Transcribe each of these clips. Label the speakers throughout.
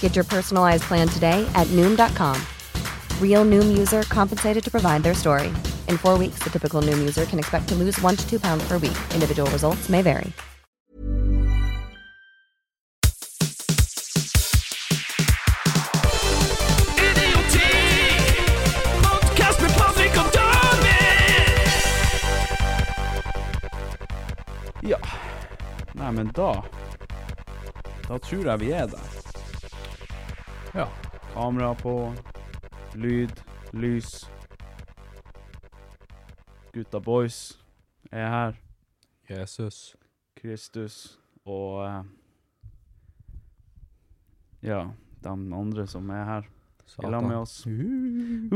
Speaker 1: Get your personalized plan today at Noom.com. Real Noom user compensated to provide their story. In four weeks, the typical Noom user can expect to lose one to two pounds per week. Individual results may vary.
Speaker 2: Ja. Nei, men da Da tror jeg vi er der. Ja. Kamera på, lyd, lys. Gutta boys er her.
Speaker 3: Jesus.
Speaker 2: Kristus og eh, Ja, de andre som er her i lag med oss. Uh.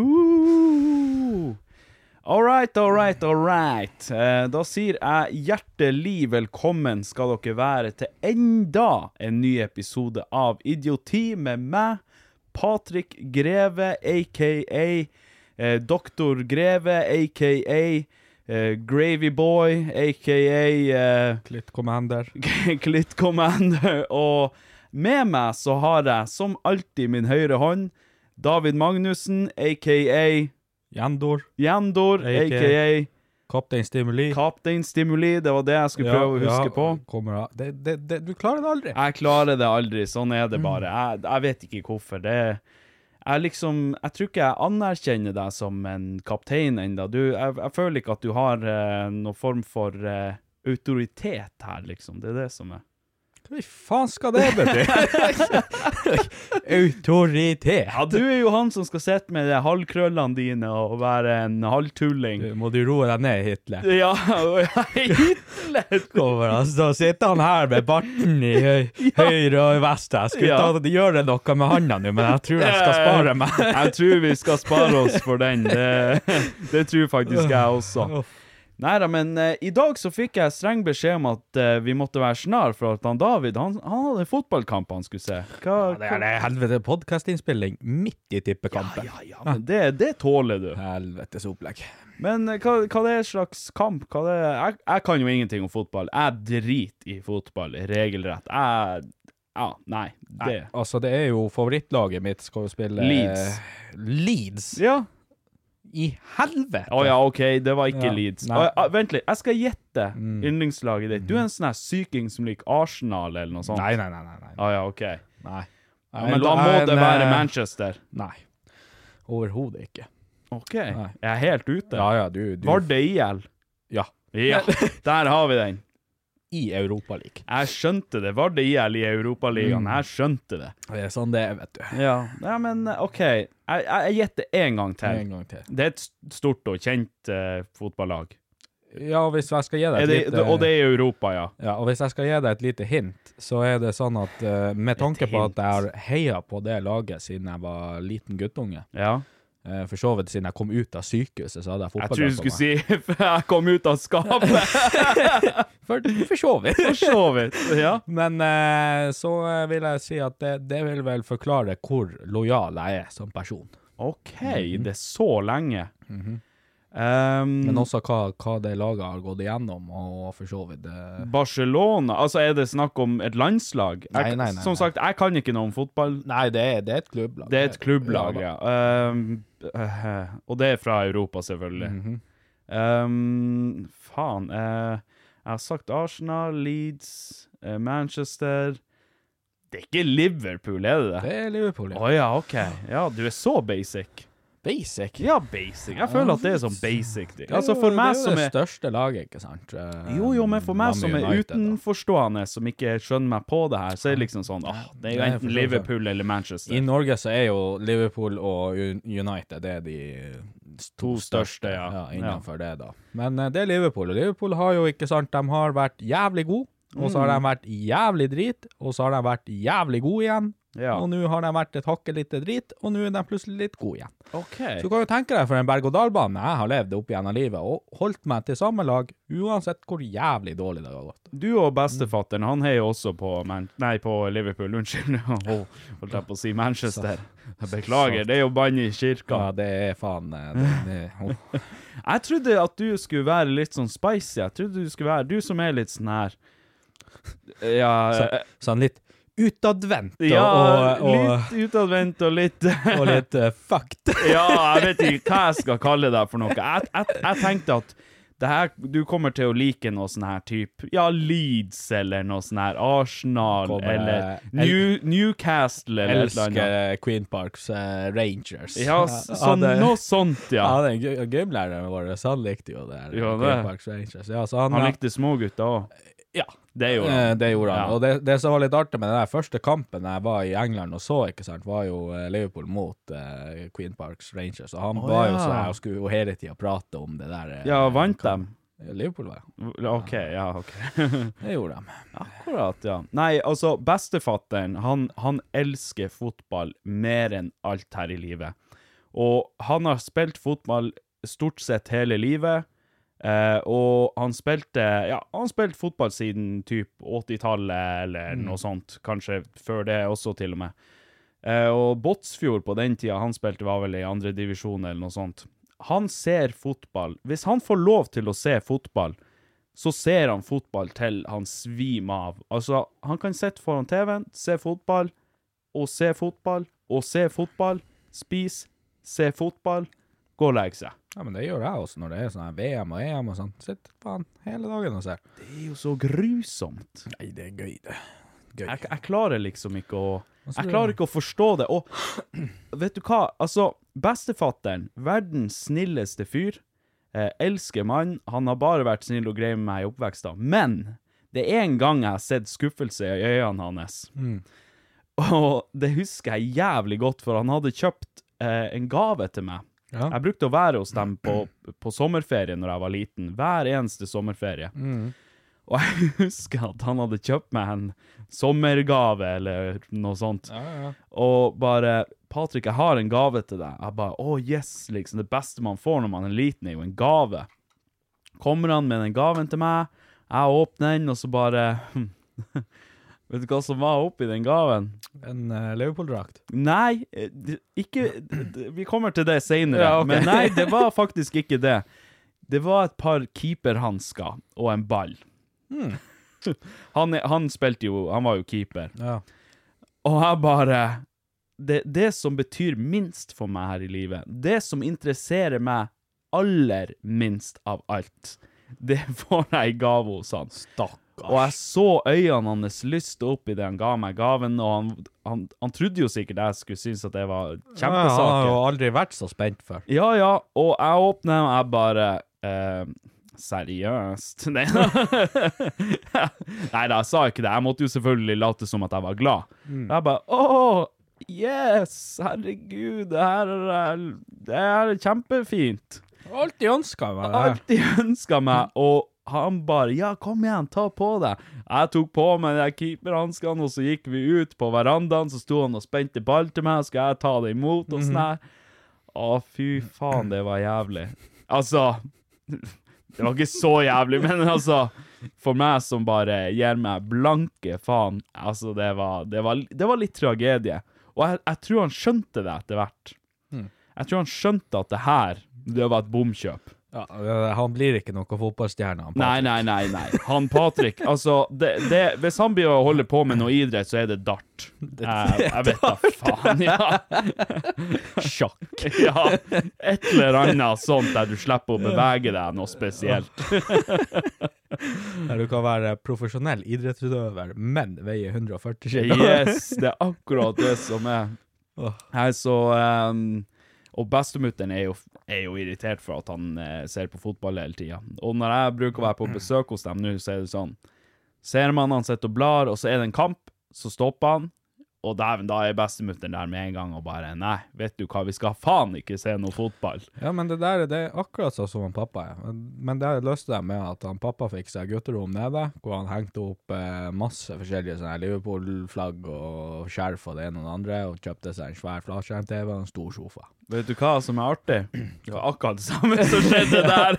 Speaker 2: All right, all right, all right. Eh, da sier jeg hjertelig velkommen skal dere være til enda en ny episode av Idioti med meg, Patrick Greve, aka eh, Doktor Greve, aka eh, Gravyboy, aka eh,
Speaker 3: Klitt Commander.
Speaker 2: Klitt Commander. Og med meg så har jeg, som alltid, min høyre hånd, David Magnussen, aka
Speaker 3: Jendor.
Speaker 2: Jendor,
Speaker 3: A.K.A.
Speaker 2: aka
Speaker 3: Kaptein Stimuli.
Speaker 2: Captain Stimuli. Det var det jeg skulle prøve å huske på.
Speaker 3: Kommer av. Det, det, det, du klarer det aldri.
Speaker 2: Jeg klarer det aldri. Sånn er det bare. Jeg, jeg vet ikke hvorfor. Det jeg liksom Jeg tror ikke jeg anerkjenner deg som en kaptein ennå. Jeg, jeg føler ikke at du har eh, noen form for eh, autoritet her, liksom. Det er det som er
Speaker 3: Hva i faen skal det bety? Autoritet.
Speaker 2: Ja, du er jo han som skal sitte med de halvkrøllene dine og være en halvtulling.
Speaker 3: Du, må du roe deg ned, Hitler.
Speaker 2: Ja, Hitler!
Speaker 3: Kommer, altså, sitter han her med barten i høy, høyre og vest. Jeg skulle
Speaker 2: Ja.
Speaker 3: ta, gjøre noe med handa nå, men jeg tror jeg skal spare meg.
Speaker 2: jeg tror vi skal spare oss for den. Det, det tror faktisk jeg også. Nei da, men eh, i dag så fikk jeg streng beskjed om at eh, vi måtte være snar, for at han David han, han hadde en fotballkamp han skulle se. Hva,
Speaker 3: Ja, Det er det er helvete podcastinnspilling midt i tippekampen.
Speaker 2: ja, ja, men det, det tåler du.
Speaker 3: Helvetes opplegg.
Speaker 2: Men eh, hva, hva det er slags kamp? Hva det er? Jeg, jeg kan jo ingenting om fotball. Jeg driter i fotball, regelrett. Jeg Ja, nei. Det
Speaker 3: Altså, det er jo favorittlaget mitt skal jo spille eh,
Speaker 2: Leeds.
Speaker 3: Leeds?
Speaker 2: Ja.
Speaker 3: I helvete!
Speaker 2: Å ja, OK, det var ikke
Speaker 3: Ja,
Speaker 2: Leeds.
Speaker 3: nei. Mm.
Speaker 2: Å, ja, vent litt, jeg skal gjette yndlingslaget ditt. Du er en sånn her syking som liker Arsenal eller noe sånt.
Speaker 3: Nei, nei, nei, nei. nei.
Speaker 2: Å ja, OK. Ja,
Speaker 3: nei.
Speaker 2: men da må det være
Speaker 3: Manchester.
Speaker 2: Manchester.
Speaker 3: eh, Nei. Overhodet ikke.
Speaker 2: OK. Jeg er helt ute.
Speaker 3: Ja, ja, du, du
Speaker 2: Vardø IL.
Speaker 3: Ja.
Speaker 2: Ja, der har vi den.
Speaker 3: I Europaligaen.
Speaker 2: Jeg skjønte det. Vardø IL i Europaligaen.
Speaker 3: Mm.
Speaker 2: Jeg skjønte det.
Speaker 3: Det er sånn det er, vet du.
Speaker 2: Ja, ja men eh, OK. Jeg, jeg, jeg gjetter én gang til.
Speaker 3: En gang til.
Speaker 2: Det er et stort og kjent eh, fotballag.
Speaker 3: Ja, og hvis jeg skal gi deg
Speaker 2: Er
Speaker 3: et
Speaker 2: det,
Speaker 3: lite
Speaker 2: og det er i Europa, ja.
Speaker 3: Ja, og hvis jeg skal gi deg et lite hint, så er det sånn at eh, med tanke på at jeg har heia på det laget siden jeg var liten guttunge,
Speaker 2: ja.
Speaker 3: eh, for så vidt siden jeg kom ut av sykehuset, så hadde jeg
Speaker 2: Jeg
Speaker 3: fotballkamp.
Speaker 2: tror du skulle si jeg kom ut av skapet.
Speaker 3: For, for så vidt.
Speaker 2: For så vidt. Ja.
Speaker 3: Men eh, så eh, vil jeg si at det, det vil vel forklare hvor lojal jeg er som person.
Speaker 2: OK, det er så lenge. Um,
Speaker 3: Mhm. Men også hva, hva det laget har gått igjennom, og for så vidt eh, det
Speaker 2: Barcelona Altså, er det snakk om et landslag? Jeg,
Speaker 3: Nei, nei, nei,
Speaker 2: som
Speaker 3: nei.
Speaker 2: sagt, jeg kan ikke noe om fotball.
Speaker 3: Nei, det er, det er et klubblag.
Speaker 2: Det er et klubblag,
Speaker 3: da.
Speaker 2: ja. Um, eh, og det er fra Europa, selvfølgelig.
Speaker 3: Mhm.
Speaker 2: um, faen. eh, jeg har sagt Arsenal, Leeds, eh, Manchester Det er ikke Liverpool, er det det?
Speaker 3: Det er Liverpool.
Speaker 2: Å
Speaker 3: ja.
Speaker 2: ja, OK. Ja, du er så basic.
Speaker 3: Basic.
Speaker 2: Ja, basic. Jeg føler at det er sånn basic.
Speaker 3: Det er jo-
Speaker 2: Altså, for meg
Speaker 3: det er jo
Speaker 2: som
Speaker 3: det
Speaker 2: er
Speaker 3: største laget, ikke sant? Eh,
Speaker 2: jo, jo, men for meg
Speaker 3: Manchester
Speaker 2: som er
Speaker 3: United, da.
Speaker 2: utenforstående, som ikke skjønner meg på det her, så er det liksom sånn åh, det er jo
Speaker 3: Nei, jeg
Speaker 2: enten
Speaker 3: forstår
Speaker 2: Liverpool eller Manchester.
Speaker 3: I Norge så er jo Liverpool og Un- United det er de
Speaker 2: To største, ja.
Speaker 3: innenfor det, da. Men eh, det er Liverpool, og Liverpool har jo, ikke sant, de har vært jævlig gode, og så har
Speaker 2: Mm.
Speaker 3: de vært jævlig drit, og så har de vært jævlig gode igjen,
Speaker 2: Ja.
Speaker 3: og nå har de vært et hakket lite drit, og nå er de plutselig litt gode igjen.
Speaker 2: OK.
Speaker 3: Så du kan jo tenke deg for en berg-og-dal-bane jeg har levd opp gjennom livet, og holdt meg til samme lag, uansett hvor jævlig dårlig det har gått.
Speaker 2: Du og bestefatteren, han heier også på, Man nei, på Liverpool. Unnskyld, nå hol- holdt jeg på å si Manchester. Jeg beklager, det er jo bann i
Speaker 3: Ja,
Speaker 2: kirka.
Speaker 3: det er faen eh, det, det, oh.
Speaker 2: Jeg trodde at du skulle være litt sånn spicy. Jeg trodde du skulle være Du som er litt sånn her Ja, eh,
Speaker 3: Sånn litt utadvendt og,
Speaker 2: ja
Speaker 3: og, og,
Speaker 2: litt utadvendt og litt
Speaker 3: og litt eh, fucked.
Speaker 2: Ja, jeg vet ikke hva jeg skal kalle deg for noe. Jeg, jeg, jeg tenkte at det her, du kommer til å like noe sånn her type Ja, Leeds eller noe sånn her Arsenal
Speaker 3: Kommer,
Speaker 2: eller
Speaker 3: eh,
Speaker 2: New, Newcastle eller et eller
Speaker 3: Elsker
Speaker 2: annet.
Speaker 3: eh, Queen Parks eh, Rangers.
Speaker 2: Ja, s- sånn,
Speaker 3: det-
Speaker 2: noe sånt, ja.
Speaker 3: Ja, den gøy- gymlæreren vår, så han likte jo det. her,
Speaker 2: Gjorde
Speaker 3: Queen
Speaker 2: det?
Speaker 3: Parks Rangers. Ja, så han,
Speaker 2: Han likte smågutter òg.
Speaker 3: ja,
Speaker 2: Det gjorde
Speaker 3: Eh,
Speaker 2: han.
Speaker 3: Det gjorde han.
Speaker 2: Ja.
Speaker 3: Og det, det som var litt artig med den der første kampen jeg var i England og så, ikke sant, var jo eh, Liverpool mot eh, Queen Parks Rangers. Og han
Speaker 2: Å,
Speaker 3: var jo
Speaker 2: ja.
Speaker 3: sånn her og skulle jo hele tida prate om det der. eh,
Speaker 2: Ja, vant dem?
Speaker 3: Liverpool, var det.
Speaker 2: OK, ja, OK.
Speaker 3: Det gjorde de.
Speaker 2: Akkurat, ja. Nei, altså, bestefatteren, han, han elsker fotball mer enn alt her i livet. Og han har spilt fotball stort sett hele livet, eh, og han spilte, ja, han spilte fotball siden typ 80-tallet, eller noe sånt, kanskje før det også til og med. Eh, og Båtsfjord på den tida han spilte var vel i andre divisjon eller noe sånt. Han ser fotball. Hvis han får lov til å se fotball, så ser han fotball til han svimer av. Altså, han kan sitte foran TV-en, se fotball, og se fotball, og se fotball, spise, se fotball, gå og legge seg.
Speaker 3: Ja, men det gjør jeg også når det er sånn her VM og EM og sånn. Sitter faen hele dagen og ser.
Speaker 2: Det er jo så grusomt.
Speaker 3: Nei, det er gøy, det. Gøy.
Speaker 2: Jeg, jeg klarer liksom ikke å
Speaker 3: Altså,
Speaker 2: Jeg
Speaker 3: det-
Speaker 2: klarer ikke å forstå det. Og vet du hva? Altså, bestefatteren, verdens snilleste fyr, eh, elsker mann, han har bare vært snill og grei med meg i oppveksten. Men det er en gang jeg har sett skuffelse i øynene hans. Og det husker jeg jævlig godt, for han hadde kjøpt eh, en gave til meg.
Speaker 3: Ja.
Speaker 2: Jeg brukte å være hos dem på, på sommerferie når jeg var liten. Hver eneste sommerferie. Og jeg husker at han hadde kjøpt meg en sommergave eller noe sånt.
Speaker 3: Ja, ja.
Speaker 2: Og bare 'Patrick, jeg har en gave til deg.' Jeg bare 'Å, yes', liksom. Det beste man får når man er liten, er jo en gave. Kommer han med den gaven til meg, jeg åpner den, og så bare hm, Vet du hva som var oppi den gaven?
Speaker 3: En eh, Liverpool-drakt.
Speaker 2: Nei, eh, d- ikke d- Vi kommer til det seinere,
Speaker 3: Ja, ok.
Speaker 2: men nei, det var faktisk ikke det. Det var et par keeperhansker og en ball.
Speaker 3: Hmm.
Speaker 2: Han, er- han spilte jo Han var jo keeper.
Speaker 3: Ja.
Speaker 2: Og jeg bare det, det som betyr minst for meg her i livet, det som interesserer meg aller minst av alt, det får jeg i gave hos han.
Speaker 3: Stakkars.
Speaker 2: Og jeg så øynene hans lyste opp idet han ga meg gaven, og han, han, han trodde jo sikkert jeg skulle synes at det var
Speaker 3: Ja, han har jo
Speaker 2: kjempesaker.
Speaker 3: aldri vært så spent før.
Speaker 2: Ja, ja, og jeg åpner og jeg bare eh, Seriøst? Nei da. jeg sa ikke det. Jeg måtte jo selvfølgelig late som at jeg var glad. Jeg bare åh, yes! Herregud, det her er, det her er kjempefint.
Speaker 3: Alltid ønska meg det. her.
Speaker 2: alltid ønska meg, og han bare 'ja, kom igjen, ta på deg'. Jeg tok på meg de keeperhanskene, og så gikk vi ut på verandaen, så sto han og spente ball til meg, skal jeg ta det imot, og sånn her. Å, fy faen, det var jævlig. Altså Det var ikke så jævlig, men altså For meg som bare gir meg blanke faen, altså, det var, det var, det var litt tragedie. Og jeg, jeg tror han skjønte det etter hvert. Jeg tror han skjønte at det her, det var et bomkjøp.
Speaker 3: Ja, øh, han blir ikke noen fotballstjerne. han
Speaker 2: Nei, nei, nei. nei. Han Patrick altså, det, det, Hvis han blir å holde på med noe idrett, så er det dart. Jeg, jeg vet da faen. Ja. Sjakk. Ja. Et eller annet sånt der du slipper å bevege deg noe spesielt.
Speaker 3: Patrick. Der du kan være profesjonell idrettsutøver, men veie 140 kilo.
Speaker 2: Yes, det er akkurat det som er.
Speaker 3: Åh.
Speaker 2: Nei, så ehm, Og bestemutteren er, jo- er jo irritert for at han eh, ser på fotball hele tida. Og når jeg bruker å være på besøk hos dem nå, så er det sånn Ser man han sitter og blar, og så er det en kamp, så stopper han. Og dæven, da er bestemutteren der med en gang og bare Nei, vet du hva, vi skal faen ikke se noe fotball.
Speaker 3: Ja, men det der det er akkurat sånn som han pappa er. Men, men det løste de med at han pappa fikk seg gutterom nede, hvor han hengte opp eh, masse forskjellige sånne her Liverpool-flagg og skjerf og det ene og det andre, og kjøpte seg en svær flatskjerm-TV og en stor sofa.
Speaker 2: Vet du hva som er artig? Det var akkurat det samme som skjedde der.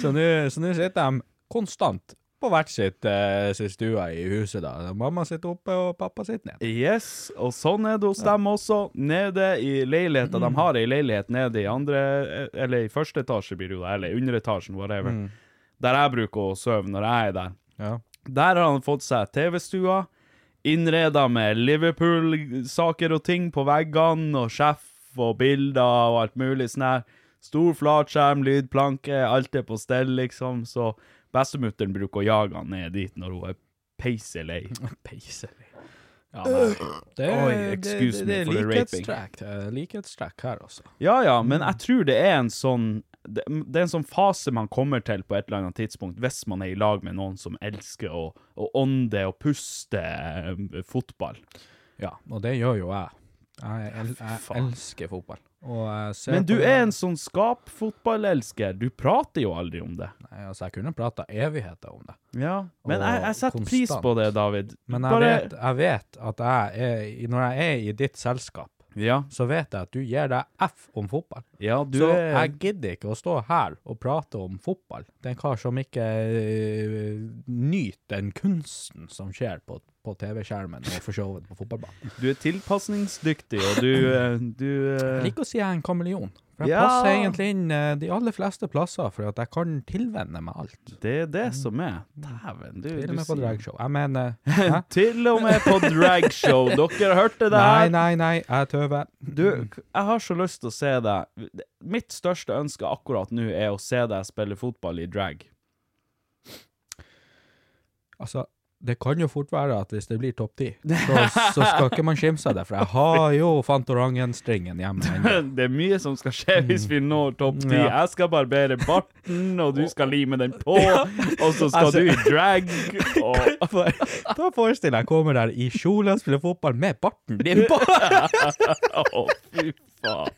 Speaker 3: Så nå så nå sitter de konstant på hvert sitt, eh, sitt stue i huset. da. Mamma sitter oppe, og pappa sitter nede.
Speaker 2: Yes, og sånn er det hos dem også. Nede i leiligheta.
Speaker 3: Mm.
Speaker 2: De har ei leilighet nede i andre Eller i første etasje, blir det jo, da, eller underetasjen, whatever.
Speaker 3: Mm.
Speaker 2: Der jeg bruker å sove når jeg er der.
Speaker 3: Ja.
Speaker 2: Der har han fått seg TV-stua, innreda med Liverpool-saker og ting på veggene, og sjef og bilder og alt mulig sånn her. Stor flatskjerm, lydplanke, alt er på stell, liksom. Så bestemutteren bruker å jage han ned dit når hun er peiselei.
Speaker 3: Peiselig. Ja, nei. Det,
Speaker 2: Oi,
Speaker 3: det-
Speaker 2: excuse
Speaker 3: det,
Speaker 2: me
Speaker 3: det,
Speaker 2: for the
Speaker 3: er
Speaker 2: raping.
Speaker 3: likhetstrekk. Det er likhetstrekk her, altså.
Speaker 2: Ja, ja, men jeg tror det er en sånn det, det er en sånn fase man kommer til på et eller annet tidspunkt, hvis man er i lag med noen som elsker å, å ånde og puste eh, fotball.
Speaker 3: Ja, og det gjør jo jeg. Jeg, el jeg
Speaker 2: faen.
Speaker 3: elsker fotball. Og jeg ser
Speaker 2: Men
Speaker 3: på
Speaker 2: du
Speaker 3: det-
Speaker 2: er en sånn skapfotballelsker. Du prater jo aldri om det.
Speaker 3: Nei, altså, jeg kunne prata evigheter om det.
Speaker 2: Ja, Men
Speaker 3: Og
Speaker 2: jeg, jeg setter pris
Speaker 3: konstant.
Speaker 2: på det, David.
Speaker 3: Men jeg, vet, jeg vet at jeg er, i- når jeg er i ditt selskap,
Speaker 2: Ja,
Speaker 3: så vet jeg at du gir deg F om fotball.
Speaker 2: ja du
Speaker 3: så
Speaker 2: er
Speaker 3: jeg gidder ikke å stå her og prate om fotball. Det er en kar som ikke øh, nyter den kunsten som skjer på, på TV-skjermen og for så vidt på fotballbanen.
Speaker 2: Du er tilpasningsdyktig, og du, eh, du
Speaker 3: Jeg
Speaker 2: eh,
Speaker 3: liker å si jeg er en kameleon. For jeg
Speaker 2: Ja.
Speaker 3: passer egentlig inn øh, de aller fleste plasser, for at jeg kan tilvenne meg alt.
Speaker 2: Det er det som er. Dæven, du, du
Speaker 3: Mm. Til og med på
Speaker 2: sier-
Speaker 3: dragshow. Jeg mener hæ?
Speaker 2: Til og med på dragshow. Dere hørte det her.
Speaker 3: Nei, nei, nei, jeg tøver.
Speaker 2: Du, k- jeg har så lyst til å se deg Mitt største ønske akkurat nå er å se deg spille fotball i drag.
Speaker 3: Altså, det kan jo fort være at hvis det blir topp ti, så, så skal ikke man skimse av det, for jeg har jo Fantorangen-stringen hjemme. ennå.
Speaker 2: Det er mye som skal skje hvis vi når topp ti.
Speaker 3: Ja.
Speaker 2: Jeg skal barbere barten, og du skal lime den på, og så skal
Speaker 3: Altså-
Speaker 2: du i drag. Og
Speaker 3: For- Da forestiller jeg meg kommer der i kjole og spiller fotball med barten din på!
Speaker 2: Å, fy faen.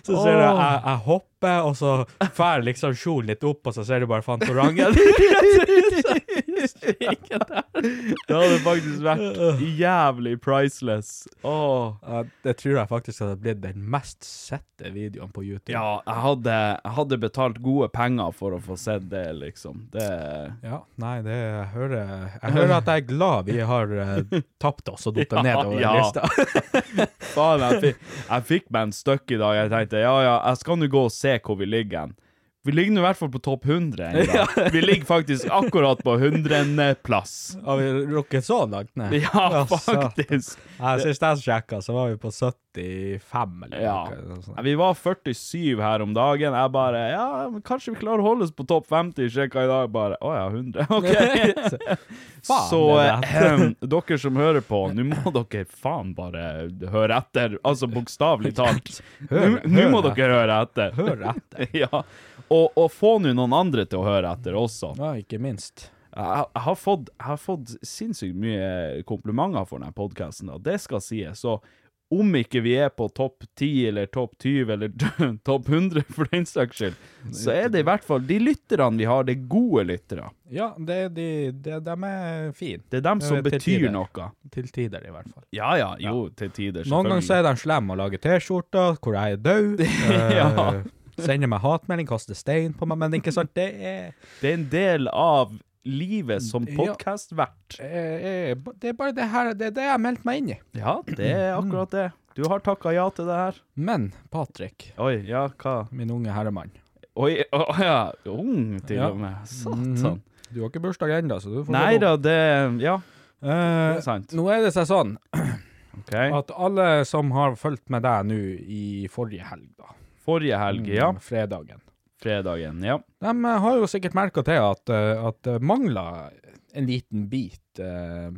Speaker 3: Så ser du jeg, jeg hopper, og så drar liksom kjolen litt opp, og så ser du bare Fantorangen.
Speaker 2: Det hadde faktisk vært jævlig priceless. Åh.
Speaker 3: Ja, Det tror jeg faktisk hadde blitt den mest sette videoen på YouTube.
Speaker 2: Ja, jeg hadde, jeg hadde betalt gode penger for å få sett det, liksom. Det
Speaker 3: Ja, nei, det jeg hører Jeg hører at jeg er glad vi har eh, tapt oss og datt
Speaker 2: Ja,
Speaker 3: nedover
Speaker 2: ja.
Speaker 3: lista.
Speaker 2: Faen, jeg fikk, jeg fikk meg en støkk i dag. Jeg tenkte ja, ja, jeg skal nå gå og se hvor vi ligger. hen. Vi ligger nå i hvert fall på topp 100. en dag. Vi ligger faktisk akkurat på 100.-plass.
Speaker 3: Har vi rukket så langt ned?
Speaker 2: Ja,
Speaker 3: Altså,
Speaker 2: faktisk.
Speaker 3: Ja, sist jeg sjekka, så var vi på 75 eller
Speaker 2: Ja.
Speaker 3: noe sånt.
Speaker 2: Vi var 47 her om dagen. Jeg bare Ja, men kanskje vi klarer å holde oss på topp 50? Sjekka i dag, bare Å ja, 100. OK.
Speaker 3: Faen,
Speaker 2: Så
Speaker 3: det er
Speaker 2: eh, dere som hører på, nå må dere faen bare høre etter. Altså bokstavelig talt. Nå
Speaker 3: Hør-
Speaker 2: nå må
Speaker 3: hør
Speaker 2: dere høre etter.
Speaker 3: Hør etter.
Speaker 2: Ja. Og, og få nå noen andre til å høre etter også. Jeg,
Speaker 3: Ja, ikke minst.
Speaker 2: jeg, har, fått, jeg har fått sinnssykt mye komplimenter for denne podkasten, og det skal sies. Så om ikke vi er på topp 10 eller topp 20 eller topp 100 for den saks skyld, så er det i hvert fall de lytterne vi har, det er gode lyttere.
Speaker 3: Ja, det, de, de, dem er fine.
Speaker 2: Det er dem som
Speaker 3: Eh, til
Speaker 2: betyr
Speaker 3: tider.
Speaker 2: noe.
Speaker 3: Til tider, i hvert fall.
Speaker 2: Ja ja, jo, til tider,
Speaker 3: Noen ganger så
Speaker 2: selvfølgelig.
Speaker 3: er de slemme og lager T-skjorter hvor jeg er død.
Speaker 2: Ja.
Speaker 3: eh, Sender meg hatmelding, kaster stein på meg, men ikke sant, det er
Speaker 2: Det er en del av livet som
Speaker 3: Ja.
Speaker 2: podkastvert.
Speaker 3: Eh, eh, ba- Det er bare det her, det er det jeg har meldt meg inn i.
Speaker 2: Ja, det er akkurat det. Du har takka ja til det her.
Speaker 3: Men Patrick,
Speaker 2: Oi, ja, hva?
Speaker 3: min unge herremann,
Speaker 2: Oi, å ja. Ung, til
Speaker 3: Ja. Mhm.
Speaker 2: og med. Satan.
Speaker 3: Du har ikke bursdag ennå, så du får
Speaker 2: Nei da, det Ja,
Speaker 3: Eh,
Speaker 2: det er sant.
Speaker 3: nå er det seg sånn
Speaker 2: OK.
Speaker 3: at alle som har fulgt med deg nå i forrige helg, da,
Speaker 2: Forrige helg, ja.
Speaker 3: mm, fredagen,
Speaker 2: Fredagen, ja.
Speaker 3: de eh, har jo sikkert merka til at, eh, at det mangla en liten bit eh,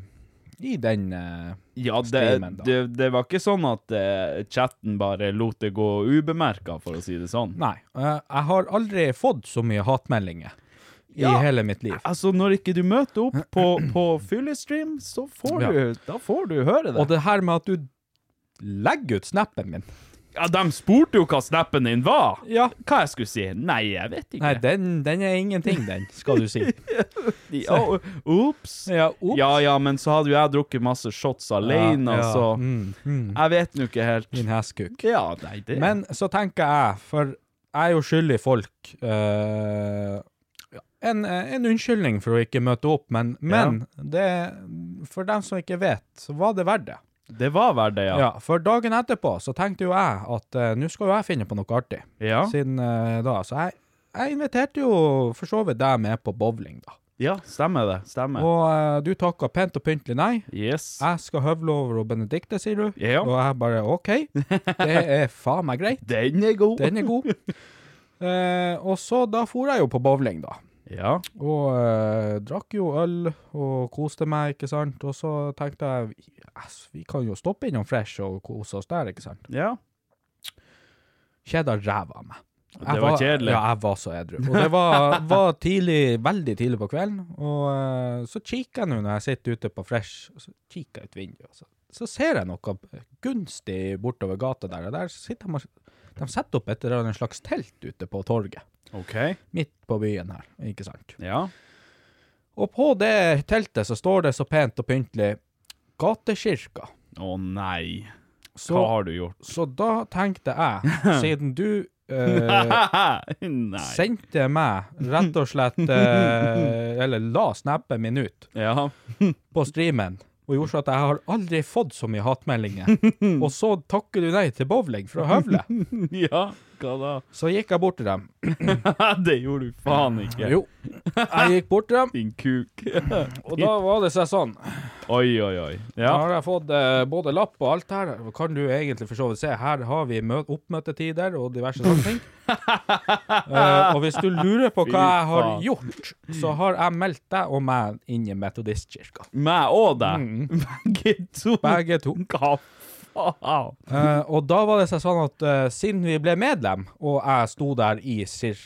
Speaker 3: i den eh,
Speaker 2: Ja, det,
Speaker 3: Streamen, da.
Speaker 2: det, det var ikke sånn at eh, chatten bare lot det gå ubemerka, for å si det sånn.
Speaker 3: Nei. eh, jeg har aldri fått så mye hatmeldinger i
Speaker 2: Ja.
Speaker 3: hele mitt liv.
Speaker 2: Altså, når ikke du møter opp på, på fyllestream, så får
Speaker 3: Ja.
Speaker 2: du, da får du høre det.
Speaker 3: Og det her med at du legger ut snappen min
Speaker 2: Ja, de spurte jo hva snappen din var.
Speaker 3: Ja.
Speaker 2: Hva jeg skulle si? Nei, jeg vet ikke.
Speaker 3: Nei, den, den er ingenting, den, skal du si.
Speaker 2: ja, Ops.
Speaker 3: Ja, ops.
Speaker 2: Ja, ja, men så hadde jo jeg drukket masse shots alene,
Speaker 3: Ja, ja.
Speaker 2: så
Speaker 3: Mm, mm.
Speaker 2: jeg vet nå ikke helt.
Speaker 3: Din hestkuk.
Speaker 2: Ja, nei, det
Speaker 3: Men så tenker jeg, for jeg er jo skyldig folk eh, en, en unnskyldning for å ikke møte opp, men, men det, for dem som ikke vet, så var det verdt det.
Speaker 2: det var verdt det,
Speaker 3: Ja.
Speaker 2: ja.
Speaker 3: For dagen etterpå så tenkte jo jeg at eh, nå skal jo jeg finne på noe artig.
Speaker 2: Ja.
Speaker 3: Siden eh, da, så jeg, jeg inviterte jo for så vidt deg med på bowling, da.
Speaker 2: Ja, stemmer det. Stemmer.
Speaker 3: Og eh, du takka pent og pyntelig nei.
Speaker 2: Yes.
Speaker 3: Jeg skal høvle over og Benedikte, sier du.
Speaker 2: Ja.
Speaker 3: Og jeg bare OK, det er faen meg greit.
Speaker 2: Den er god.
Speaker 3: Den er god. Eh, og så da for jeg jo på bowling, da.
Speaker 2: Ja.
Speaker 3: Og eh, drakk jo øl og koste meg, ikke sant. Og så tenkte jeg yes, vi kan jo stoppe innom Fresh og kose oss der, ikke sant.
Speaker 2: Ja.
Speaker 3: Kjeda ræva av meg. Jeg
Speaker 2: var kjedelig.
Speaker 3: Ja, jeg var så edru. Og det var, var tidlig, veldig tidlig på kvelden. Og eh, så kikker jeg nå når jeg sitter ute på Fresh, og så kikker jeg ut vinduet. og Så, så ser jeg noe gunstig bortover gata der. Og der sitter de, og- de setter opp et eller annet slags telt ute på torget.
Speaker 2: OK.
Speaker 3: Midt på byen her, ikke sant.
Speaker 2: Ja.
Speaker 3: Og på det teltet så står det så pent og pyntelig Gatekirka.
Speaker 2: Å nei.
Speaker 3: Så,
Speaker 2: Hva har du gjort?
Speaker 3: så da tenkte jeg, siden du eh,
Speaker 2: nei.
Speaker 3: sendte meg rett og slett eh, Eller la snappen min ut
Speaker 2: Ja.
Speaker 3: på streamen. Og gjorde så at jeg har aldri fått så mye hatmeldinger. Og så takker du nei til bowling fra Høvle.
Speaker 2: ja. Hva da?
Speaker 3: Så gikk jeg bort til dem.
Speaker 2: det gjorde du faen ikke.
Speaker 3: Jo, jeg gikk bort til dem,
Speaker 2: Din kuk.
Speaker 3: og da var det seg sånn.
Speaker 2: oi, oi, oi.
Speaker 3: Da
Speaker 2: Ja.
Speaker 3: har jeg fått eh, både lapp og alt her. Kan du egentlig for så vidt se, her har vi mø oppmøtetider og diverse sånne ting. Eh, og hvis du lurer på hva jeg har
Speaker 2: faen.
Speaker 3: gjort, så har jeg meldt deg og meg inn i Metodistkirka.
Speaker 2: Meg og deg. Begge to.
Speaker 3: Mm. Begge to.
Speaker 2: Hva faen?
Speaker 3: Eh, og da var det seg sånn at eh, siden vi ble medlem, og jeg sto der i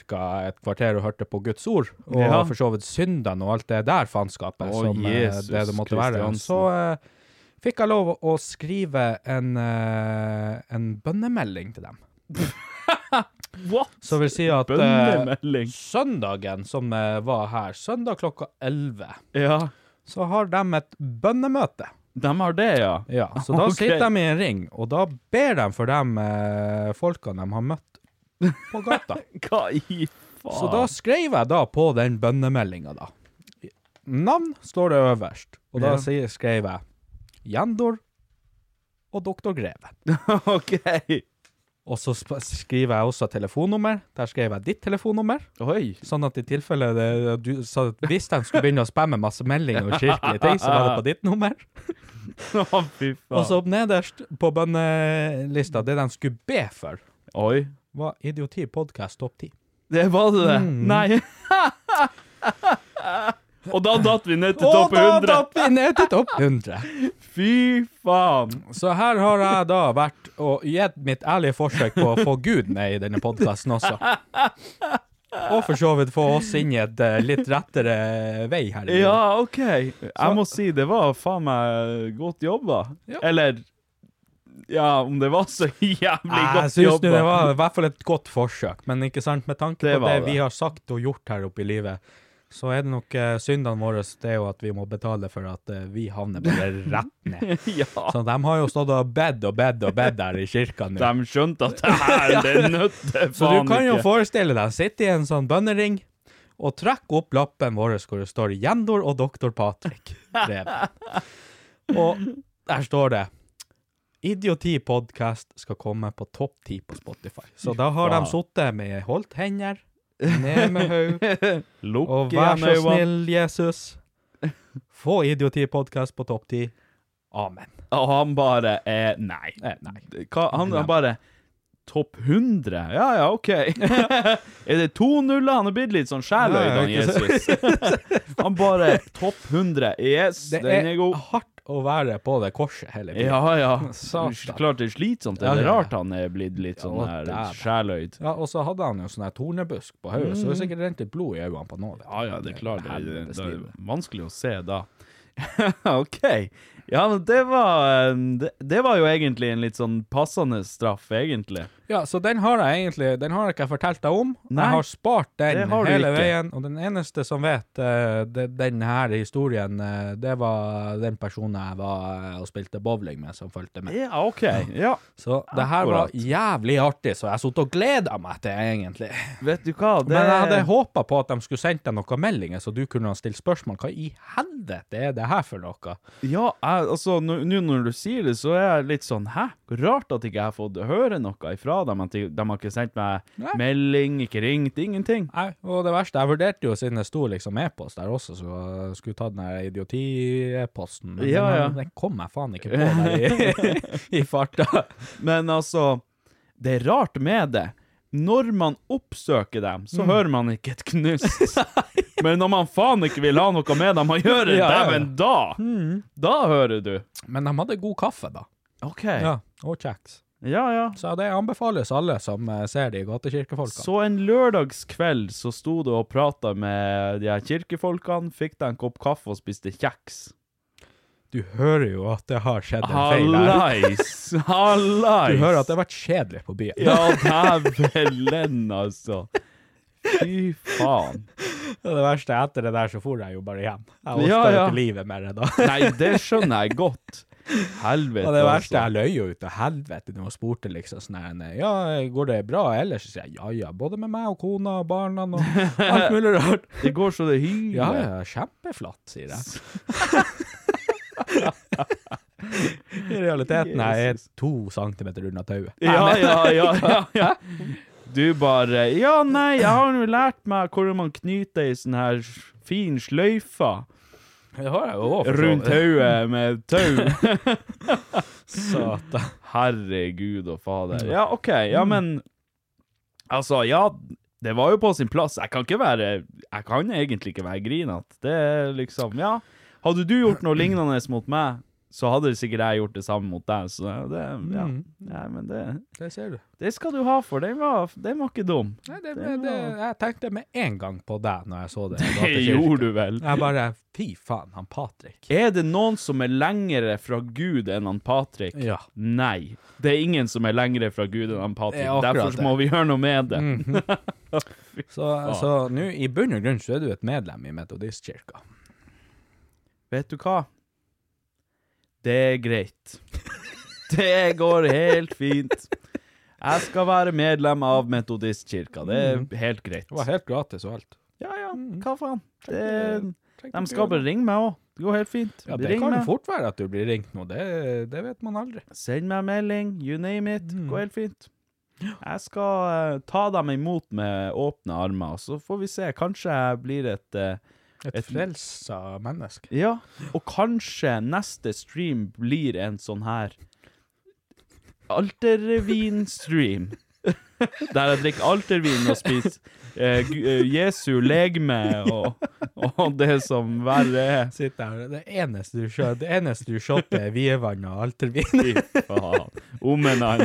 Speaker 3: ca. et kvarter og hørte på Guds ord, og
Speaker 2: Ja.
Speaker 3: for så vidt syndene og alt det der faenskapet
Speaker 2: Å,
Speaker 3: som eh,
Speaker 2: Jesus
Speaker 3: det det måtte være,
Speaker 2: Kristiansen.
Speaker 3: så eh, fikk jeg lov å skrive en, eh, en bønnemelding til dem.
Speaker 2: What?
Speaker 3: Så vil si at eh,
Speaker 2: Bønnemelding.
Speaker 3: søndagen som eh, var her, søndag klokka 11,
Speaker 2: Ja.
Speaker 3: så har de et bønnemøte.
Speaker 2: De har det, ja.
Speaker 3: Ja, så da
Speaker 2: Ok.
Speaker 3: sitter de i en ring, og da ber de for de eh, folkene de har møtt på gata.
Speaker 2: Hva i faen?
Speaker 3: så da skrev jeg da på den bønnemeldinga, da. Navn står det øverst, og da
Speaker 2: Ja.
Speaker 3: sier- skrev jeg Jendor og Doktor Greven.
Speaker 2: OK.
Speaker 3: Og så sp skriver jeg også telefonnummer. Der skrev jeg ditt telefonnummer.
Speaker 2: Oi.
Speaker 3: Sånn at i tilfelle det, du, så at hvis de skulle begynne å spamme masse meldinger og kirkelige ting, så var det på ditt nummer.
Speaker 2: Å, fy faen.
Speaker 3: Og så opp nederst på bønnelista, det de skulle be for,
Speaker 2: Oi.
Speaker 3: var Idioti podcast topp 10.
Speaker 2: Det var det, det.
Speaker 3: Mm.
Speaker 2: Nei. og da datt vi ned til
Speaker 3: Og
Speaker 2: topp
Speaker 3: da
Speaker 2: 100.
Speaker 3: datt vi ned til topp 100!
Speaker 2: Fy faen.
Speaker 3: Så her har jeg da vært og gitt mitt ærlige forsøk på å få Gud med i denne podkasten også. Og for så vidt få oss inn i et eh, litt rettere vei her. i livet.
Speaker 2: Ja, OK. Jeg må si det var faen meg godt jobba.
Speaker 3: Ja.
Speaker 2: Eller Ja, om det var så jævlig
Speaker 3: Jeg
Speaker 2: godt
Speaker 3: syns
Speaker 2: jobba.
Speaker 3: det var i hvert fall et godt forsøk, men ikke sant, med tanke
Speaker 2: Det
Speaker 3: på
Speaker 2: var
Speaker 3: det
Speaker 2: det.
Speaker 3: vi har sagt og gjort her oppe i livet, så er det nok eh, syndene våre det er jo at vi må betale for at eh, vi havner bare rett ned.
Speaker 2: Ja.
Speaker 3: Så de har jo stått og bedt og bedt og bedt der i kirka nå.
Speaker 2: De skjønte at det her, det nødte
Speaker 3: Så du
Speaker 2: faen
Speaker 3: kan jo
Speaker 2: ikke.
Speaker 3: forestille deg, sitte i en sånn bønnering og trekke opp lappen vår hvor det står 'Jendor og doktor Patrick'. Reven. og der står det 'Idioti podcast skal komme på topp ti på Spotify'. Så da har de
Speaker 2: Faen.
Speaker 3: sittet med holdt hender Ned med haug. Og
Speaker 2: Lukk
Speaker 3: vær
Speaker 2: igjen
Speaker 3: så
Speaker 2: øynene.
Speaker 3: snill, Jesus, få Idioti-podkast på topp ti. Amen.
Speaker 2: Og han bare eh, nei. Hva, han, han bare Topp 100? Ja ja, OK. er det to nuller? Han er blitt litt sånn sjeløyd,
Speaker 3: Ja,
Speaker 2: han
Speaker 3: ikke sant?
Speaker 2: Jesus. han bare Topp 100. Yes,
Speaker 3: Det
Speaker 2: den er
Speaker 3: er
Speaker 2: Ah, god.
Speaker 3: hardt å være på det korset hele tiden.
Speaker 2: Ja ja.
Speaker 3: Satan.
Speaker 2: Klart det er slitsomt. Det
Speaker 3: Ja,
Speaker 2: er
Speaker 3: ja, ja.
Speaker 2: rart han er blitt litt sånn
Speaker 3: Ja,
Speaker 2: her
Speaker 3: dæven.
Speaker 2: sjeløyd.
Speaker 3: Ja, og så hadde han jo sånn her tornebusk på hodet, så det sikkert rent litt blod i øynene på noen.
Speaker 2: Mm. Ja ja, det er klart. Det, det,
Speaker 3: Helvetes
Speaker 2: det er
Speaker 3: liv.
Speaker 2: vanskelig å se da. OK. Ja, men det var eh, det, det var jo egentlig en litt sånn passende straff, egentlig.
Speaker 3: Ja, så den har jeg egentlig Den har jeg ikke fortalt deg om.
Speaker 2: Nei,
Speaker 3: jeg har spart den
Speaker 2: det har du
Speaker 3: hele
Speaker 2: ikke.
Speaker 3: veien. Og den eneste som vet eh, de, den her historien, eh, det var den personen jeg var eh, og spilte bowling med, som fulgte med.
Speaker 2: Ja, OK. Ja.
Speaker 3: Så det her var
Speaker 2: Akkurat.
Speaker 3: jævlig artig, så jeg satt og gleda meg til, egentlig.
Speaker 2: Vet du hva, det
Speaker 3: Men jeg hadde håpa på at de skulle sendt deg noen meldinger, så du kunne ha stilt spørsmål. Hva i helvete er det her for noe?
Speaker 2: Ja, jeg, altså, nå nå når du sier det, så er jeg litt sånn Hæ? Rart at ikke jeg har fått høre noe ifra dem. At de, de har ikke sendt meg
Speaker 3: Nei.
Speaker 2: melding, ikke ringt, ingenting.
Speaker 3: Nei, og det verste, jeg vurderte jo siden det sto liksom e-post der også, så jeg skulle ta den her idioti-e-posten, men
Speaker 2: Ja,
Speaker 3: den,
Speaker 2: ja.
Speaker 3: den kom jeg faen ikke på der i, i farta.
Speaker 2: Men altså, det er rart med det. Når man oppsøker dem, så hører man ikke et knust. Men når man faen ikke vil ha noe med dem å gjøre,
Speaker 3: Ja, ja, ja.
Speaker 2: dæven, da! Da hører du.
Speaker 3: Men de hadde god kaffe da,
Speaker 2: OK.
Speaker 3: ja, og kjeks.
Speaker 2: ja. ja.
Speaker 3: Så det anbefales alle som eh, ser de gatekirkefolka.
Speaker 2: Så en lørdagskveld så sto du og prata med de her kirkefolkene, fikk deg en kopp kaffe og spiste kjeks.
Speaker 3: Du hører jo at det har skjedd en feil der.
Speaker 2: Hallais! Hallais!
Speaker 3: Du hører at det har vært kjedelig på byen.
Speaker 2: Ja, dævelen, altså. Fy faen.
Speaker 3: Og det verste er etter det der så for jeg jo bare hjem. Jeg orket
Speaker 2: Ja,
Speaker 3: jo
Speaker 2: ja.
Speaker 3: ikke livet mer da.
Speaker 2: Nei, det skjønner jeg godt. Helvete, altså.
Speaker 3: Og det verste, jeg løy jo ut til helvete når hun spurte liksom sånn her, nei, ja, går det bra ellers? Så sier jeg, ja, ja, både med meg og kona og barna og alt mulig rart.
Speaker 2: Det går så det hyler.
Speaker 3: Ja, ja, kjempeflatt, sier jeg. I realiteten er jeg to centimeter unna tauet.
Speaker 2: Ja, ja, ja, ja, ja. Du bare Ja, nei, jeg har nå lært meg hvordan man knyter ei sånn her fin sløyfe
Speaker 3: Det har jeg jo
Speaker 2: rundt hodet med tau.
Speaker 3: Satan.
Speaker 2: Herregud og fader. Ja, OK. Ja, men Altså, ja, det var jo på sin plass. Jeg kan ikke være Jeg kan egentlig ikke være grinete. Det er liksom Ja. Hadde du gjort noe lignende mot meg, så hadde sikkert jeg gjort det samme mot deg. Så det Ja,
Speaker 3: Mm.
Speaker 2: ja men det
Speaker 3: Det ser du.
Speaker 2: Det skal du ha for, den var, den var ikke dum.
Speaker 3: Nei, det, det,
Speaker 2: Den var-
Speaker 3: jeg tenkte med en gang på deg når jeg så det.
Speaker 2: Det gjorde du vel.
Speaker 3: Jeg bare, fy faen, han Patrik.
Speaker 2: Er det noen som er lengre fra Gud enn han Patrick?
Speaker 3: Ja.
Speaker 2: Nei. Det er ingen som er lengre fra Gud enn han Patrick.
Speaker 3: Det Mm. er akkurat
Speaker 2: Derfor så må vi gjøre noe med det.
Speaker 3: Så, så nå, i bunn og grunn, så er du et medlem i Metodistkirka.
Speaker 2: Vet du hva? Det er greit. Det går helt fint. Jeg skal være medlem av Metodistkirka. Det er helt greit.
Speaker 3: Mm. Det var helt Mm. gratis og alt.
Speaker 2: Ja, ja, hva faen? Det,
Speaker 3: Tenk
Speaker 2: de
Speaker 3: ikke
Speaker 2: skal bare
Speaker 3: gjøre
Speaker 2: ringe meg òg. Det går helt fint.
Speaker 3: eh, Ja, det
Speaker 2: Ring
Speaker 3: kan
Speaker 2: meg.
Speaker 3: fort være at du blir ringt nå, det, det vet man aldri.
Speaker 2: Send meg melding, you name it.
Speaker 3: Mm.
Speaker 2: Går helt fint. Jeg skal eh, ta dem imot med åpne armer, og så får vi se. Kanskje jeg blir et eh,
Speaker 3: Et, frelsa menneske.
Speaker 2: Ja, og kanskje neste stream blir en sånn her Altervin-stream. Der jeg drikker altervin og spiser eh, Gu- eh, Jesu legeme og, og det som verre er.
Speaker 3: Sitt der, det eneste du skjønner, det eneste du shotter er vievann og altervin,
Speaker 2: Fy faen. Omenan,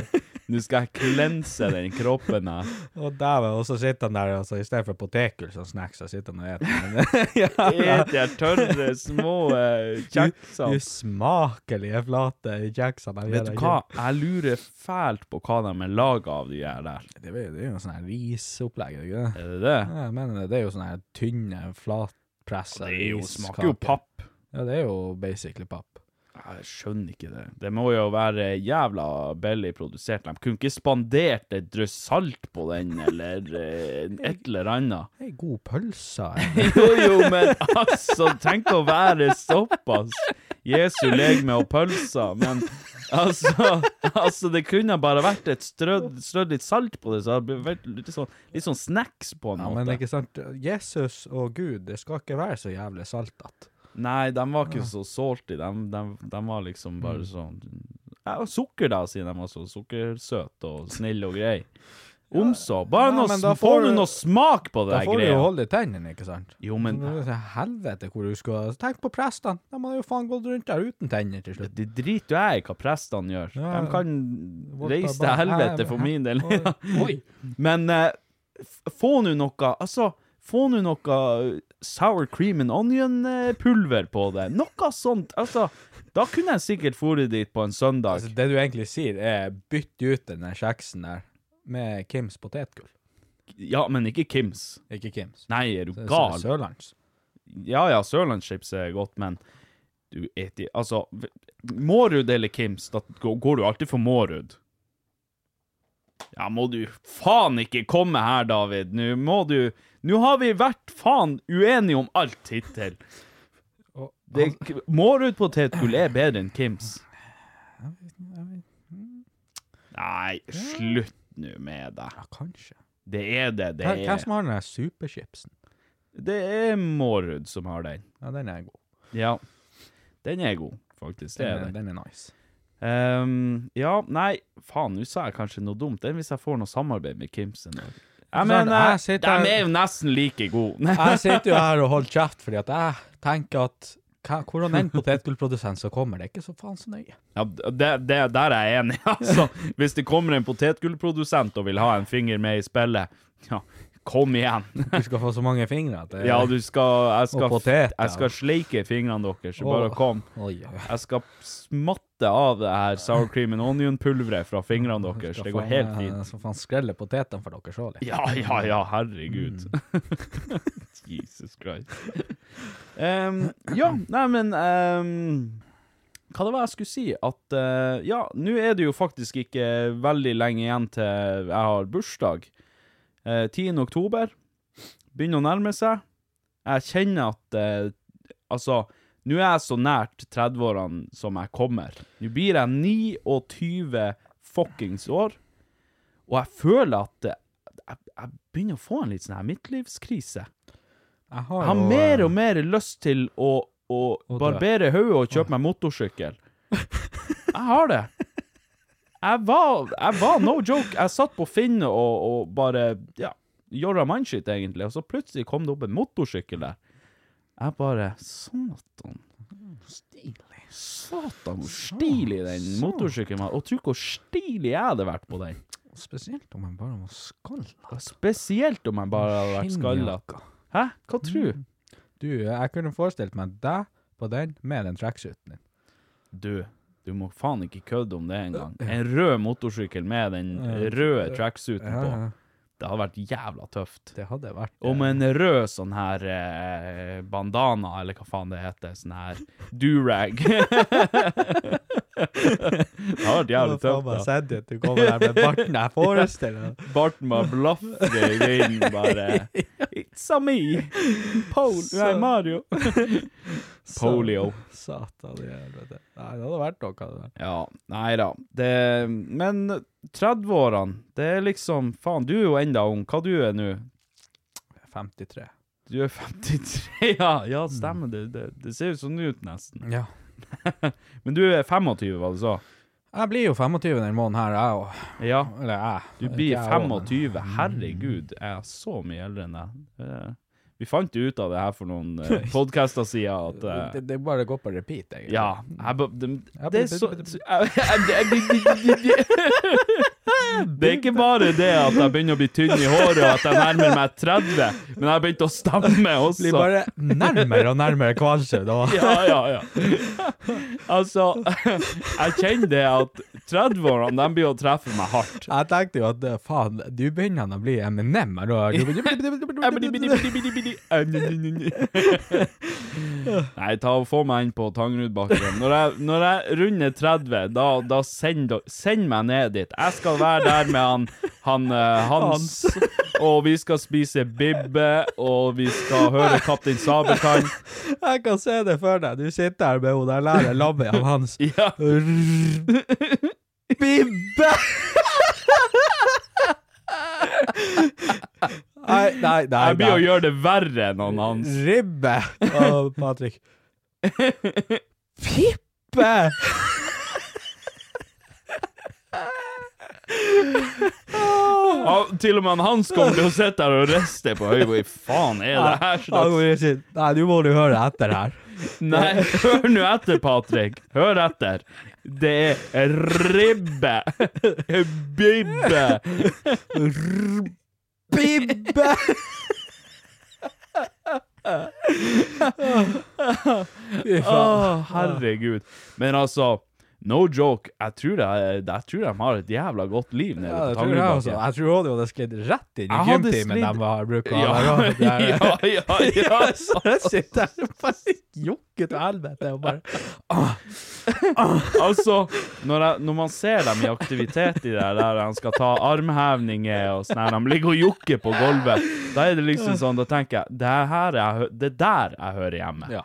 Speaker 2: nå skal jeg klense den kroppen her.
Speaker 3: og der, og så sitter han der, altså, i stedet for potekul som snacks, så sitter han og eter. Men,
Speaker 2: Et jeg tørre små eh,
Speaker 3: Du
Speaker 2: kjeksene.
Speaker 3: smakelige flate kjeksene.
Speaker 2: Vet du hva, jeg lurer fælt på hva de er laga av, de her der.
Speaker 3: Det, er- det er jo sånn her risopplegg, er det ikke det?
Speaker 2: Er det det?
Speaker 3: Ja, Jeg mener det, det er jo sånn her tynne, flatpressa
Speaker 2: Det er jo, smaker jo papp.
Speaker 3: Ja, det er jo basically papp.
Speaker 2: Jeg skjønner ikke det. Det må jo være jævla billig produsert. De kunne ikke spandert et drøss salt på den, eller eh, et eller annet.
Speaker 3: Ei god pølse.
Speaker 2: Jo, jo, men altså, tenk å være såpass. Jesu legme og pølser, men altså, altså Det kunne bare vært et strødd, strødd litt salt på det, så hadde det vært litt sånn, litt sånn snacks på en
Speaker 3: Ja,
Speaker 2: måte.
Speaker 3: men ikke sant, Jesus og Gud, det skal ikke være så jævlig saltete.
Speaker 2: Nei, de var ikke så salty. De, de, de var liksom bare
Speaker 3: Mm.
Speaker 2: sånn ja, og Sukker, da, siden de var så sukkersøte og snille og greie. Omså. Bare
Speaker 3: Ja,
Speaker 2: noe,
Speaker 3: men
Speaker 2: sm-
Speaker 3: da
Speaker 2: får
Speaker 3: får
Speaker 2: du
Speaker 3: du-
Speaker 2: noe smak på det
Speaker 3: Da
Speaker 2: der
Speaker 3: får du jo
Speaker 2: greia.
Speaker 3: holde i tennene, ikke sant?
Speaker 2: Jo, men
Speaker 3: Men det er sånn helvete hvor du skal Tenk på prestene! De hadde jo faen gått rundt der uten tenner til slutt.
Speaker 2: det driter jo jeg i hva prestene gjør.
Speaker 3: Ja,
Speaker 2: de kan
Speaker 3: Vårt
Speaker 2: reise til
Speaker 3: bare-
Speaker 2: helvete for min del. men eh, f- få nå noe Altså, få nå noe sour cream and onion-pulver på det. Noe sånt. Altså, da kunne jeg sikkert dratt dit på en søndag.
Speaker 3: Altså, det du egentlig sier, er bytt ut den der kjeksen der med Kims potetgull.
Speaker 2: Ja, men ikke Kims.
Speaker 3: Ikke Kims.
Speaker 2: Nei, er du
Speaker 3: Det er
Speaker 2: gal?
Speaker 3: Sørlands.
Speaker 2: Ja ja, sørlandschips er godt, men du et i Altså, v- Mårud eller Kims, da gå- går du alltid for Mårud. Ja, må du faen ikke komme her, David. Nå må du Nå har vi vært faen uenige om alt hittil.
Speaker 3: Og-
Speaker 2: Det- Mårud potetgull er bedre enn Kims. Nei, slutt nå med det.
Speaker 3: Ja, kanskje.
Speaker 2: Det er det det
Speaker 3: Hva hva
Speaker 2: er.
Speaker 3: som har den der superchipsen?
Speaker 2: Det er Mårud som har den.
Speaker 3: Ja, den er god.
Speaker 2: Ja. Den er god, faktisk. Det
Speaker 3: Den
Speaker 2: er
Speaker 3: er,
Speaker 2: den.
Speaker 3: den er nice.
Speaker 2: Ehm, ja, nei, faen, nå sa jeg kanskje noe dumt. Enn hvis jeg får noe samarbeid med Kims en dag. Jeg
Speaker 3: Sånn,
Speaker 2: mener,
Speaker 3: jeg sitter-
Speaker 2: de eh, er jo nesten like gode.
Speaker 3: Jeg sitter jo her og holder kjeft fordi at jeg tenker at hva- hvordan en potetgullprodusent som kommer, det er ikke så faen så nøye.
Speaker 2: Ja, det, det, der er jeg enig. Altså, hvis det kommer en potetgullprodusent og vil ha en finger med i spillet, ja, kom igjen.
Speaker 3: Du skal få så mange fingre at det
Speaker 2: Ja, du skal Jeg skal,
Speaker 3: Og potet, ja.
Speaker 2: jeg skal sleike fingrene deres, så bare
Speaker 3: Åh.
Speaker 2: kom.
Speaker 3: Oi, oi, oi.
Speaker 2: Jeg skal smatte av det her sour cream and onion-pulveret fra fingrene deres.
Speaker 3: Skal
Speaker 2: Det går
Speaker 3: faen
Speaker 2: helt
Speaker 3: meg-
Speaker 2: fint.
Speaker 3: Jeg skal faen skrelle potetene for dere Mm. så litt.
Speaker 2: Ja, ja, ja, herregud. Jesus Christ. Em, ja, nei, men em, Hva det var jeg skulle si? At eh, ja, nå er det jo faktisk ikke veldig lenge igjen til jeg har bursdag. Eh, 10. oktober. Begynner å nærme seg. Jeg kjenner at eh, Altså, nå er jeg så nært 30-årene som jeg kommer. Nå blir jeg 29 fuckings år. Og jeg føler at eh, jeg, jeg begynner å få en litt sånn her midtlivskrise.
Speaker 3: Jeg
Speaker 2: Jeg
Speaker 3: har,
Speaker 2: har
Speaker 3: jo,
Speaker 2: mer
Speaker 3: eh,
Speaker 2: og mer lyst til å, å
Speaker 3: Å dø.
Speaker 2: barbere hodet og kjøpe meg motorsykkel. Jeg har det. Jeg var, jeg var no joke. Jeg satt på Finn og, og bare ja, gjorde mindshit, egentlig, og så plutselig kom det opp en motorsykkel der. Jeg bare Satan. Stilig. Satan, hvor stilig den motorsykkelen var. Og tro hvor stilig jeg hadde vært på den.
Speaker 3: eh, Spesielt om jeg bare må skalle.
Speaker 2: Spesielt om jeg bare hadde vært skalla. Hæ? Hva tror du?
Speaker 3: Du, eh, jeg kunne forestilt meg deg på den med den tracksuiten din.
Speaker 2: Du, du må faen ikke kødde om det engang. En rød motorsykkel med den røde tracksuiten på. Det hadde vært jævla tøft.
Speaker 3: Det hadde vært eh,
Speaker 2: Og med en rød sånn her eh, bandana, eller hva faen det heter, sånn her durag. det hadde vært jævlig tøft, da.
Speaker 3: sett at du kommer der med barten. Jeg forestiller meg
Speaker 2: Barten bare blaffer i vinden, bare It's a me! Pol Nei,
Speaker 3: Så-
Speaker 2: Mario. Polio.
Speaker 3: Satan i helvete. Nei, det hadde vært noe av det der.
Speaker 2: Ja, nei da. Det, men 30-årene, det er liksom Faen, du er jo enda ung. Hva du er nå?
Speaker 3: 53.
Speaker 2: Du er 53, ja. Ja, stemmer det. Det, det ser jo sånn ut, nesten.
Speaker 3: Ja.
Speaker 2: Men du er 25, var det så?
Speaker 3: Jeg blir jo 25 denne måneden her, jeg òg.
Speaker 2: Ja.
Speaker 3: Eller jeg.
Speaker 2: Du
Speaker 3: Ikke
Speaker 2: blir
Speaker 3: jeg også, Mm. men-
Speaker 2: 25. Herregud, jeg er så mye eldre enn deg. Eh, Vi fant jo ut av det her for noen eh, podcaster siden at eh,
Speaker 3: Det, det bare går på repeat, egentlig.
Speaker 2: Ja. Jeg, ba- det,
Speaker 3: Jeg
Speaker 2: det er
Speaker 3: blir-
Speaker 2: så Det er ikke bare det at jeg begynner å bli tynn i håret og at jeg nærmer meg 30, men jeg har begynt å stamme
Speaker 3: Blir
Speaker 2: også.
Speaker 3: bare nærmere og nærmere Kvalsøy, da.
Speaker 2: Ja, ja, ja. Altså, jeg kjenner det at 30-årene, de blir å treffe meg hardt.
Speaker 3: Jeg tenkte jo at eh, faen, du begynner å bli Eminem her. Du,
Speaker 2: Jeg blir- blir- blir- blir- blir- blir- blir- blir- blir- blir- blir- Nei, ta og få meg inn på Tangerudbakken. Når, jeg- når jeg runder 30, da, da send, dere- send meg ned dit. Jeg skal være der med han, han eh, Hans. Og vi skal spise bibbe, og vi skal høre Kaptein Sabeltann.
Speaker 3: Jeg kan se det for deg. Du sitter her med hun der lærer lammet av hans.
Speaker 2: Ja.
Speaker 3: Bibbe! Nei, nei, nei.
Speaker 2: Jeg blir å
Speaker 3: nei.
Speaker 2: gjøre det verre enn han Hans.
Speaker 3: Ribbe! Å, Patrick. Pippe!
Speaker 2: Han, til og med han Hans kommer til å sitte her og riste på øyet. Hva faen er det her
Speaker 3: Han
Speaker 2: slags
Speaker 3: kommer til å si, Nei, nå må du høre etter her.
Speaker 2: Nei, hør nå etter, Patrick. Hør etter. Det er ribbe. Bibbe.
Speaker 3: Bibbe! Fy
Speaker 2: Å,
Speaker 3: faen.
Speaker 2: herregud. Men altså, no joke. Jeg tror, det, jeg tror de har et jævla godt liv nede
Speaker 3: Ja, det
Speaker 2: på
Speaker 3: tror jeg også.
Speaker 2: Tangerudbakken.
Speaker 3: Jeg tror også de hadde sklidd rett inn i
Speaker 2: Jeg hadde
Speaker 3: gymtimen
Speaker 2: sklidd-
Speaker 3: de har brukt.
Speaker 2: Ja,
Speaker 3: altså.
Speaker 2: ja, ja, ja.
Speaker 3: Så jeg sitter her og bare jokker til helvete og bare
Speaker 2: Altså, når, jeg, når man ser dem i aktivitet i det her, der han skal ta armhevninger og sånn her, de ligger og jokker på gulvet, da er det liksom sånn, da tenker jeg, det er her jeg, hø- det er der jeg hører hjemme.
Speaker 3: Ja.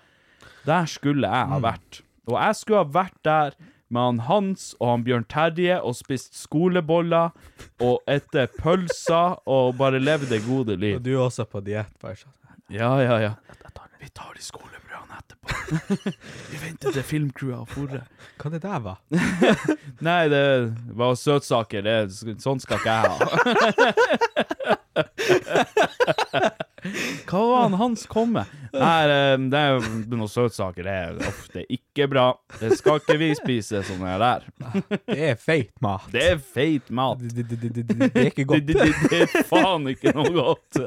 Speaker 2: Der skulle jeg ha vært. Og jeg skulle ha vært der med han Hans og han Bjørn Terje og spist skoleboller og ette pølser og bare levd det gode liv.
Speaker 3: Og du er også på diett, bare sånn.
Speaker 2: Ja, ja, ja. Vi tar de skolebrødene etterpå. Vi venter til filmcrewet har forret.
Speaker 3: Hva det der var?
Speaker 2: Nei, det var søtsaker. Det, sånn skal ikke jeg ha. Hva var han hans kom med? Nei, eh, det er jo noen søtsaker. Det er, uff, det er ikke bra. Det skal ikke vi spise sånn her der.
Speaker 3: Det er feit mat.
Speaker 2: Det er feit mat.
Speaker 3: Det, det, det, det, det det er ikke
Speaker 2: Det,
Speaker 3: godt.
Speaker 2: det, det, det er faen ikke noe godt.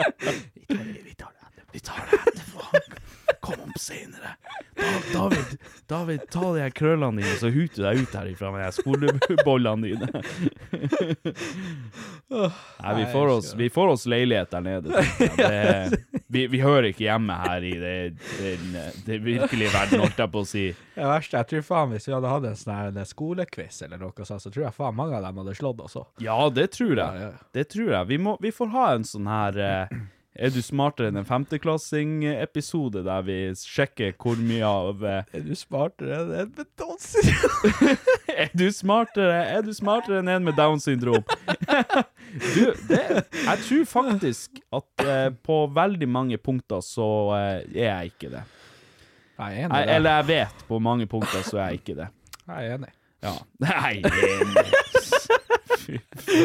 Speaker 2: Vi tar det etterpå. Vi tar det etterpå. Kom opp senere. Da- David, David, ta de her krøllene dine, så huter du deg ut herifra med de her skolebollene dine. Nei, vi får oss, vi får oss leilighet der nede. tenker jeg. Det, vi, vi hører ikke hjemme her i det, den, det virkelige verden, holdt jeg på å si.
Speaker 3: Det verste, jeg tror faen hvis vi hadde hatt en sånn her en skolequiz eller noe sånt, så tror jeg faen mange av dem hadde slått oss òg.
Speaker 2: Ja, det tror
Speaker 3: Ja,
Speaker 2: jeg.
Speaker 3: ja.
Speaker 2: Det tror jeg. Vi, må, vi får ha en sånn her eh, Er du smartere enn en femteklassing-episode, der vi sjekker hvor mye av eh,
Speaker 3: Er du smartere enn en betonser?
Speaker 2: Er du smartere Er du smartere enn en med Downs syndrom? Du, det Jeg tror faktisk at eh, på veldig mange punkter så eh, er jeg ikke det.
Speaker 3: Nei, jeg er
Speaker 2: Jeg,
Speaker 3: enig. i det.
Speaker 2: eller jeg vet på mange punkter så er jeg ikke det.
Speaker 3: Jeg er enig.
Speaker 2: Ja. Nei, men- fy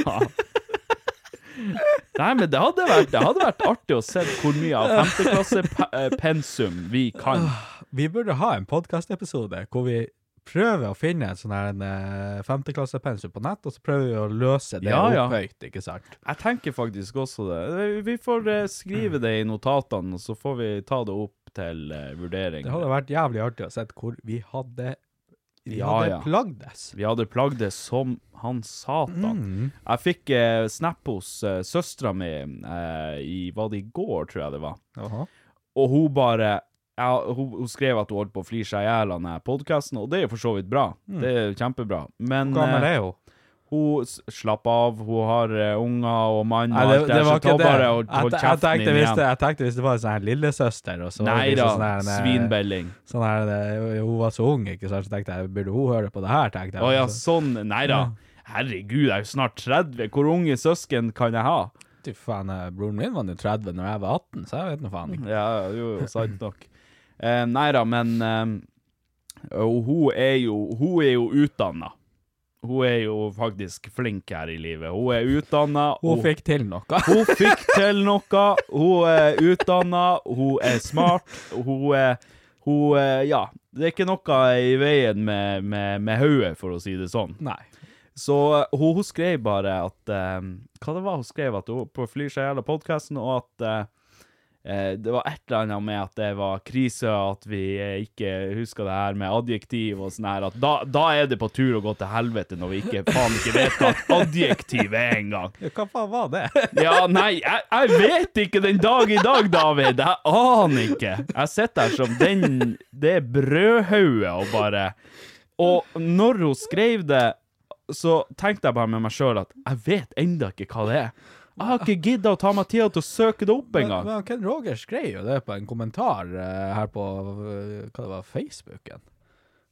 Speaker 2: faen. Nei, men det hadde vært, det hadde vært artig å se hvor mye av femteklassepensum vi kan.
Speaker 3: Vi burde ha en podkastepisode hvor vi prøver å finne en sånn her en eh, femteklassepensum på nett, og så prøver vi å løse det
Speaker 2: Ja, ja.
Speaker 3: opphøyt, ikke sant?
Speaker 2: Jeg tenker faktisk også det. Vi får eh, skrive det i notatene, og så får vi ta det opp til eh, vurdering.
Speaker 3: Det hadde vært jævlig artig å se hvor vi hadde Vi
Speaker 2: Ja,
Speaker 3: hadde
Speaker 2: ja.
Speaker 3: plagdes.
Speaker 2: Vi hadde plagd det som han satan.
Speaker 3: Mm.
Speaker 2: Jeg fikk eh, snap hos eh, søstera mi eh, i Var det i går, tror jeg det var.
Speaker 3: Jaha.
Speaker 2: Og hun bare ja, hun, hun skrev at hun holdt på å flire seg i hjel av denne podkasten, og det er jo for så vidt bra.
Speaker 3: Mm.
Speaker 2: Det er kjempebra. Men
Speaker 3: Hva
Speaker 2: eh,
Speaker 3: med det, jo?
Speaker 2: hun s- slapp av, hun har eh, unger og mann og
Speaker 3: Nei, det,
Speaker 2: alt det,
Speaker 3: det
Speaker 2: der,
Speaker 3: var
Speaker 2: så
Speaker 3: ikke
Speaker 2: ta
Speaker 3: det.
Speaker 2: bare
Speaker 3: Jeg,
Speaker 2: og hold
Speaker 3: jeg,
Speaker 2: kjeften
Speaker 3: tenkte
Speaker 2: din
Speaker 3: hvis
Speaker 2: igjen.
Speaker 3: det, jeg tenkte hvis det var en sånn her lillesøster og så
Speaker 2: Nei
Speaker 3: liksom
Speaker 2: da,
Speaker 3: sånn her, eh,
Speaker 2: svinbelling.
Speaker 3: Sånn her, eh, hun var så ung, ikke sant, så tenkte jeg burde hun høre på det her, tenkte jeg.
Speaker 2: Å ja,
Speaker 3: Så-
Speaker 2: sånn. Nei da. Herregud, jeg er jo snart 30. Hvor unge søsken kan jeg ha?
Speaker 3: Fy faen, eh, broren min var nå 30 når jeg var 18, så jeg vet nå faen ikke.
Speaker 2: Ja, jo, jo, sant nok. Eh, nei da, men eh, og hun er jo Hun er jo utdanna. Hun er jo faktisk flink her i livet. Hun er utdanna.
Speaker 3: Hun fikk til noe.
Speaker 2: Hun fikk til noe. Hun er utdanna, hun er smart, hun er hun, eh, ja, det er ikke noe i veien med, med, med hodet, for å si det sånn.
Speaker 3: Nei.
Speaker 2: Så eh, hun, hun skrev bare at eh, Hva det var hun skrev? At hun på flyr seg gjennom podkasten, og at eh, eh, det var et eller annet med at det var krise, at vi eh, ikke huska det her med adjektiv og sånn her, at da, da er det på tur å gå til helvete når vi ikke, faen ikke vet hva et adjektiv er engang.
Speaker 3: Ja, hva faen var det?
Speaker 2: Ja, nei, jeg, jeg vet ikke den dag i dag, David. Jeg aner ikke. Jeg sitter her som den det brødhauget og bare Og når hun skrev det, så tenkte jeg bare med meg sjøl at jeg vet enda ikke hva det er. Jeg har ikke gidda å ta meg tida til å søke det opp
Speaker 3: Men,
Speaker 2: engang.
Speaker 3: men Ken Roger skrev jo det på en kommentar eh, her på eh, hva det var, Facebooken.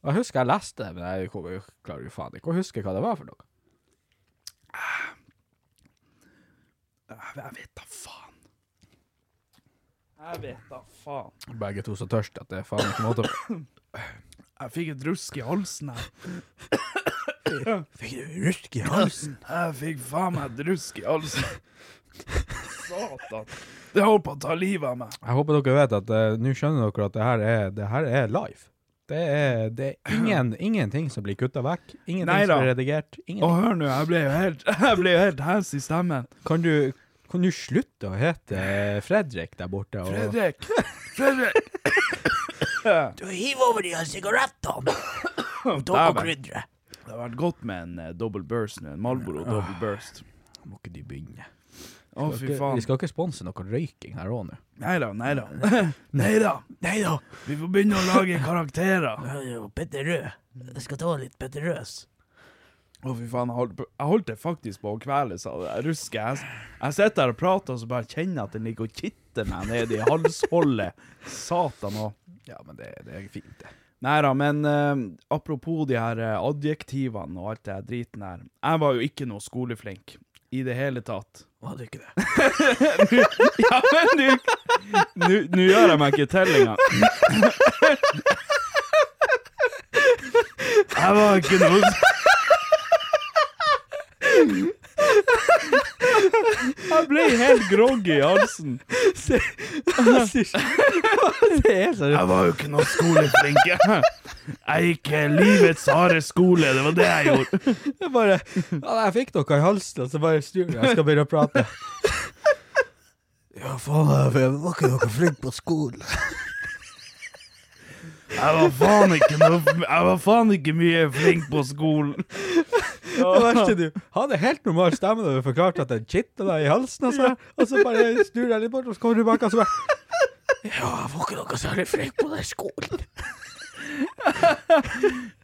Speaker 3: Og jeg husker jeg leste det, men jeg kom- jeg klarer jo faen ikke å huske hva det var for noe.
Speaker 2: Jeg jeg vet da faen. Jeg vet da faen.
Speaker 3: Begge to så tørste at det er faen ikke måte på.
Speaker 2: Jeg fikk et rusk i halsen her.
Speaker 3: Fikk du rusk i halsen?
Speaker 2: Jeg fikk faen meg et rusk i halsen. Satan. Det holdt på å ta livet av meg.
Speaker 3: Jeg håper dere vet at eh, nå skjønner dere at det her er, det her er live. Det er, det er ingen, ingenting som blir kutta vekk. Ingenting
Speaker 2: Neida.
Speaker 3: som blir redigert.
Speaker 2: Å,
Speaker 3: Ingenting.
Speaker 2: hør nå, jeg ble jo helt, jeg ble jo helt hæs i stemmen.
Speaker 3: Kan, du, kan du slutte å hete eh, Fredrik der borte? Og,
Speaker 2: Fredrik! Fredrik!
Speaker 4: Du hiver over de her sigarettene. Og ta
Speaker 2: Dæven.
Speaker 4: på krydderet.
Speaker 2: Det har vært godt med en eh, double burst nå. En Marlboro double burst.
Speaker 3: Må ikke du begynne?
Speaker 2: Å, fy faen.
Speaker 3: Vi skal ikke sponse noe røyking her òg nå.
Speaker 2: Nei da, nei da. Nei da. Nei da. Vi får begynne å lage karakterer.
Speaker 4: Ja, ja, Petter Rød. Jeg skal ta litt Petter Røs.
Speaker 2: Å, fy faen. Jeg holdt, på- jeg holdt det faktisk på å kveles av det. Jeg rusker. Jeg, s- jeg sitter her og prater, og så bare kjenner jeg at den ligger og kitter meg nede i halsholdet. Satan òg.
Speaker 3: Ja, men det, det er fint, det.
Speaker 2: Nei da, men eh, apropos de her eh, adjektivene og alt det her driten her. Jeg var jo ikke noe skoleflink i det hele tatt.
Speaker 4: Var du ikke det?
Speaker 2: Ja, men du Nå- Nå gjør jeg meg ikke til engang. Jeg var ikke noe Jeg ble helt groggy i halsen.
Speaker 3: Det er så
Speaker 2: Jeg var jo ikke noe skoleflink. Jeg gikk eh, livets harde skole, det var det jeg gjorde.
Speaker 3: Jeg bare ja, Jeg fikk noe i halsen, og så bare snur jeg. Jeg skal begynne å prate.
Speaker 4: Ja, faen, jeg var ikke noe flink på skolen.
Speaker 2: Jeg var faen ikke, noe, jeg var faen ikke mye flink på skolen.
Speaker 3: Det verste du hadde helt normal stemme da du forklarte at den kitta deg i halsen, og så, og så bare snur jeg litt bort, og så kommer du bak, og så bare
Speaker 4: Ja, jeg var ikke noe særlig flink på den skolen.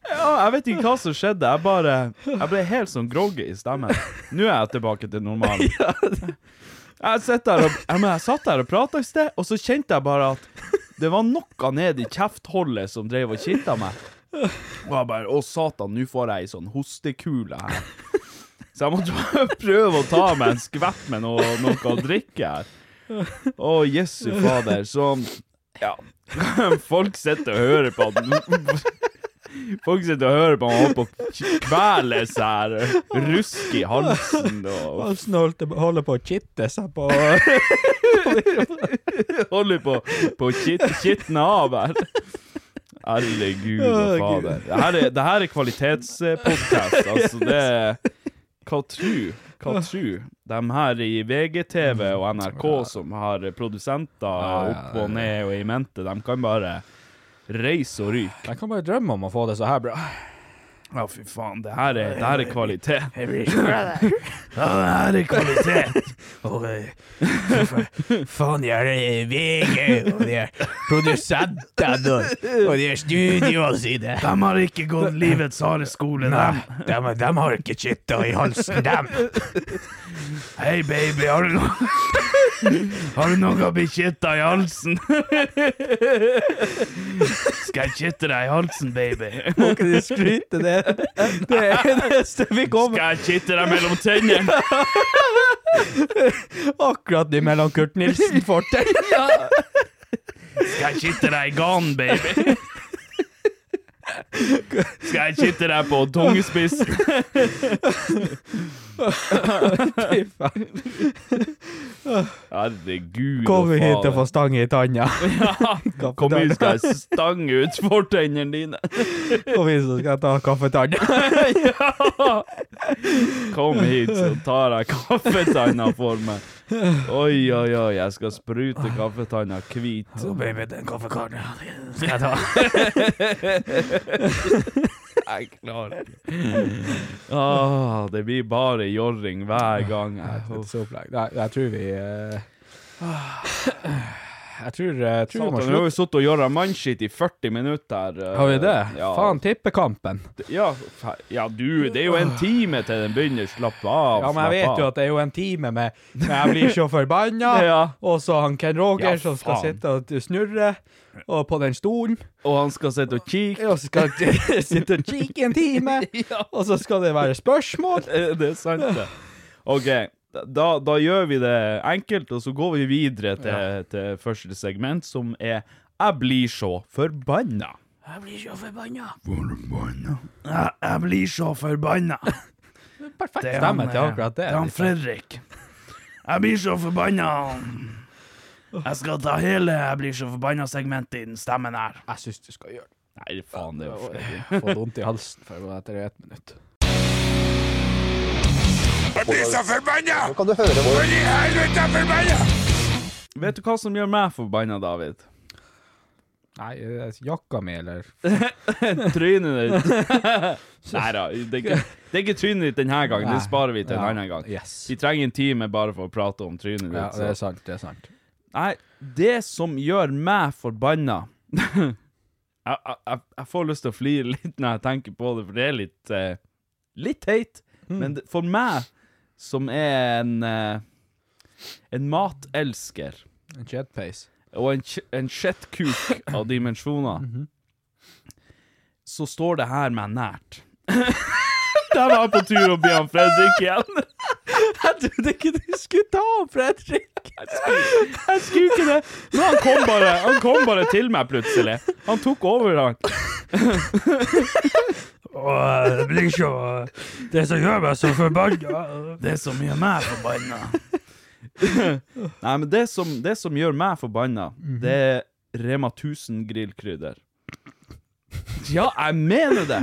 Speaker 2: Ja, jeg vet ikke hva som skjedde. Jeg bare Jeg ble helt sånn groggy i stemmen. Nå er jeg tilbake til normalen. Jeg, sitter her og, ja, men jeg satt her og prata i sted, og så kjente jeg bare at det var noe ned i kjeftholdet som drev og kitta meg. Og jeg bare Å, satan, nå får jeg ei sånn hostekule her. Så jeg måtte bare prøve å ta meg en skvett med noe, noe å drikke her. Å, jesu fader. Så Ja. Folk sitter og hører på at Folk sitter og hører på han holder på å kvele seg her. Rusk i halsen og
Speaker 3: Halsen holdt, holder på å kitte seg på
Speaker 2: holder på på å kit, kitne av her. Herregud og fader. Det her er, det her er kvalitetspodkast, altså. Det er Hva tru? Hva tru? De her i VGTV og NRK som har produsenter opp og ned og i mente, de kan bare reise og ryke.
Speaker 3: Jeg kan bare drømme om å få det så her bra.
Speaker 2: Ja, fy faen. Det her er, det her er kvalitet.
Speaker 4: Jeg blir ikke glad der.
Speaker 2: Ja, det her er kvalitet.
Speaker 4: Og eh, fa- faen, de her eh, VG, og de her produsentene, og, og de her studioene sine.
Speaker 2: De har ikke gått livets harde skole,
Speaker 4: Dem, dem, dem har ikke kitta i halsen, dem.
Speaker 2: Hei, baby, har du noe Har du noe bekitta i halsen? Skal jeg kitte deg i halsen, baby?
Speaker 3: Må ikke du skryte, det det eneste vi kommer
Speaker 2: Skal jeg kitte deg mellom tennene?
Speaker 3: akkurat imellom Kurt Nilsen fortell.
Speaker 2: Skal jeg kitte deg i ganen, baby? Skal jeg kitte deg på tungespissen?
Speaker 3: Fy faen.
Speaker 2: Herregud
Speaker 3: Kom
Speaker 2: og
Speaker 3: hit og få
Speaker 2: fader.
Speaker 3: stang i tanna. Ja,
Speaker 2: Kom hit, skal jeg stange ut fortennene dine.
Speaker 3: Kom hit, så skal jeg ta kaffetann.
Speaker 2: Kom hit, så tar jeg kaffetanna for meg. Oi, oi, oi, jeg skal sprute kaffetanna hvit.
Speaker 4: Å, baby, den kaffekaren ja, den skal jeg ta.
Speaker 2: Jeg klarer ikke. Ah, det blir bare jorring hver gang. Jeg.
Speaker 3: Et opplegg. Nei, jeg tror vi eh, Jeg tror, eh, jeg tror vi må
Speaker 2: Satan, nå har
Speaker 3: slutte.
Speaker 2: vi sittet og gjort mannskitt i 40 minutter. eh,
Speaker 3: Har vi det?
Speaker 2: Ja.
Speaker 3: Faen, tippekampen.
Speaker 2: Ja, fe- ja, du, det er jo en time til den begynner. Slapp av.
Speaker 3: Ja, men
Speaker 2: slapp
Speaker 3: jeg vet jo
Speaker 2: av.
Speaker 3: at det er jo en time med Men jeg blir så forbanna,
Speaker 2: Ja.
Speaker 3: og så han Ken Roger
Speaker 2: Ja,
Speaker 3: som skal
Speaker 2: faen.
Speaker 3: sitte og snurre og på den stolen,
Speaker 2: Og han skal sitte og kikke.
Speaker 3: og så skal han sitte og kikke en time, og så skal det være spørsmål.
Speaker 2: Eh, Det er sant, det. OK, da, da gjør vi det enkelt, og så går vi videre til, til første segment, som er Jeg blir så forbanna.
Speaker 4: Jeg blir så forbanna.
Speaker 2: Jeg, blir så forbanna.
Speaker 3: Perfekt
Speaker 5: er
Speaker 3: stemme til akkurat det.
Speaker 2: Fredrik.
Speaker 6: Jeg blir så forbanna. Jeg skal ta hele Jeg blir så forbanna-segmentet i den stemmen her.
Speaker 3: Jeg syns du skal gjøre det.
Speaker 2: Nei, faen, det er jo Fredrik.
Speaker 3: Jeg får vondt i halsen for å gå etter ett minutt.
Speaker 2: Vet du hva som gjør meg forbanna, David?
Speaker 3: Nei, eh, jakka mi, eller
Speaker 2: Trynet ditt. Nei da, det er ikke, det er ikke trynet ditt denne gangen. Det sparer vi til en
Speaker 3: Ja,
Speaker 2: annen gang.
Speaker 3: yes.
Speaker 2: Vi trenger en time bare for å prate om trynet ditt.
Speaker 3: Ja,
Speaker 2: så-
Speaker 3: det er sant, det er sant.
Speaker 2: Nei, det som gjør meg forbanna jeg, jeg, jeg- jeg får lyst til å flire litt når jeg tenker på det, for det er litt eh, Litt teit. Men det, for meg, som er en eh, En matelsker
Speaker 3: En jetpace.
Speaker 2: og en, ch- en kjettkuk av dimensjoner, så står det her meg nært. Der var jeg på tur å bli han Fredrik igjen. Jeg trodde ikke du skulle ta han Fredrik. Jeg skulle, jeg skulle ikke det. Men han kom, bare, han kom bare til meg plutselig. Han tok over, han.
Speaker 4: Og jeg blir så Det som gjør meg så forbanna
Speaker 6: Det som gjør meg forbanna.
Speaker 2: Nei, men det som, det som gjør meg forbanna, det er Rema 1000 grillkrydder. Ja, jeg mener det!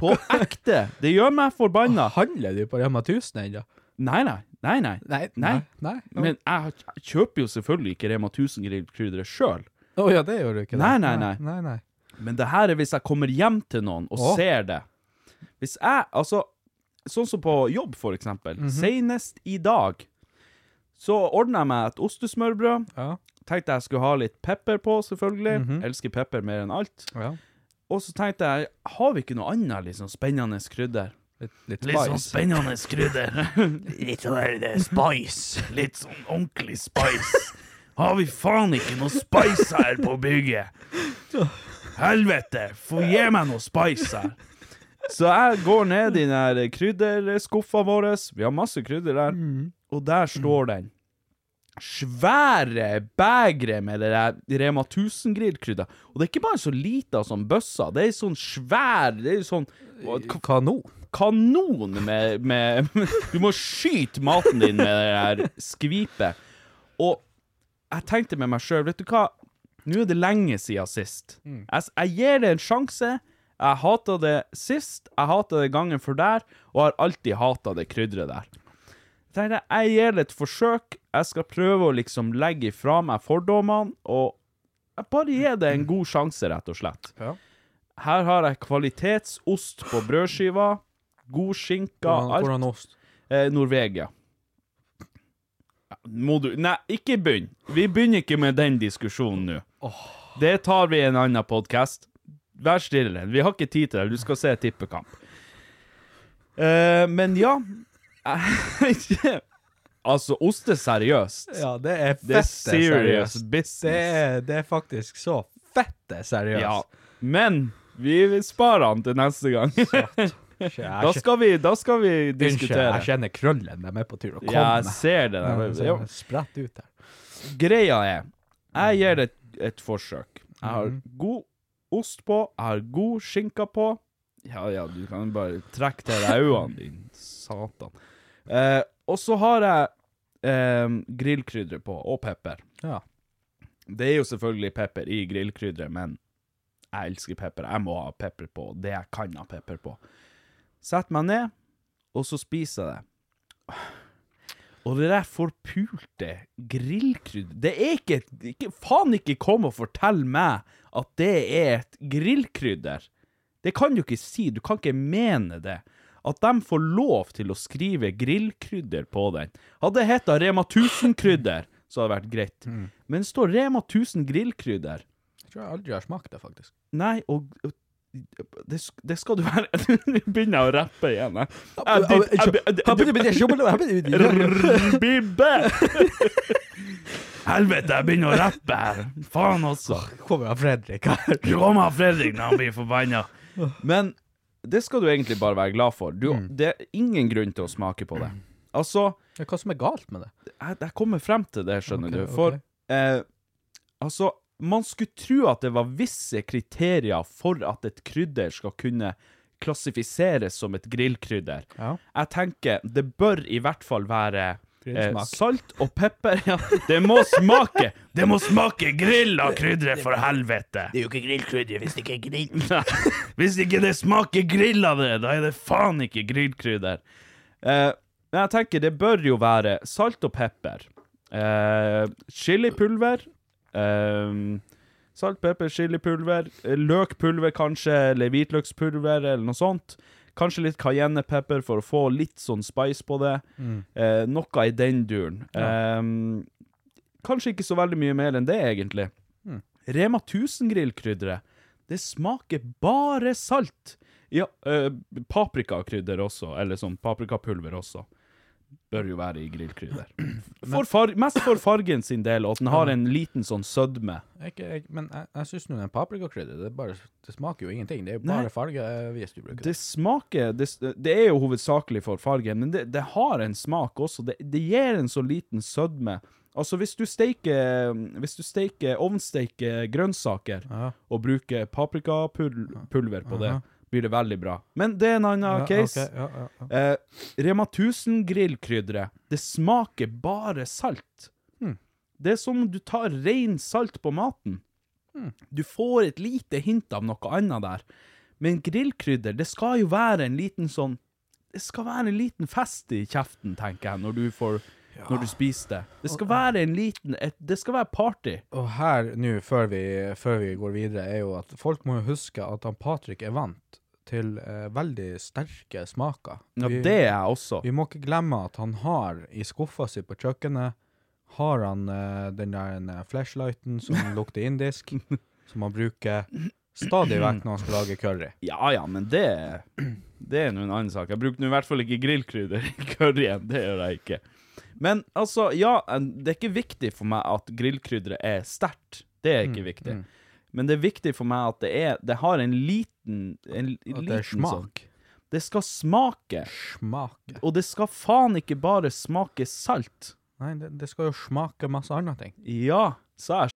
Speaker 2: På ekte. Det gjør meg forbanna.
Speaker 3: Handler du på Rema 1000 ennå?
Speaker 2: Nei, nei. Nei, nei. Nei.
Speaker 3: Nei.
Speaker 2: Men jeg har- jeg kjøper jo selvfølgelig ikke Rema 1000 grillkrydder sjøl.
Speaker 3: Å ja, det gjør du ikke. det.
Speaker 2: Nei, nei, nei.
Speaker 3: nei, nei.
Speaker 2: Men det her er hvis jeg kommer hjem til noen og
Speaker 3: Åh.
Speaker 2: ser det. Hvis jeg, altså Sånn som på jobb, for eksempel. Senest i dag så ordna jeg meg et ostesmørbrød.
Speaker 3: Ja.
Speaker 2: Tenkte jeg skulle ha litt pepper på, selvfølgelig. Elsker pepper mer enn alt.
Speaker 3: Ja.
Speaker 2: Og så tenkte jeg, har vi ikke noe annet liksom spennende krydder?
Speaker 3: Litt, litt
Speaker 6: Litt sånn
Speaker 3: spice.
Speaker 6: spennende krydder.
Speaker 4: Litt sånn der det er spice.
Speaker 6: Litt sånn ordentlig spice. Har vi faen ikke noe spice her på bygget? Helvete, få gi meg noe spice her.
Speaker 2: Så jeg går ned i den her krydderskuffa vår. Vi har masse krydder der.
Speaker 6: Mm.
Speaker 2: Og der står den. Svære begre med det der Rema 1000-grillkrydder. Og det er ikke bare så lite som bøssa. Det er sånn svær Det er sånn
Speaker 3: K- Kanon.
Speaker 2: kanon med, med Du må skyte maten din med det her skvipet. Og jeg tenkte med meg sjøl, vet du hva? Nå er det lenge siden sist.
Speaker 3: Mm.
Speaker 2: Jeg, jeg gir det en sjanse. Jeg hata det sist, jeg hata det gangen før der, og har alltid hata det krydderet der. Jeg tenkte, jeg gir det et forsøk. Jeg skal prøve å liksom legge ifra meg fordommene, og jeg bare gir det en god sjanse, rett og slett.
Speaker 3: Ja.
Speaker 2: Her har jeg kvalitetsost på brødskiva, god skinke,
Speaker 3: Hvordan-
Speaker 2: alt.
Speaker 3: Hvordan ost?
Speaker 2: Eh, Norvegia. Ja, Må du Nei, ikke begynn. Vi begynner ikke med den diskusjonen nå. Det tar vi i en annen podkast. Vær stille. Vi har ikke tid til det. Du skal se tippekamp. Eh, men ja Altså, ost er seriøst.
Speaker 3: Ja, det er
Speaker 2: det er
Speaker 3: fette
Speaker 2: serious
Speaker 3: seriøst.
Speaker 2: business.
Speaker 3: Det er, det er faktisk så fette seriøst.
Speaker 2: ja. Men vi sparer den til neste gang. da, skal vi, da skal vi
Speaker 3: Unnskyld,
Speaker 2: diskutere.
Speaker 3: jeg kjenner krøllen de er på tur å komme
Speaker 2: Ja, jeg
Speaker 3: med.
Speaker 2: ser det.
Speaker 3: Ja,
Speaker 2: Der.
Speaker 3: så
Speaker 2: Ja,
Speaker 3: jeg Spredt ut her.
Speaker 2: Greia er, jeg gir det et, et forsøk. Jeg har god ost på, jeg har god skinka på. Ja, ja, du kan bare trekke til deg øynene dine, satan. Eh, og så har jeg eh, grillkrydder på, og pepper.
Speaker 3: Ja.
Speaker 2: Det er jo selvfølgelig pepper i grillkrydderet, men jeg elsker pepper. Jeg må ha pepper på det jeg kan ha pepper på. Sett meg ned, og så spiser jeg det. Og det der forpulte grillkrydder Det er ikke, et- ikke Faen ikke kom og fortell meg at det er et grillkrydder. Det kan du ikke si. Du kan ikke mene det. At de får lov til å skrive grillkrydder på den. Hadde det hett Rema 1000-krydder, så hadde det vært greit. Men det står Rema 1000 grillkrydder.
Speaker 3: Jeg tror jeg aldri har smakt det, faktisk.
Speaker 2: Nei, og og- det, sk- det skal du være Nå begynner jeg å rappe igjen, jeg. Bibbe! Helvete, jeg begynner å rappe her. Faen også.
Speaker 3: Kommer av Fredrik her.
Speaker 2: Kommer Fredrik når han blir forbanna. Men det skal du egentlig bare være glad for. Du, Det er ingen grunn til å smake på det. Altså,
Speaker 3: Ja, Hva som er galt med det?
Speaker 2: jeg, jeg kommer frem til det, skjønner
Speaker 3: Ok,
Speaker 2: du. For
Speaker 3: ok.
Speaker 2: eh, altså, man skulle tro at det var visse kriterier for at et krydder skal kunne klassifiseres som et grillkrydder.
Speaker 3: Ja.
Speaker 2: Jeg tenker det bør i hvert fall være eh,
Speaker 3: Grillsmak.
Speaker 2: salt og pepper. Ja, det må smake! Det må smake grill av krydderet, for helvete!
Speaker 4: Det er jo ikke grillkrydder hvis det ikke er grill.
Speaker 2: Hvis ikke det smaker grill av det, da er det faen ikke grillkrydder. Eh, men jeg tenker det bør jo være salt og pepper. Eh, chilipulver. eh, salt, pepper, chilipulver. eh, Løkpulver kanskje, eller hvitløkspulver, eller noe sånt. Kanskje litt cayennepepper for å få litt sånn spice på det. Eh, noe i den duren. Eh, kanskje ikke så veldig mye mer enn det, egentlig. Rema 1000-grillkrydderet. Det smaker bare salt. Ja, eh, paprikakrydder også, eller sånn paprikapulver også. Bør jo være i grillkrydder. For far mest for fargen sin del, og at den har en liten sånn sødme.
Speaker 3: Jeg, ikke- jeg, men jeg, jeg syns den paprikakrydder det, er bare- det smaker jo ingenting. Det er jo
Speaker 2: Nei.
Speaker 3: bare fargevis du bruker.
Speaker 2: Det smaker Det, det er jo hovedsakelig for fargen, men det, det har en smak også. Det, det gir en så liten sødme. Altså, hvis du steiker Hvis du steiker ovnsteiker grønnsaker og bruker paprikapulver på det, blir det veldig bra. Men det er en annen
Speaker 3: Ja,
Speaker 2: case.
Speaker 3: ok, ja, ja, ja.
Speaker 2: Eh, Rema 1000 grillkrydderet, det smaker bare salt.
Speaker 3: Hmm.
Speaker 2: Det er som om du tar ren salt på maten.
Speaker 3: Hmm.
Speaker 2: Du får et lite hint av noe annet der. Men grillkrydder, det skal jo være en liten sånn Det skal være en liten fest i kjeften, tenker jeg, når du får Når du spiser det. Det skal være en liten et, Det skal være party.
Speaker 3: Og her nå, før, vi- før vi går videre, er jo at folk må jo huske at han Patrick er vant til eh, veldig sterke smaker.
Speaker 2: Ja,
Speaker 3: Vi-
Speaker 2: det er jeg også.
Speaker 3: Vi må ikke glemme at han har i skuffa si på kjøkkenet har han eh, den der eh, flashlighten som lukter indisk, som han bruker stadig vekk når han skal lage curry.
Speaker 2: Ja ja, men det Det er nå en annen sak. Jeg bruker nå i hvert fall ikke grillkrydder i curryen. Det gjør jeg ikke. Men altså, ja, en- det er ikke viktig for meg at grillkrydderet er sterkt. Det er
Speaker 3: Mm,
Speaker 2: ikke viktig. Men det er viktig for meg at det er Det har en liten en,
Speaker 3: At
Speaker 2: liten
Speaker 3: det er
Speaker 2: sånn-
Speaker 3: smak.
Speaker 2: Det skal smake.
Speaker 3: Smake.
Speaker 2: Og det skal faen ikke bare smake salt.
Speaker 3: Nei, det, det skal jo smake masse andre ting.
Speaker 2: Ja, sa jeg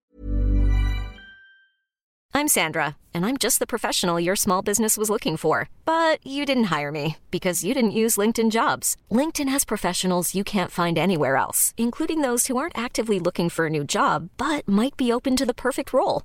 Speaker 7: I'm Sandra, and I'm just the professional your small business was looking for. But you didn't hire me because you didn't use LinkedIn jobs. LinkedIn has professionals you can't find anywhere else, including those who aren't actively looking for a new job but might be open to the perfect role,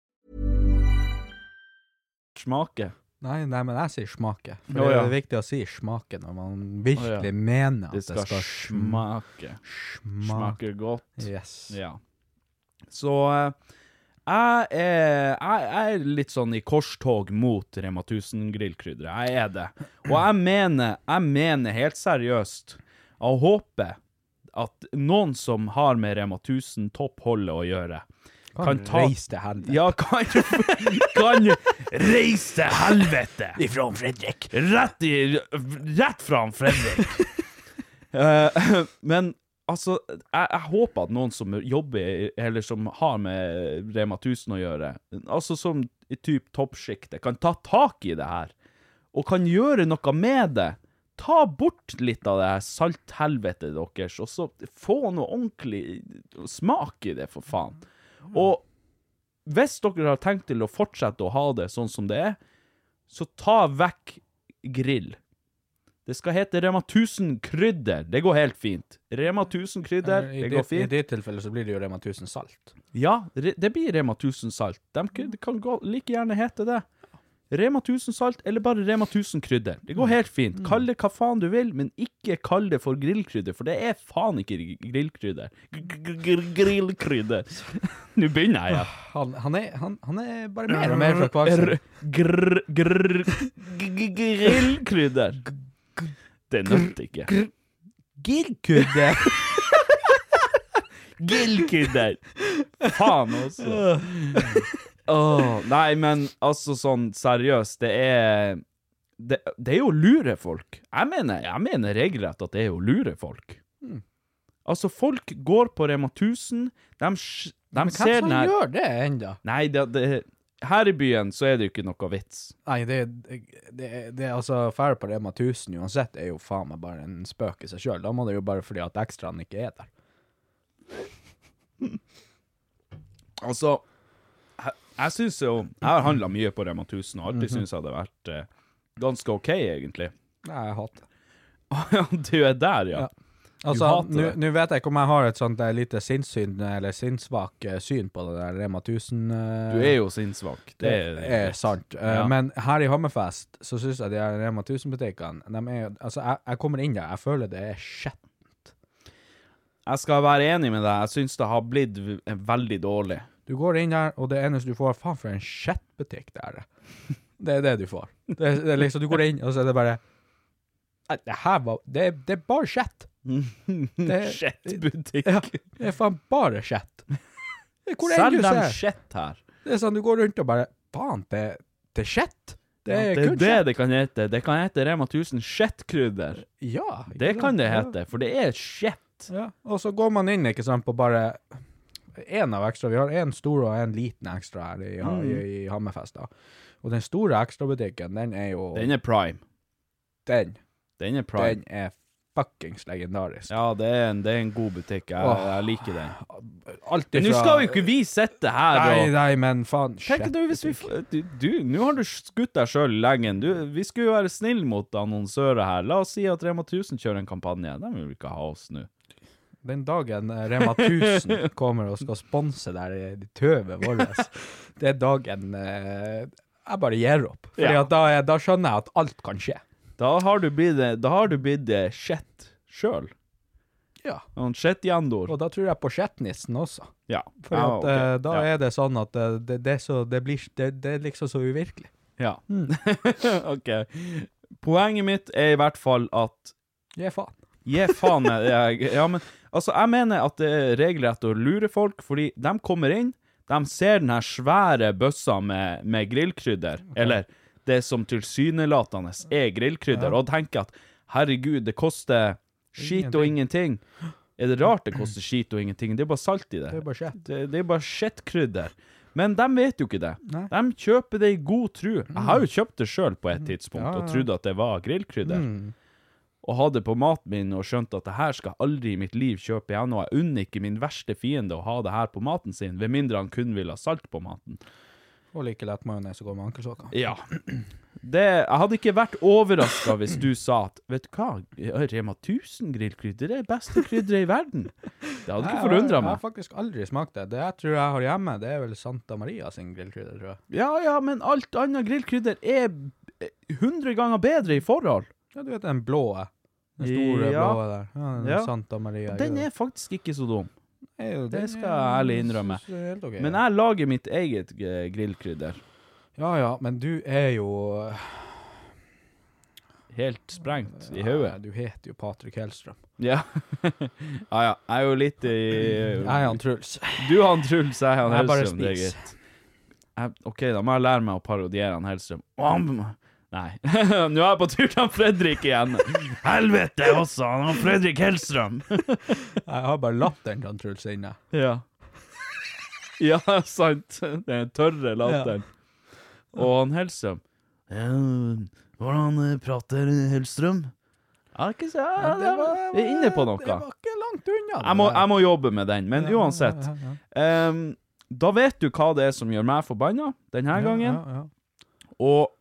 Speaker 2: smake.
Speaker 3: Nei, nei, men jeg sier smake. For
Speaker 2: Å,
Speaker 3: det
Speaker 2: ja.
Speaker 3: er viktig å si smake når man virkelig mener at
Speaker 2: Det skal smake.
Speaker 3: smake.
Speaker 2: Smake godt.
Speaker 3: Yes.
Speaker 2: Ja. Så eh, jeg er, jeg jeg er litt sånn i korstog mot Rema 1000-grillkrydder. Jeg er det. Og jeg mener, jeg mener helt seriøst og håper at noen som har med Rema 1000 toppholdet å gjøre,
Speaker 3: Kan,
Speaker 2: Kan
Speaker 3: kan
Speaker 2: ta-
Speaker 3: reise til helvete.
Speaker 2: ja, kan, kan reise til helvete!
Speaker 4: Ifra Fredrik.
Speaker 2: Rett, i, rett fra han Fredrik. Eh, men altså, jeg, jeg håper at noen som jobber, i- eller som har med Rema 1000 å gjøre, altså som i typ toppsjiktet, kan ta tak i det her, og kan gjøre noe med det. Ta bort litt av det her salthelvetet deres, og så få noe ordentlig smak i det, for faen. Og hvis dere har tenkt til å fortsette å ha det sånn som det er, så ta vekk grill. Det skal hete Rema 1000 krydder. Det går helt fint. Rema 1000 krydder,
Speaker 3: Eh,
Speaker 2: det
Speaker 3: I ditt-
Speaker 2: går
Speaker 3: I
Speaker 2: fint.
Speaker 3: ditt tilfelle så blir det jo Rema 1000 salt.
Speaker 2: Ja, re- det blir Rema 1000 salt. De kan, det kan gå, like gjerne hete det. Rema 1000 salt, eller bare Rema 1000 krydder. Det går helt fint. Kall det hva faen du vil, men ikke kall det for grillkrydder, for det er faen ikke gr- grillkrydder. Gr- gr- gr- Grillkrydder. Nå begynner jeg igjen.
Speaker 3: Han, han, er, han, han er bare mer og mer fra kvarsen.
Speaker 2: Grr, grr, g- g- grillkrydder. Det nødte ikke.
Speaker 3: Girkudde!
Speaker 2: Grillkrydder! Faen også. Åh, nei, men altså sånn seriøst, det er det, det er jo å lure folk. Jeg mener, jeg mener regelrett at det er å lure folk.
Speaker 3: Hmm.
Speaker 2: Altså, folk går på Rema 1000, de, sj- de
Speaker 3: Men hvem
Speaker 2: ser
Speaker 3: som
Speaker 2: den her
Speaker 3: gjør det ennå?
Speaker 2: Nei, det, det, her i byen så er det jo ikke noe vits.
Speaker 3: Nei, det, det, det er altså Fær på Rema 1000 uansett er jo faen meg bare en spøk i seg sjøl. Da må det jo bare fordi at ekstraen ikke er der.
Speaker 2: Altså, jeg, jeg syns jo Jeg har handla mye på Rema 1000 og
Speaker 3: Mhm.
Speaker 2: alltid syntes jeg det har vært eh, ganske OK, egentlig.
Speaker 3: Nei, jeg hater det.
Speaker 2: Ja, du er der, ja.
Speaker 3: Ja. Altså,
Speaker 2: hater
Speaker 3: nå
Speaker 2: det.
Speaker 3: nå vet jeg ikke om jeg har et sånt der lite sinnssyn, eller sinnssvak eh, syn på det der Rema 1000. eh,
Speaker 2: Du er jo sinnssvak. Det er,
Speaker 3: er sant. Eh,
Speaker 2: Ja.
Speaker 3: Men her i Hammerfest så syns jeg de her Rema 1000-butikkene de er, altså, jeg, jeg kommer inn der, jeg føler det er shit.
Speaker 2: Jeg skal være enig med deg. Jeg syns det har blitt v- veldig dårlig.
Speaker 3: Du går inn der, og det eneste du får, faen for en shit-butikk det er. Det er det du får. Det, er- det er liksom, du går inn, og så er det bare Nei, det her var Det, er- det er bare shit. Det-
Speaker 2: Shit-butikk.
Speaker 3: Ja, det er faen bare shit. Det er Hvor enn
Speaker 2: Selg
Speaker 3: du
Speaker 2: dem
Speaker 3: ser.
Speaker 2: shit her.
Speaker 3: Det er sånn, du går rundt og bare Faen, det, det er shit. Det
Speaker 2: Ja,
Speaker 3: er
Speaker 2: det er
Speaker 3: kun
Speaker 2: det
Speaker 3: shit.
Speaker 2: det kan hete. Det kan hete Rema 1000 shit-krydder.
Speaker 3: Ja,
Speaker 2: Det
Speaker 3: ikke
Speaker 2: kan
Speaker 3: sant?
Speaker 2: det
Speaker 3: Ja.
Speaker 2: hete, for det er shit.
Speaker 3: Ja, og så går man inn, ikke sant, på bare en av ekstra. Vi har en stor og en liten ekstra her i, i, i Hammerfest, da. Og den store ekstrabutikken, den er jo
Speaker 2: Den er prime.
Speaker 3: den,
Speaker 2: Den er prime.
Speaker 3: den er fuckings legendarisk.
Speaker 2: Ja, det er en, det er en god butikk. Jeg, jeg liker den.
Speaker 3: Alt
Speaker 2: Men nå
Speaker 3: ifra-
Speaker 2: skal jo ikke vi sitte her
Speaker 3: Nei,
Speaker 2: og
Speaker 3: nei, men faen.
Speaker 2: Tenk
Speaker 3: shit,
Speaker 2: du, hvis vi
Speaker 3: butikk.
Speaker 2: f- Du, du, nå har du skutt deg sjøl i leggen. Du, vi skulle jo være snille mot annonsører her. La oss si at Rema 1000 kjører en kampanje. De vil ikke ha oss nå.
Speaker 3: Den dagen eh, Rema 1000 kommer og skal sponse der i de tøvet vårt, det er dagen eh, jeg bare gir opp. Fordi
Speaker 2: Ja.
Speaker 3: at da, er- da skjønner jeg at alt kan skje.
Speaker 2: Da har du blitt Da har du blitt eh, shit sjøl.
Speaker 3: Ja.
Speaker 2: Noen shit-jandor.
Speaker 3: Og da tror jeg på Shetnissen også.
Speaker 2: Ja.
Speaker 3: For
Speaker 2: ja,
Speaker 3: at,
Speaker 2: ok.
Speaker 3: eh, da
Speaker 2: ja.
Speaker 3: er det sånn at eh, det, det, er så, det, blir, det, det er liksom så uvirkelig.
Speaker 2: Ja.
Speaker 3: Mm.
Speaker 2: OK. Poenget mitt er i hvert fall at
Speaker 3: Gi faen.
Speaker 2: Gi faen meg. Jeg, ja, men altså, jeg mener at det er regelrett å lure folk, fordi de kommer inn, de ser den her svære bøssa med, med grillkrydder, eller det som tilsynelatende er grillkrydder, og tenker at herregud, det koster skit og ingenting. Er det rart det koster skit og ingenting? Det er bare salt i det.
Speaker 3: Det er bare shit.
Speaker 2: Det, det er bare shit-krydder. Men de vet jo ikke det. De kjøper det i god tru. Jeg har jo kjøpt det sjøl på et tidspunkt og trodde at det var grillkrydder. Og hadde på maten min og skjønte at det her skal jeg aldri i mitt liv kjøpe igjen, og jeg unner ikke min verste fiende å ha det her på maten sin, ved mindre han kun vil ha salt på maten.
Speaker 3: Og like lett majones som går med ankelsokker.
Speaker 2: Ja. Det, jeg hadde ikke vært overraska hvis du sa at Vet du hva, Rema 1000 grillkrydder er beste krydderet i verden. Det hadde ikke forundra
Speaker 3: Jeg har
Speaker 2: meg.
Speaker 3: faktisk aldri smakt det. Det jeg tror jeg har hjemme, det er vel Santa Maria sin grillkrydder, tror jeg.
Speaker 2: Ja ja, men alt annet grillkrydder er 100 ganger bedre i forhold.
Speaker 3: Ja, du vet den blå. eh, Den store
Speaker 2: Ja.
Speaker 3: blå der. Ja, den
Speaker 2: Ja.
Speaker 3: Santa Maria.
Speaker 2: Den er faktisk ikke så dum.
Speaker 3: jo-
Speaker 2: det
Speaker 3: den
Speaker 2: skal
Speaker 3: er-
Speaker 2: jeg ærlig innrømme.
Speaker 3: synes jeg er helt ok,
Speaker 2: Men
Speaker 3: ja.
Speaker 2: jeg lager mitt eget eh, grillkrydder.
Speaker 3: Ja ja, men du er jo eh,
Speaker 2: Helt sprengt i
Speaker 3: Ja,
Speaker 2: hodet.
Speaker 3: Du heter jo Patrick Hellstrøm.
Speaker 2: Ja. ja ja, jeg er jo litt i
Speaker 3: Jeg er han Truls.
Speaker 2: Du har han Truls, jeg har han
Speaker 3: Jeg bare
Speaker 2: Hellstrøm. Det er
Speaker 3: spiser.
Speaker 2: greit. Jeg- OK, da må jeg lære meg å parodiere han Hellstrøm. Og han- Nei. Nå er jeg på tur til han Fredrik igjen. Helvete også, han har Fredrik Hellstrøm.
Speaker 3: Jeg har bare latteren til han Truls inne.
Speaker 2: ja. ja, sant. Den tørre latteren. Og han Hellstrøm. Ja, hvordan eh, prater Hellstrøm? Ja, ikke så, ja, det var, vi er inne på noe.
Speaker 3: Det var ikke langt unna.
Speaker 2: Jeg må, jeg må jobbe med den, men uansett. Em, da vet du hva det er som gjør meg forbanna denne gangen.
Speaker 3: ja.
Speaker 2: Og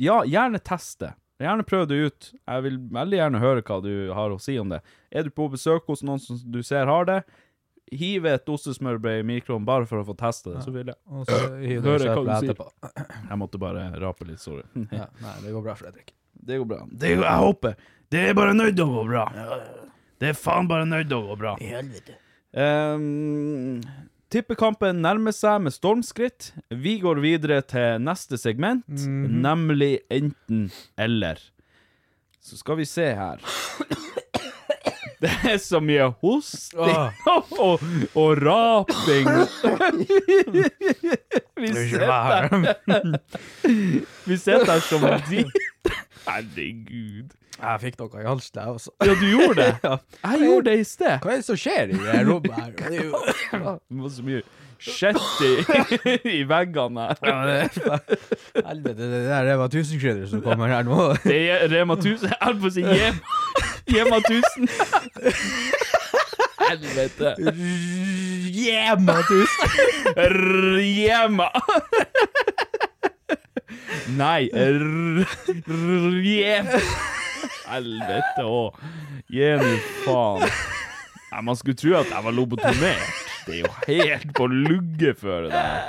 Speaker 2: ja, gjerne test det. Gjerne prøv det ut. Jeg vil veldig gjerne høre hva du har å si om det. Er du på besøk hos noen som du ser har det, hiv et ostesmørbrød i mikroen bare for å få teste det. Så vil jeg
Speaker 3: Og så hiver
Speaker 2: Hører
Speaker 3: du
Speaker 2: hva du
Speaker 3: søpla
Speaker 2: sier.
Speaker 3: etterpå.
Speaker 2: Jeg måtte bare rape litt, sorry.
Speaker 3: Ja, nei, det går bra, Fredrik.
Speaker 2: Det går bra. Det, jeg håper. Det er bare nødt til å gå bra. Det er faen bare nødt til å gå bra. Ehm, tippekampen nærmer seg med stormskritt. Vi går videre til neste segment, nemlig enten eller. Så skal vi se her. Det er så mye hosting og, og raping. vi
Speaker 5: er
Speaker 2: sitter Vi sitter her som en dyr. Herregud.
Speaker 3: Jeg fikk noe i halsen, jeg også.
Speaker 2: Ja, du gjorde det?
Speaker 3: Ja.
Speaker 2: Jeg gjorde det i sted.
Speaker 3: Hva er det som skjer i det rommet her? Det er jo-
Speaker 2: Det var så mye shit i, i veggene her.
Speaker 3: Helvete, det der det var tusenkrydderet som kommer her nå.
Speaker 2: Det er Rema 1000 Jeg holdt på å si Jem- Jema 1000. Helvete.
Speaker 3: Jema tusen!
Speaker 2: R- Jema. Nei r- r- Jem. Helvete òg. Gi nå faen. Nei, man skulle tro at jeg var lobotomert. Det er jo helt på lugge før det der.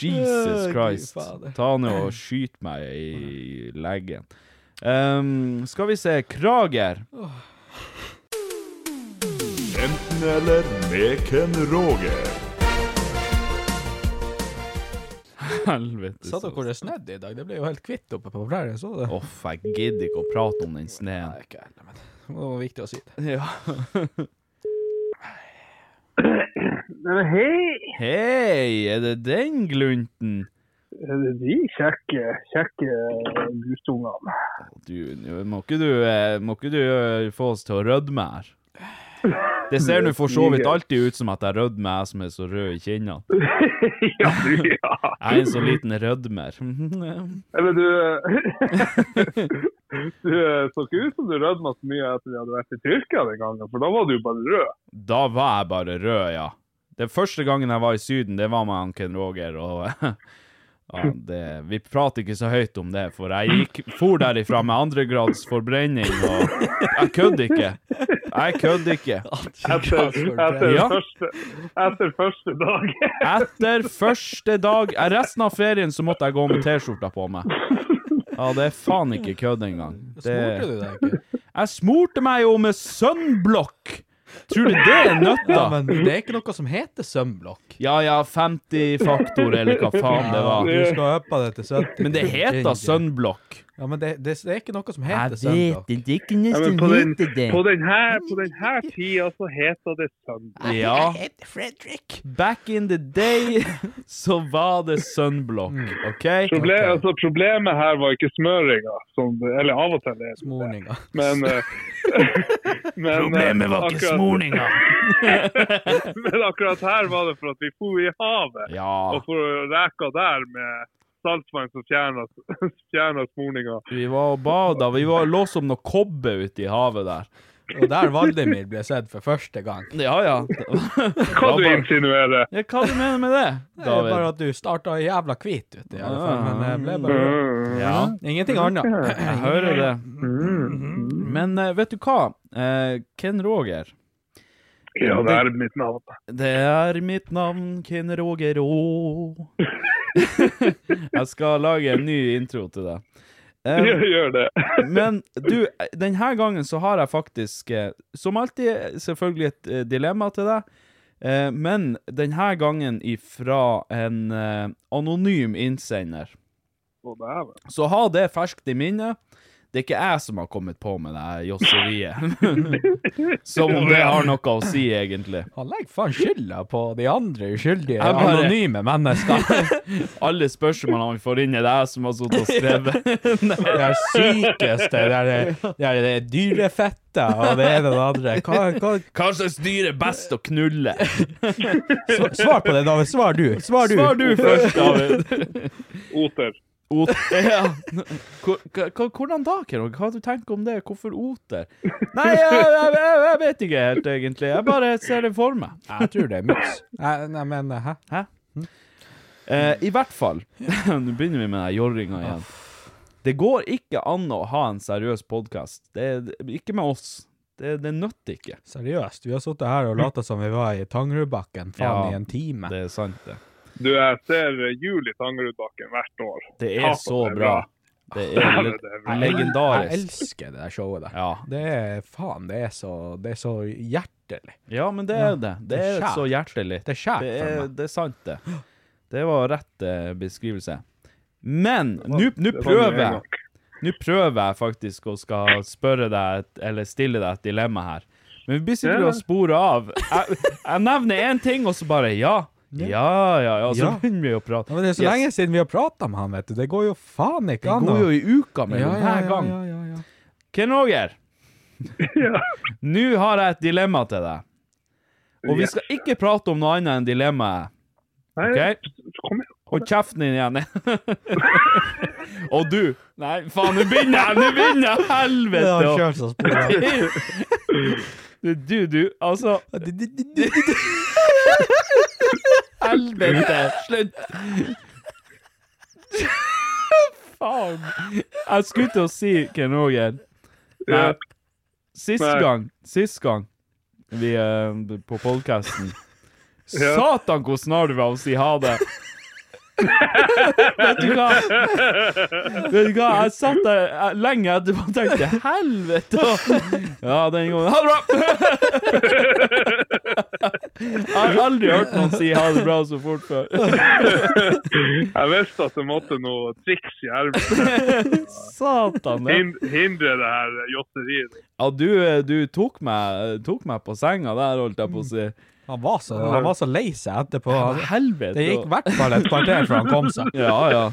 Speaker 2: Jesus
Speaker 3: Gud
Speaker 2: Christ.
Speaker 3: fader.
Speaker 2: Ta nå og skyt meg i leggen. Ehm, skal vi se Krager.
Speaker 8: Enten eller med Ken Roger.
Speaker 2: Helvete.
Speaker 3: Satt dere hvor det snødde i dag? Det ble jo helt kvitt oppe på prærien, så du det?
Speaker 2: Uff, jeg gidder ikke å prate om den sneen.
Speaker 3: Nei, ikke heller, men det var viktig å si det.
Speaker 2: Ja.
Speaker 4: Hei!
Speaker 2: Hei, er det den glunten?
Speaker 4: Eh, De kjekke, kjekke gustungene.
Speaker 2: Du, nå må ikke du, eh, må ikke du eh, få oss til å rødme her? Det ser nå for så vidt alltid ut som at jeg rødmer, jeg som er så rød i kinnene.
Speaker 4: ja, du, ja.
Speaker 2: Jeg er en så liten rødmer.
Speaker 4: Eller du eh, Du eh, så ikke ut som du rødma så mye etter at du hadde vært i Tyrkia den gangen, for da var du bare rød.
Speaker 2: Da var jeg bare rød, ja. Den første gangen jeg var i Syden, det var med han Ken Roger, og ja, det, Vi prater ikke så høyt om det, for jeg gikk, for derifra med andregrads forbrenning, og jeg kødder ikke. Jeg kødder ikke.
Speaker 4: Etter, etter,
Speaker 2: Ja.
Speaker 4: første, etter første dag.
Speaker 2: Etter første dag eh, Resten av ferien så måtte jeg gå med T-skjorta på meg. Ja, det er faen ikke kødd engang.
Speaker 3: Smorte
Speaker 2: Det-
Speaker 3: du deg ikke?
Speaker 2: Jeg smurte meg jo med sunblock! Tror du det er
Speaker 3: Ja,
Speaker 2: nøtta?
Speaker 3: men det er ikke noe som heter sømblokk.
Speaker 2: Ja ja, 50 faktor, eller hva faen det var.
Speaker 3: Du skal øppe det til 70.
Speaker 2: Men det heter sunblock.
Speaker 3: Ja, men det, det, det er ikke noe som heter sømblokk.
Speaker 2: det ikke
Speaker 4: Ja, men på, den, på, den her, på den her tida så heter det søndag.
Speaker 2: Ja,
Speaker 3: heter Fredrik.
Speaker 2: back in the day så var det sunblock, OK?
Speaker 4: Proble altså, problemet her var ikke smøringa, som, det- eller av og til er det,
Speaker 3: Morninga.
Speaker 4: men, eh, men eh, akkurat-
Speaker 2: smoringa.
Speaker 4: Men akkurat her var det for at vi for i havet.
Speaker 2: Ja,
Speaker 4: Og for å reka der med saltvann som fjerna fjerna smorninga.
Speaker 2: vi var og bada. Vi var lå som noe kobbe ute i havet der.
Speaker 3: Og der Valdemir ble sett for første gang.
Speaker 2: Ja ja. Hva
Speaker 4: Hva du insinuerer?
Speaker 2: ja, hva du mener med det,
Speaker 3: Det er bare
Speaker 2: David?
Speaker 3: at du starta jævla hvit ute, i alle fall. Men det ble bare
Speaker 2: Ja,
Speaker 3: Ingenting annet.
Speaker 2: jeg hører det.
Speaker 3: Mm-hmm.
Speaker 2: Men eh, vet du hva? Eh, Ken Roger.
Speaker 4: Ja, det er mitt navn.
Speaker 2: Det er mitt navn, Ken Roger Å. jeg skal lage en ny intro til deg.
Speaker 4: Gjør,
Speaker 2: Eh,
Speaker 4: gjør det.
Speaker 2: men du, denne gangen så har jeg faktisk, eh, som alltid, selvfølgelig et eh, dilemma til deg. Eh, men denne gangen ifra en eh, anonym innsender.
Speaker 4: Å, dæven.
Speaker 2: Så ha det ferskt i minnet. Det er ikke jeg som har kommet på med det her josseriet. som om det har noe å si, egentlig.
Speaker 3: Han legger faen skylda på de andre uskyldige,
Speaker 2: Jeg bare-
Speaker 3: anonyme menneskene.
Speaker 2: Alle spørsmålene vi får inn, er det jeg som har sittet og skrevet.
Speaker 3: Det er sykeste. Det er, det er det dyrefettet og det ene og det andre. Hva, hva,
Speaker 2: Hva slags dyr er best å knulle?
Speaker 3: sva- svar på det, David. Svar du. Svar du.
Speaker 2: Svar du først, David.
Speaker 5: Oter.
Speaker 2: Ot ja. Hvor- hva- hva- Hvordan da, Keron? Hva du tenker om det? Hvorfor oter? Nei, jeg, jeg, jeg, jeg vet ikke helt, egentlig. Jeg bare ser det for meg.
Speaker 3: Jeg tror det er mus. Nei, nei, men hæ?
Speaker 2: Hæ? Eh, I hvert fall Nå begynner vi med den jorringa igjen. Det går ikke an å ha en seriøs podkast. Ikke med oss. Det, det nytter ikke.
Speaker 3: Seriøst, vi har sittet her og lata som vi var i Tangerudbakken faen
Speaker 2: Ja,
Speaker 3: i en time.
Speaker 2: Det er sant, det.
Speaker 5: Du, jeg ser jul i Tangerudbakken hvert år.
Speaker 2: Det
Speaker 5: Ja,
Speaker 2: er så
Speaker 5: det er
Speaker 2: bra.
Speaker 5: bra.
Speaker 2: Det
Speaker 5: Ja,
Speaker 2: er
Speaker 5: det
Speaker 2: le-
Speaker 5: er bra.
Speaker 3: Jeg
Speaker 2: legendarisk.
Speaker 3: elsker det der showet der.
Speaker 2: Ja.
Speaker 3: Det er faen, det er så, det er så hjertelig.
Speaker 2: ja, men det er det. Det
Speaker 3: Det er
Speaker 2: er så
Speaker 3: kjært.
Speaker 2: hjertelig.
Speaker 3: Det er kjært
Speaker 2: Det
Speaker 3: for
Speaker 2: er,
Speaker 3: meg.
Speaker 2: det er sant, det. Det var rett eh, beskrivelse. Men nå nå
Speaker 5: Det var med en
Speaker 2: prøver
Speaker 5: gang.
Speaker 2: jeg Nå prøver jeg faktisk å skal spørre deg et- eller stille deg et dilemma her. Men vi blir sikkert
Speaker 5: Ja.
Speaker 2: å spore av. Jeg, jeg nevner én ting, og så bare ja. Ja, ja, ja. Så
Speaker 3: Ja.
Speaker 2: begynner vi å
Speaker 3: Ja,
Speaker 2: prate.
Speaker 3: men det er så
Speaker 2: Yes.
Speaker 3: lenge siden vi har prata med han, vet du. Det går jo faen ikke
Speaker 2: Det
Speaker 3: an.
Speaker 2: går jo i uka
Speaker 3: ja,
Speaker 2: mellom
Speaker 3: ja,
Speaker 2: hver
Speaker 3: ja,
Speaker 2: gang.
Speaker 3: ja, ja, ja.
Speaker 2: Ken Roger, nå har jeg et dilemma til deg. Og vi skal ikke prate om noe annet enn dilemmaet.
Speaker 5: Nei,
Speaker 2: Ok?
Speaker 5: kom igjen.
Speaker 2: Hold kjeften din igjen. Og du Nei, faen, nå begynner jeg! Nå begynner jeg!
Speaker 3: Det
Speaker 2: Helvete!
Speaker 3: har kjørt så sporet.
Speaker 2: Du, du, du, altså Helvete! Slutt! Faen! Jeg skulle til å si Ken Roger Nei,
Speaker 5: Ja.
Speaker 2: Sist
Speaker 5: Nei.
Speaker 2: gang Sist gang Vi eh, på podcasten
Speaker 5: Ja.
Speaker 2: Satan hvor snar du var å si ha det Vet du hva? Vet du hva? Jeg satt der eh, lenge etterpå og tenkte Helvete Ja, den gangen Ha det bra Jeg har aldri hørt noen si ha det bra så fort før
Speaker 5: Jeg visste at det måtte noe triks i ermet.
Speaker 2: Satan ja.
Speaker 5: Hin- Hindre det her jåtteriet.
Speaker 2: Ja, du, eh, du tok, meg, tok meg på senga der, holdt jeg på å si.
Speaker 3: Han var så, han var så lei seg etterpå.
Speaker 2: Hva helvete?
Speaker 3: Mm. Det gikk i hvert fall et kvarter før han kom seg.
Speaker 2: Ja, ja.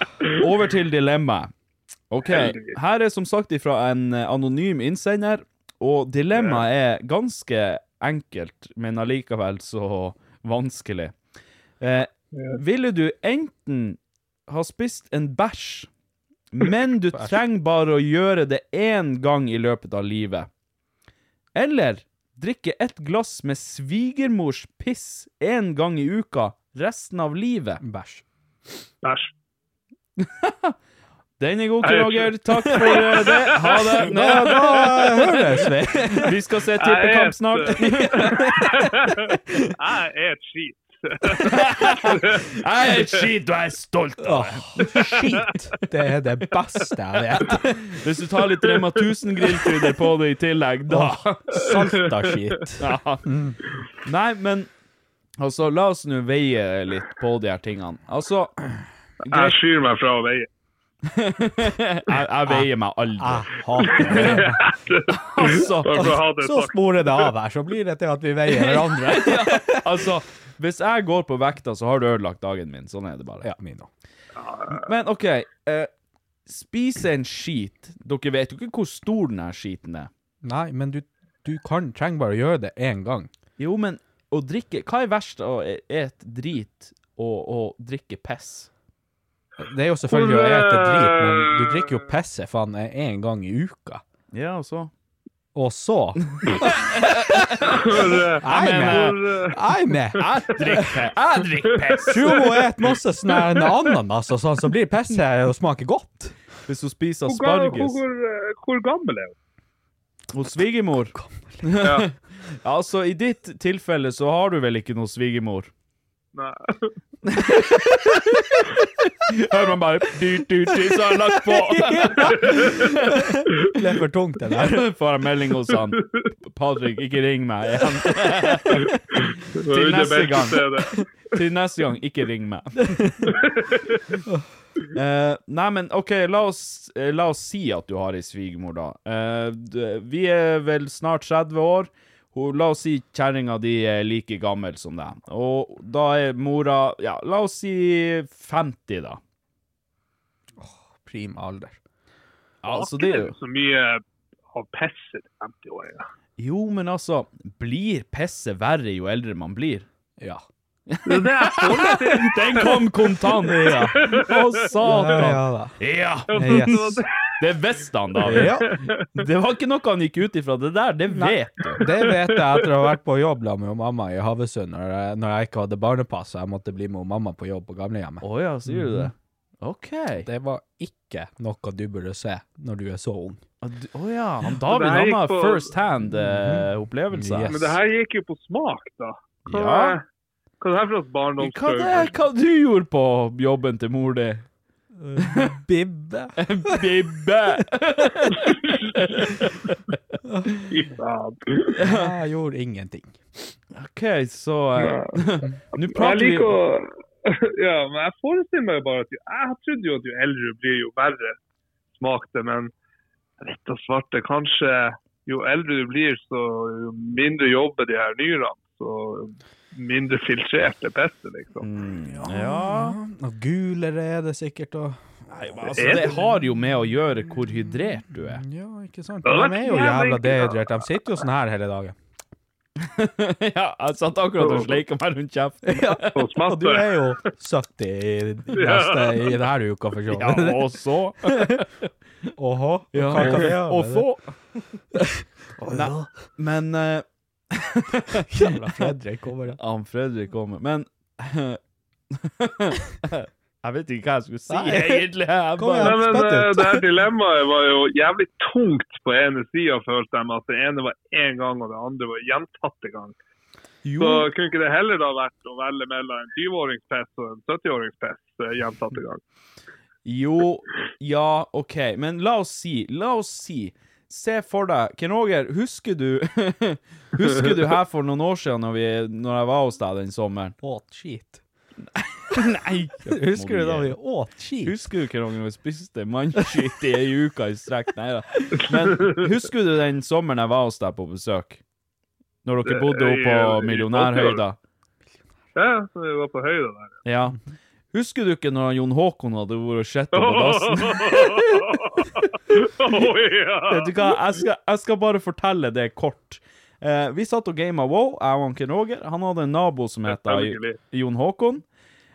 Speaker 2: Over til dilemmaet. OK. Her er som sagt ifra en eh, anonym innsender, og dilemmaet er ganske enkelt, men allikevel så vanskelig. Eh, ville du enten ha spist en bæsj, men du trenger bare å gjøre det én gang i løpet av livet? Eller drikke et glass med svigermors piss én gang i uka resten av livet?
Speaker 3: Bæsj.
Speaker 5: Æsj.
Speaker 2: Den er god,
Speaker 5: Jeg er
Speaker 2: Roger. Takk for eh, det. Ha det. Nå,
Speaker 3: Da høres vi.
Speaker 2: vi skal se
Speaker 5: Jeg
Speaker 2: tippekamp
Speaker 5: er-
Speaker 2: snart.
Speaker 5: Jeg er et skit.
Speaker 2: Jeg er et skit, og jeg er stolt.
Speaker 3: Åh, shit. Det er det beste jeg vet.
Speaker 2: Hvis du tar litt Rema 1000-grillkrydder på det i tillegg, da
Speaker 3: Salta skit.
Speaker 2: ja. Nei, men altså, la oss nå veie litt på de her tingene. Altså,
Speaker 5: Jeg
Speaker 2: greit,
Speaker 5: skyr meg fra å veie.
Speaker 2: jeg, jeg veier meg aldri.
Speaker 3: Jeg hater det.
Speaker 2: Altså,
Speaker 5: Bare for å ha det
Speaker 3: Så
Speaker 5: sagt.
Speaker 3: sporer det av her, så blir det til at vi veier hverandre.
Speaker 2: altså, hvis jeg går på vekta, så har du ødelagt dagen min. Sånn er det bare.
Speaker 3: Ja, min også.
Speaker 2: Men OK, eh, spise en skit. Dere vet jo ikke hvor stor den her skiten er.
Speaker 3: Nei, men du, du kan, trenger bare å gjøre det én gang.
Speaker 2: Jo, men å drikke Hva er verst å e- et drit og å drikke piss?
Speaker 3: Det er jo selvfølgelig å ete drit, men du drikker jo pisse faen én gang i uka.
Speaker 2: Ja, altså. og så
Speaker 3: Og så
Speaker 5: For, eh,
Speaker 3: Jeg er med!
Speaker 5: for, eh,
Speaker 3: Jeg er med!
Speaker 2: Jeg drikker eh, Jeg drikker piss!
Speaker 3: Tror hun et masse sånn her ananas og sånn, så blir pisse og smaker godt.
Speaker 2: Hvis hun spiser
Speaker 5: hvor, ga-
Speaker 2: asparges
Speaker 5: hvor, eh, hvor gammel er hun?
Speaker 2: hos svigermor
Speaker 5: Ja.
Speaker 2: Altså, i ditt tilfelle så har du vel ikke noe svigermor?
Speaker 5: Nei.
Speaker 2: Hører man bare du, du, du, Så har jeg lagt på!
Speaker 3: Det er for tungt, det der.
Speaker 2: Får jeg melding hos han Patrick, ikke ring meg igjen.
Speaker 5: Det er jo
Speaker 2: Til
Speaker 5: det
Speaker 2: neste
Speaker 5: beste
Speaker 2: gang.
Speaker 5: stedet.
Speaker 2: Til neste gang, ikke ring meg. Eh, nei, men OK, la oss, eh, la oss si at du har ei svigermor, da. Eh, d- vi er vel snart 30 år. Hun, la oss si kjerringa di er like gammel som deg. Og da er mora Ja, la oss si 50, da.
Speaker 3: Prim alder.
Speaker 2: Altså, det er jo
Speaker 5: Så mye av pisset til 50-åringer.
Speaker 2: Jo, men altså Blir pisset verre jo eldre man blir?
Speaker 3: Ja.
Speaker 5: Det er det jeg får meg til.
Speaker 2: Den kom kontant! Ja. Å, satan!
Speaker 3: da.
Speaker 2: Ja!
Speaker 3: Yes.
Speaker 2: Det visste han, da.
Speaker 3: Ja,
Speaker 2: Det var ikke noe han gikk ut ifra. Det der, det vet du.
Speaker 3: det vet jeg etter å ha vært på jobb da med mamma i Havøysund når, jeg- når jeg ikke hadde barnepass og jeg måtte bli med mamma på jobb på gamlehjemmet.
Speaker 2: Å ja, sier du det? OK.
Speaker 3: Det var ikke noe du burde se når du er så ung.
Speaker 2: Å d- å ja. Han David
Speaker 5: Det her
Speaker 2: han
Speaker 5: gikk
Speaker 2: har
Speaker 5: på-
Speaker 2: first hand eh, opplevelse.
Speaker 3: Yes.
Speaker 5: Men det her gikk jo på smak, da. Hva
Speaker 2: Ja.
Speaker 4: eh,
Speaker 5: er- hva er det her for noe
Speaker 2: Hva, det,
Speaker 5: barndomstraume?
Speaker 2: hva du gjorde på jobben til mor di?
Speaker 3: Bibbe.
Speaker 2: Bibbe!
Speaker 5: Fy faen.
Speaker 3: Jeg gjorde ingenting.
Speaker 2: OK, så eh, Nå
Speaker 5: Jeg
Speaker 2: prater vi
Speaker 5: liker å Ja, men jeg forestiller meg jo bare at jo- Jeg trodde jo at jo eldre du blir, jo verre smakte, men jeg vet da svarte. Kanskje jo eldre du blir, så jo mindre jobber de her nyrene. Så mindre filtrerte pisset, liksom.
Speaker 2: Mm. Ja.
Speaker 3: Og gulere er det sikkert, og
Speaker 2: Altså, det har jo med å gjøre hvor hydrert du er.
Speaker 3: Ja, ikke sant?
Speaker 5: Ja,
Speaker 3: De
Speaker 5: det
Speaker 3: er jo
Speaker 5: er
Speaker 3: jævla
Speaker 5: ikke det.
Speaker 3: dehydrert. De sitter jo sånn her hele dagen.
Speaker 2: ja, jeg satt akkurat og sleika meg rundt kjeften.
Speaker 5: Så
Speaker 3: Og du
Speaker 5: smatter
Speaker 3: er jo 70 i, i neste, i denne uka, for så
Speaker 2: Ja,
Speaker 3: vidt.
Speaker 2: og så
Speaker 3: Åhå.
Speaker 2: Ja,
Speaker 3: Hva kan vi gjøre
Speaker 2: Og
Speaker 3: med
Speaker 2: så
Speaker 3: det?
Speaker 2: Nei, men eh,
Speaker 3: Jævla Fredrik kommer da.
Speaker 2: Han Fredrik kommer. Men Jeg vet ikke hva jeg skulle si,
Speaker 3: Nei.
Speaker 2: egentlig. Jeg
Speaker 3: Kom
Speaker 2: bare,
Speaker 5: Nei,
Speaker 3: igjen.
Speaker 5: men
Speaker 3: Spett
Speaker 5: eh,
Speaker 3: ut.
Speaker 5: det her dilemmaet var jo jævlig tungt på ene sida, følte jeg. med At det ene var én gang, og det andre var gjentatte gang. Så
Speaker 2: jo,
Speaker 5: kunne ikke det heller da vært å velge mellom en 20-åringspest og en 70-åringspest eh, gjentatte gang?
Speaker 2: jo, ja, OK. Men la oss si, la oss si Se for deg, Ken Roger, husker du Husker du her for noen år siden når, vi, når jeg var hos deg den sommeren?
Speaker 3: Åt skit.
Speaker 2: Nei!
Speaker 3: Husker du da vi åt skit?
Speaker 2: Husker du ikke noen gang vi spiste mannskitt i ei uke i strekk? Nei da. Men husker du den sommeren jeg var hos deg på besøk? Når dere
Speaker 5: Det-
Speaker 2: bodde oppe på
Speaker 5: i- i-
Speaker 2: millionærhøyda?
Speaker 5: Ja, så vi var på høyde der.
Speaker 2: Ja. Husker du ikke når Jon Håkon hadde vært og sett på dassen?
Speaker 5: Å, ja.
Speaker 2: Vet du hva, jeg skal, jeg skal bare fortelle det kort. Eh, vi satt og gama Wow, jeg og Ken Roger. Han hadde en nabo som het da
Speaker 5: Selvfølgelig.
Speaker 2: Jon Håkon.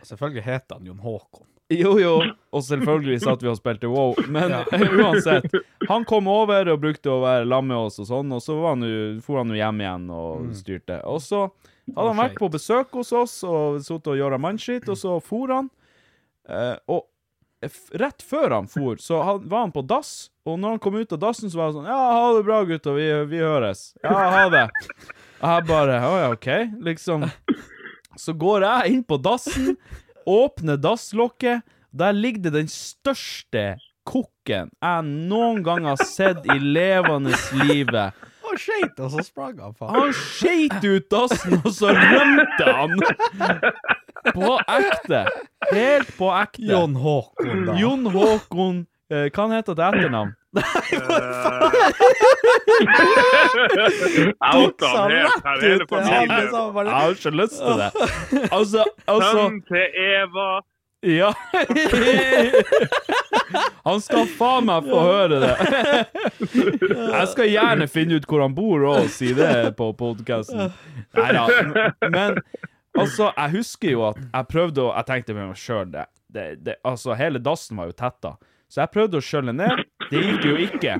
Speaker 3: Selvfølgelig heter han Jon Håkon.
Speaker 2: Jo, jo. Og selvfølgelig satt vi og spilte wow. Men uansett. Han kom over og brukte å være lam med oss og sånn, og så var han jo, for han jo hjem igjen og styrte. Og så hadde han vært på besøk hos oss og sittet og gjort mannskitt, og så for han. Eh, og f rett før han for, så han, var han på dass, og når han kom ut av dassen, så var han sånn Ja, ha det bra, gutter. Vi, vi høres. Ja, ha det. Og jeg bare Å ja, OK. Liksom. Så går jeg inn på dassen, åpner dasslokket. Der ligger det den største kokken jeg noen gang har sett i levende livet.
Speaker 3: Å, skit! Og så sprang han, faen.
Speaker 2: Han skeit ut dassen, og så rømte han! På ekte. Helt på ekte.
Speaker 3: Jon Håkon, da.
Speaker 2: Jon Håkon eh, Hva han heter til etternavn?
Speaker 5: Outa
Speaker 3: Sa
Speaker 5: han helt her, hele
Speaker 3: Alle
Speaker 5: familien.
Speaker 3: sammen liksom bare-
Speaker 2: Jeg har ikke lyst til det. Altså, altså
Speaker 5: Sønnen til Eva.
Speaker 2: Ja. Han skal faen meg få høre det. Jeg skal gjerne finne ut hvor han bor og si det på podkasten. Nei da. Men altså, jeg husker jo at jeg prøvde å Jeg tenkte med meg sjøl det, det, det Altså, hele dassen var jo tetta. Så jeg prøvde å skjølle ned. Det gikk jo ikke.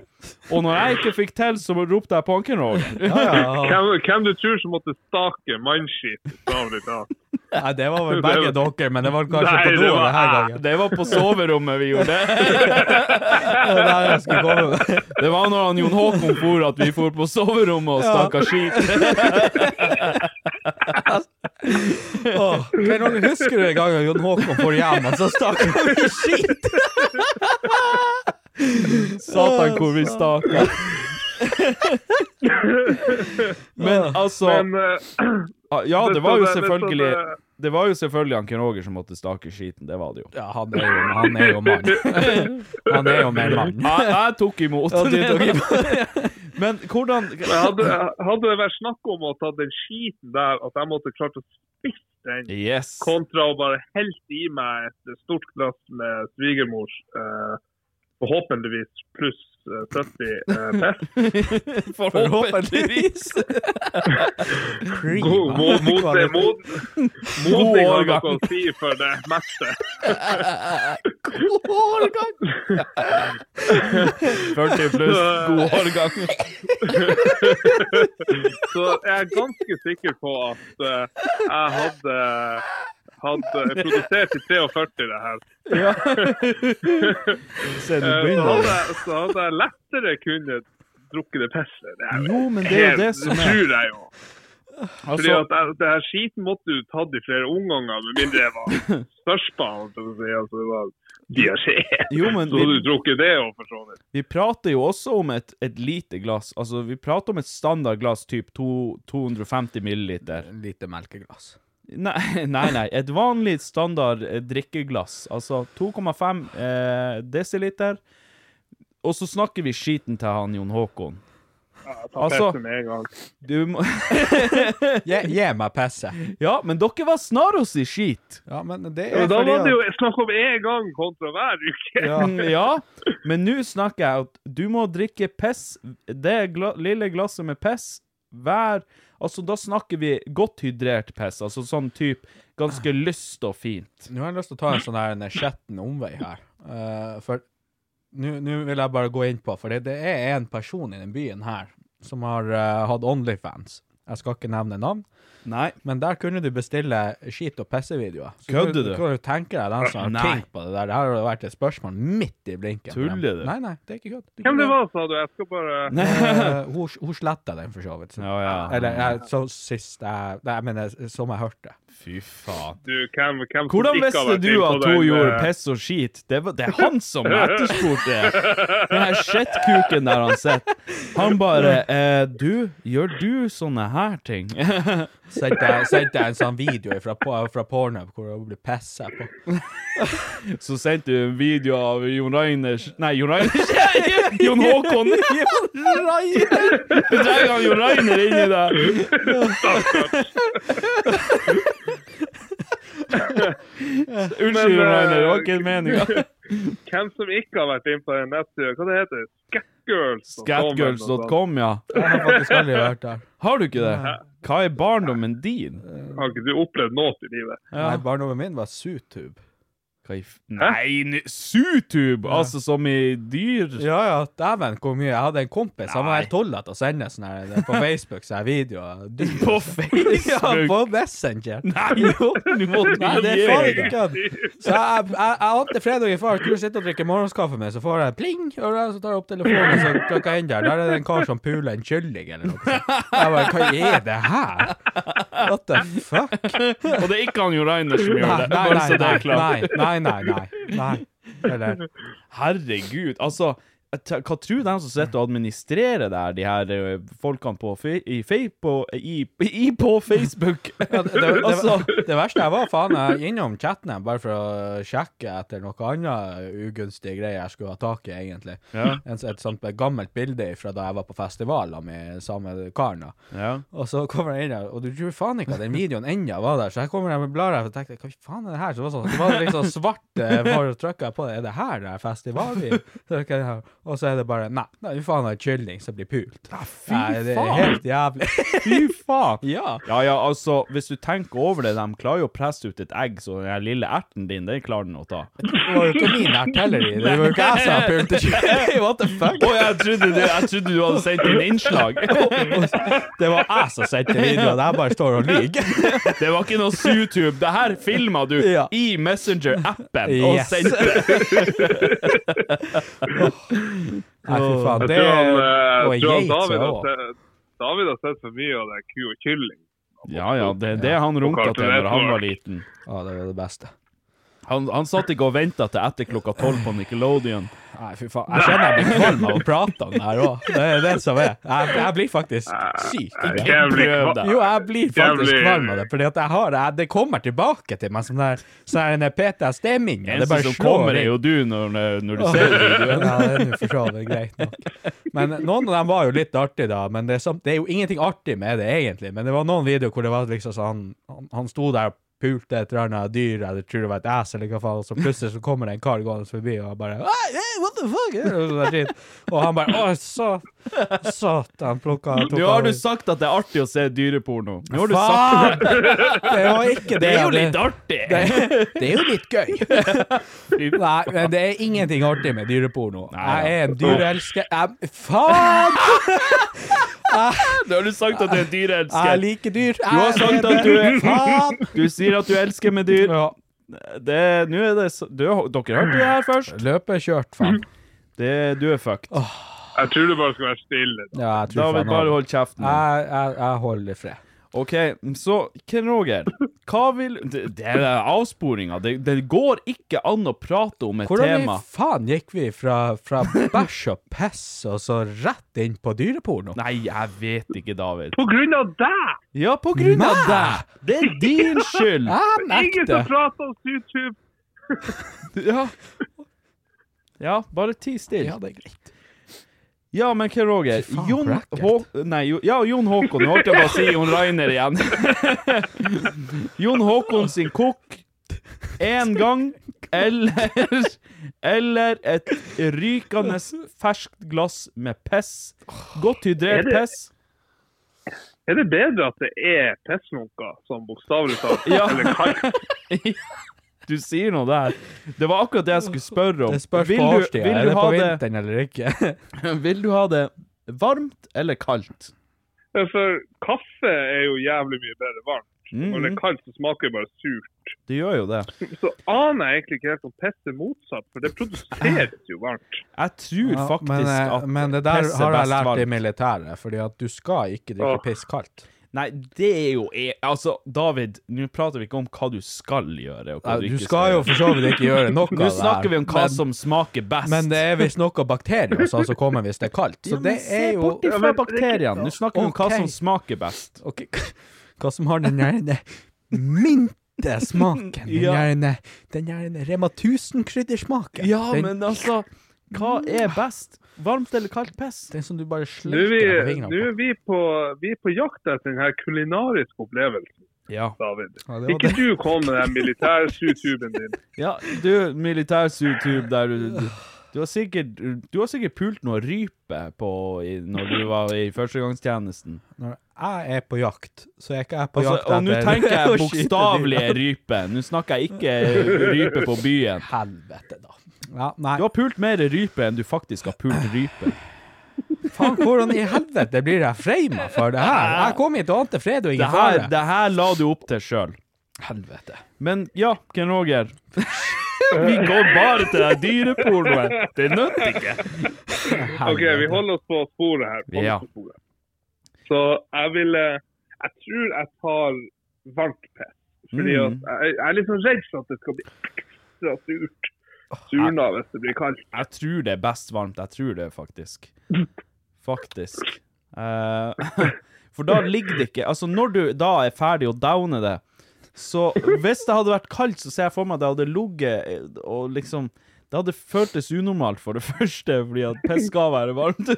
Speaker 2: Og når jeg ikke fikk til, så ropte jeg på Anken Roger.
Speaker 3: Ja, ja, ja.
Speaker 5: Hvem, hvem du tror som måtte stake mannskitt? bokstavelig talt.
Speaker 3: Nei, det var vel begge dere, men det var kanskje på
Speaker 5: Nei,
Speaker 3: do
Speaker 5: det var
Speaker 3: denne gangen.
Speaker 2: Det var på soverommet vi gjorde det.
Speaker 3: Det var der jeg skulle komme med.
Speaker 2: Det var når han Jon Håkon for at vi for på soverommet og stakk av skit.
Speaker 3: Åh, Svein Roger, husker du en gang Jon Håkon for hjemmet, så stakk han i skit?
Speaker 2: Satan, hvor vi staker. Men altså
Speaker 5: Men, eh,
Speaker 2: Ah, Ja, det
Speaker 5: det
Speaker 2: var jo
Speaker 5: står- det står-
Speaker 2: selvfølgelig Det var jo selvfølgelig Anken Roger som måtte stake skiten, det var det jo.
Speaker 3: Ja, han er jo, han er jo mann. Han er jo mer mann.
Speaker 2: Jeg, jeg tok imot.
Speaker 3: Ja, du tok
Speaker 2: Men hvordan
Speaker 5: Men hadde, hadde det vært snakk om å ta den skiten der, at jeg måtte klart å spise den,
Speaker 2: Yes.
Speaker 5: kontra å bare helte i meg et stort glass med svigermors, eh, forhåpentligvis pluss eh, 70 eh, pest,
Speaker 2: Forhåpentligvis.
Speaker 5: god mot, mot det mot, mot det har noe
Speaker 2: overgang.
Speaker 5: å si for det meste.
Speaker 3: God årgang!
Speaker 2: 40 pluss, god årgang.
Speaker 5: Så jeg er ganske sikker på at eh, jeg hadde, hadde produsert i 43 det her.
Speaker 2: Se, du
Speaker 5: Eh, Så
Speaker 2: begynner.
Speaker 5: hadde, jeg- så hadde jeg lettere kunnet drukke det pisset. Det er
Speaker 2: Jo, men det er jo
Speaker 5: helt-
Speaker 2: det som er-
Speaker 5: tror jeg jo. Fordi
Speaker 2: Altså,
Speaker 5: at jeg- det her skiten måtte du tatt i flere omganger, med mindre jeg var størstbarn. holdt jeg på å si, Altså, det var diaré.
Speaker 2: Jo, men
Speaker 5: Så
Speaker 2: vi-
Speaker 5: hadde du drukket det òg, for så vidt.
Speaker 2: vi prater jo også om et, et lite glass. Altså, vi prater om et standardglass typ to, 250 milliliter.
Speaker 3: Lite melkeglass.
Speaker 2: Nei, nei, nei. Et vanlig standard eh, drikkeglass. Altså 2,5 eh, desiliter. Og så snakker vi skiten til han Jon Håkon.
Speaker 5: Jeg tar
Speaker 2: Altså-
Speaker 5: pisset med en gang.
Speaker 2: Du må
Speaker 3: Gi, gi meg pisset.
Speaker 2: Ja, men dere var snaros i skit.
Speaker 3: Ja, men det
Speaker 5: Men
Speaker 3: er
Speaker 5: da var det
Speaker 3: fordi
Speaker 5: jo
Speaker 3: at
Speaker 5: snakk om én gang kontra hver uke.
Speaker 2: Mm, Ja. Men nå snakker jeg at du må drikke piss, det gla lille glasset med piss, hver Altså, da snakker vi godt hydrert piss. Altså sånn type ganske lyst og fint.
Speaker 3: Nå har jeg lyst til å ta en sånn her en skjetten omvei her. Eh, for nå nå vil jeg bare gå inn på, for det, det er en person i den byen her som har eh, hatt Onlyfans. Jeg skal ikke nevne navn,
Speaker 2: Nei.
Speaker 3: men der kunne du bestille skit- og pissevideoer. Så
Speaker 2: Kødder du?
Speaker 3: Kan du tenke deg den som har
Speaker 2: Nei.
Speaker 3: kink på det der? Det her har jo vært et spørsmål midt i blinken. for dem.
Speaker 2: Tuller du?
Speaker 3: Nei, nei, det er ikke kødd. er
Speaker 5: Hvem
Speaker 3: ikke
Speaker 5: det
Speaker 3: kødd.
Speaker 5: var, sa du? Jeg skal bare
Speaker 3: Eh, hun hun sletta den, for så vidt. Så.
Speaker 2: Ja, ja.
Speaker 3: Eller jeg, så sist jeg Nei, jeg mener, eh, som jeg hørte.
Speaker 2: Fy faen.
Speaker 5: Du, hvem, hvem som
Speaker 2: Hvordan
Speaker 5: ikke har
Speaker 2: visste
Speaker 5: vært
Speaker 2: du
Speaker 5: inn på
Speaker 2: at
Speaker 5: den,
Speaker 2: hun gjorde
Speaker 5: eh,
Speaker 2: piss og skit? Det, var, det er han som etterspurte det. Den her shitkuken der han sitter. Han bare eh, Du, gjør du sånne her ting?
Speaker 3: Sendte jeg, sendte jeg en sånn video fra, på- fra Pornhub hvor hun blir pissa på.
Speaker 2: Så sendte du en video av Jon Reiners Nei, Jon Reiners Jon Håkon! Jon Reiner! Du trenger han Jon Reiner inni der. Unnskyld,
Speaker 5: eh,
Speaker 2: Jon Reiner. Det var ikke meninga.
Speaker 5: Hvem som ikke har vært inn på den nettsida? Hva det heter det? Scatgirls.com?
Speaker 2: Scatgirls.com, ja.
Speaker 3: Jeg har faktisk aldri hørt det.
Speaker 2: Har du ikke det? Hva er barndommen din?
Speaker 5: Har ikke du opplevd noe i livet?
Speaker 3: Nei, barndommen min var Sutube.
Speaker 2: Hva i f... Nei, n- sutube! Altså som i dyr?
Speaker 3: Ja, ja, dæven hvor mye. Jeg hadde en kompis, han var helt tullete å sende sånne her på Facebook sånne her videoer. Du-
Speaker 2: På Facebook?
Speaker 3: Ja, på Messenger.
Speaker 2: Nei, jo, nå må du
Speaker 3: Nei, det
Speaker 2: gi
Speaker 3: er faen
Speaker 2: deg.
Speaker 3: ikke kødd. Så jeg, jeg, jeg ante fredagen før, skulle sitte og drikke morgenskaffe med, så får jeg pling, og da- så tar jeg opp telefonen, så trykker jeg inn der. Der er det en kar som puler en kylling eller noe. sånt. Jeg bare, hva er det her? What the fuck?
Speaker 2: Og det er ikke han Jon Reiner som gjør
Speaker 3: Nei,
Speaker 2: det.
Speaker 3: nei,
Speaker 2: Bare
Speaker 3: nei,
Speaker 2: så det
Speaker 3: nei,
Speaker 2: er klart.
Speaker 3: nei, nei, nei, nei. Eller,
Speaker 2: Herregud, altså jeg te- hva tror de som sitter og administrerer det her, de her eh, folkene på, fe- i, fe- på, i, i, på Facebook?
Speaker 3: ja, det, det,
Speaker 2: altså,
Speaker 3: det, det verste jeg var faen jeg innom chatten her bare for å sjekke etter noe annet ugunstig greier jeg skulle ha tak i, egentlig.
Speaker 2: Ja.
Speaker 3: En, et sånt gammelt bilde fra da jeg var på festivaler med samme karen. da.
Speaker 2: ja.
Speaker 3: Og så kommer jeg inn der, og du tror faen ikke at den videoen ennå var der. Så jeg kommer der med bladet her og tenkte hva faen er det her? Så det var sånn, det var liksom svart eh, bare å trykke på det. Er det her det er festivalbil? Så trykker jeg her, Og så er det bare nei, nei, vi faen har en kylling som blir pult.
Speaker 2: fy
Speaker 3: Nei, det er
Speaker 2: faen.
Speaker 3: helt jævlig.
Speaker 2: Fy faen!
Speaker 3: ja.
Speaker 2: Ja, ja, altså, hvis du tenker over det, de klarer jo å presse ut et egg, så den her lille erten din, den klarer den å ta.
Speaker 3: Det var jo ikke min artilleri. Det var jo ikke jeg som pulte kylling. What the
Speaker 2: Å,
Speaker 3: fuck?
Speaker 2: jeg, trodde du, jeg trodde du hadde sendt inn innslag.
Speaker 3: Det var jeg som sendte videoen. Jeg bare står og lyver.
Speaker 2: Det var ikke noe YouTube. Det her filma du
Speaker 3: Ja.
Speaker 2: i Messenger-appen. og
Speaker 3: Yes.
Speaker 2: sendte-
Speaker 3: Nei, fy faen.
Speaker 5: Jeg
Speaker 3: Det
Speaker 5: tror han,
Speaker 3: er
Speaker 5: eh,
Speaker 3: og
Speaker 5: tror han
Speaker 3: geit, så jeg
Speaker 5: David, har
Speaker 3: også.
Speaker 5: sett, David har sett for mye av det ku og kylling.
Speaker 2: Ja, ja, det er det han runka til når han var liten.
Speaker 3: Ja, det er det beste.
Speaker 2: Han, han satt ikke og venta til etter klokka tolv på Nickelodeon.
Speaker 3: Nei, fy faen. Jeg kjenner jeg blir kvalm av å prate om det her òg. Det er det som er. Jeg, jeg blir faktisk syk.
Speaker 2: Nei,
Speaker 3: Ikke
Speaker 2: jeg blir
Speaker 3: prøv
Speaker 2: kva-
Speaker 3: det. Jo, jeg blir faktisk
Speaker 2: Jeg blir-
Speaker 3: kvalm av det, fordi at jeg har jeg, det kommer tilbake til meg som der, sånn der PTSD-ming. Det
Speaker 2: Eneste
Speaker 3: bare
Speaker 2: som
Speaker 3: slår
Speaker 2: kommer, er
Speaker 3: inn.
Speaker 2: jo du når, når du
Speaker 3: Åh.
Speaker 2: ser videoen.
Speaker 3: Ja, det er nå for så vidt greit nok. Men noen av dem var jo litt artige, da. Men det er, sam- det er jo ingenting artig med det, egentlig. Men det var noen videoer hvor det var liksom sånn Han, han sto der og pulte et eller annet dyr, eller tror det var et ass, eller hva faen, og så plutselig så kommer det en kar gående forbi, og han bare «Åh, hey, What the fuck? Og, sånn der shit. og han bare Å, så Satan, plukka tok
Speaker 2: Nå har
Speaker 3: av-
Speaker 2: du sagt at det er artig å se dyreporno. Nå har du
Speaker 3: Faen!
Speaker 2: sagt det.
Speaker 3: Det var ikke det.
Speaker 2: Det er jo
Speaker 3: jeg hadde-
Speaker 2: litt artig.
Speaker 3: Det, det er jo litt gøy. Nei, men det er ingenting artig med dyreporno. Jeg er en dyreelsker jeg, Faen!
Speaker 2: Nå har du sagt at du er
Speaker 3: Jeg
Speaker 2: dyreelsker.
Speaker 3: liker dyr.
Speaker 2: Du har
Speaker 3: Jeg
Speaker 2: sagt at du er
Speaker 3: Faen!
Speaker 2: Du sier at du elsker med dyr.
Speaker 3: Ja.
Speaker 2: Det, nå er det så- du, Dere hørte det her først.
Speaker 3: Løpet er kjørt, faen.
Speaker 2: Det, du er fucked.
Speaker 5: Jeg tror du bare skal være stille. da.
Speaker 3: Ja, jeg
Speaker 2: Da
Speaker 3: tror
Speaker 2: vil
Speaker 3: faen
Speaker 2: bare
Speaker 3: jeg,
Speaker 2: holde kjeften.
Speaker 3: jeg, jeg, jeg holder i fred.
Speaker 2: OK, så Ken Roger, hva vil Det, det er avsporinga. Det, det går ikke an å prate om et
Speaker 3: Hvordan i
Speaker 2: tema.
Speaker 3: faen gikk vi fra, fra bæsj og piss og så rett inn på dyreporno?
Speaker 2: Nei, jeg vet ikke, David.
Speaker 5: På grunn av deg!
Speaker 2: Ja, på grunn av deg! Det er din skyld!
Speaker 3: Jeg
Speaker 5: Ingen
Speaker 3: nekter.
Speaker 5: som prater om YouTube!
Speaker 2: Ja, ja bare ti stille.
Speaker 3: Ja, det er greit.
Speaker 2: Ja, men Ken Roger
Speaker 3: Fy faen,
Speaker 2: Jon,
Speaker 3: racket.
Speaker 2: Hå nei, jo, ja, Jon Håkon. Nå holdt jeg på å si Jon Rainer igjen. Jon Håkon sin kokk én gang eller Eller et rykende ferskt glass med piss. Godt hydrert
Speaker 5: Er det-
Speaker 2: piss.
Speaker 5: Er det bedre at det er pissmunker som bokstavelig talt
Speaker 2: Ja.
Speaker 5: Eller kalk?
Speaker 2: Du sier noe der. Det var akkurat det jeg skulle spørre om.
Speaker 3: Det spørs
Speaker 2: Vil
Speaker 3: på
Speaker 2: du-
Speaker 3: årstida.
Speaker 2: vil
Speaker 3: Er
Speaker 2: du
Speaker 3: det
Speaker 2: ha
Speaker 3: på
Speaker 2: det-
Speaker 3: vinteren eller ikke?
Speaker 2: Vil du ha det varmt eller kaldt?
Speaker 5: For kaffe er jo jævlig mye bedre varmt. Når det
Speaker 3: Mm.
Speaker 5: er kaldt, så smaker det bare surt.
Speaker 2: Det gjør jo det.
Speaker 5: Så aner jeg egentlig ikke helt om piss er motsatt, for det produseres jo varmt.
Speaker 3: Ah.
Speaker 2: Jeg tror
Speaker 3: Ja,
Speaker 2: faktisk
Speaker 3: men, eh,
Speaker 2: at
Speaker 3: Men det der
Speaker 2: piss er
Speaker 3: har jeg
Speaker 2: best
Speaker 3: lært i
Speaker 2: varmt.
Speaker 3: militæret, fordi at du skal ikke drikke
Speaker 5: Åh.
Speaker 3: piss kaldt.
Speaker 2: Nei, det er jo e- Altså, David, nå prater vi ikke om hva du skal gjøre. Og hva du,
Speaker 3: Du
Speaker 2: ikke
Speaker 3: skal jo for så vidt ikke gjøre noe av det
Speaker 2: Nå
Speaker 3: her,
Speaker 2: snakker vi om hva
Speaker 3: men-
Speaker 2: som smaker best.
Speaker 3: Men det er visst noe bakterier og sånn som kommer hvis det er kaldt, så
Speaker 2: ja,
Speaker 3: det
Speaker 2: men se
Speaker 3: er jo
Speaker 2: bort ifra bakteriene. Nå snakker vi om hva
Speaker 3: Ok.
Speaker 2: som smaker best.
Speaker 3: Ok, Hva som har den gjerne mintesmaken, den
Speaker 2: Ja.
Speaker 3: gjerne, den gjerne Rema 1000-kryddersmaken.
Speaker 2: Ja,
Speaker 3: den,
Speaker 2: men altså Hva er best? Varmt eller kaldt piss?
Speaker 3: Den som du bare
Speaker 5: Nå er vi,
Speaker 3: slenger på
Speaker 5: nå
Speaker 3: fingrene
Speaker 5: er
Speaker 3: på.
Speaker 5: vi, på, vi er på jakt etter den her kulinariske opplevelsen,
Speaker 2: Ja.
Speaker 5: David.
Speaker 3: Ja, det var
Speaker 5: Ikke
Speaker 3: det.
Speaker 5: du kom med den militærsutuben din.
Speaker 2: ja du, militærsutube der du, du du har, sikkert, du har sikkert pult noe rype på i, når du var i førstegangstjenesten.
Speaker 3: Når jeg er på jakt, så er ikke jeg på
Speaker 2: Altså,
Speaker 3: jakt
Speaker 2: og nå
Speaker 3: etter
Speaker 2: tenker
Speaker 3: å
Speaker 2: jeg
Speaker 3: skyte dyr.
Speaker 2: bokstavelige rype. Nå snakker jeg ikke rype på byen.
Speaker 3: Helvete, da. Ja, nei.
Speaker 2: Du har pult mer rype enn du faktisk har pult rype.
Speaker 3: Faen, hvordan i helvete blir jeg frama for det her? Jeg kom hit og ante fred
Speaker 2: Det
Speaker 3: og ingen
Speaker 2: her,
Speaker 3: fare.
Speaker 2: det her la du opp til sjøl.
Speaker 3: Helvete.
Speaker 2: Men ja, Ken Roger. Vi går bare til den dyrepornoen. Det nytter ikke.
Speaker 5: OK, vi holder oss på sporet her. Hold oss
Speaker 2: Ja.
Speaker 5: på sporet. Så jeg vil eh, Jeg tror jeg tar varmt piss. Fordi
Speaker 2: Mm.
Speaker 5: at jeg, jeg er litt sånn redd for at det skal bli ekstra surt. Surna hvis det blir kaldt.
Speaker 2: Jeg tror det er best varmt. Jeg tror det, faktisk. Faktisk. Eh, for da ligger det ikke Altså, når du da er ferdig å downe det Så hvis det hadde vært kaldt, så ser jeg for meg at det hadde ligget eh, og liksom Det hadde føltes unormalt, for det første, fordi at piss skal være varmt.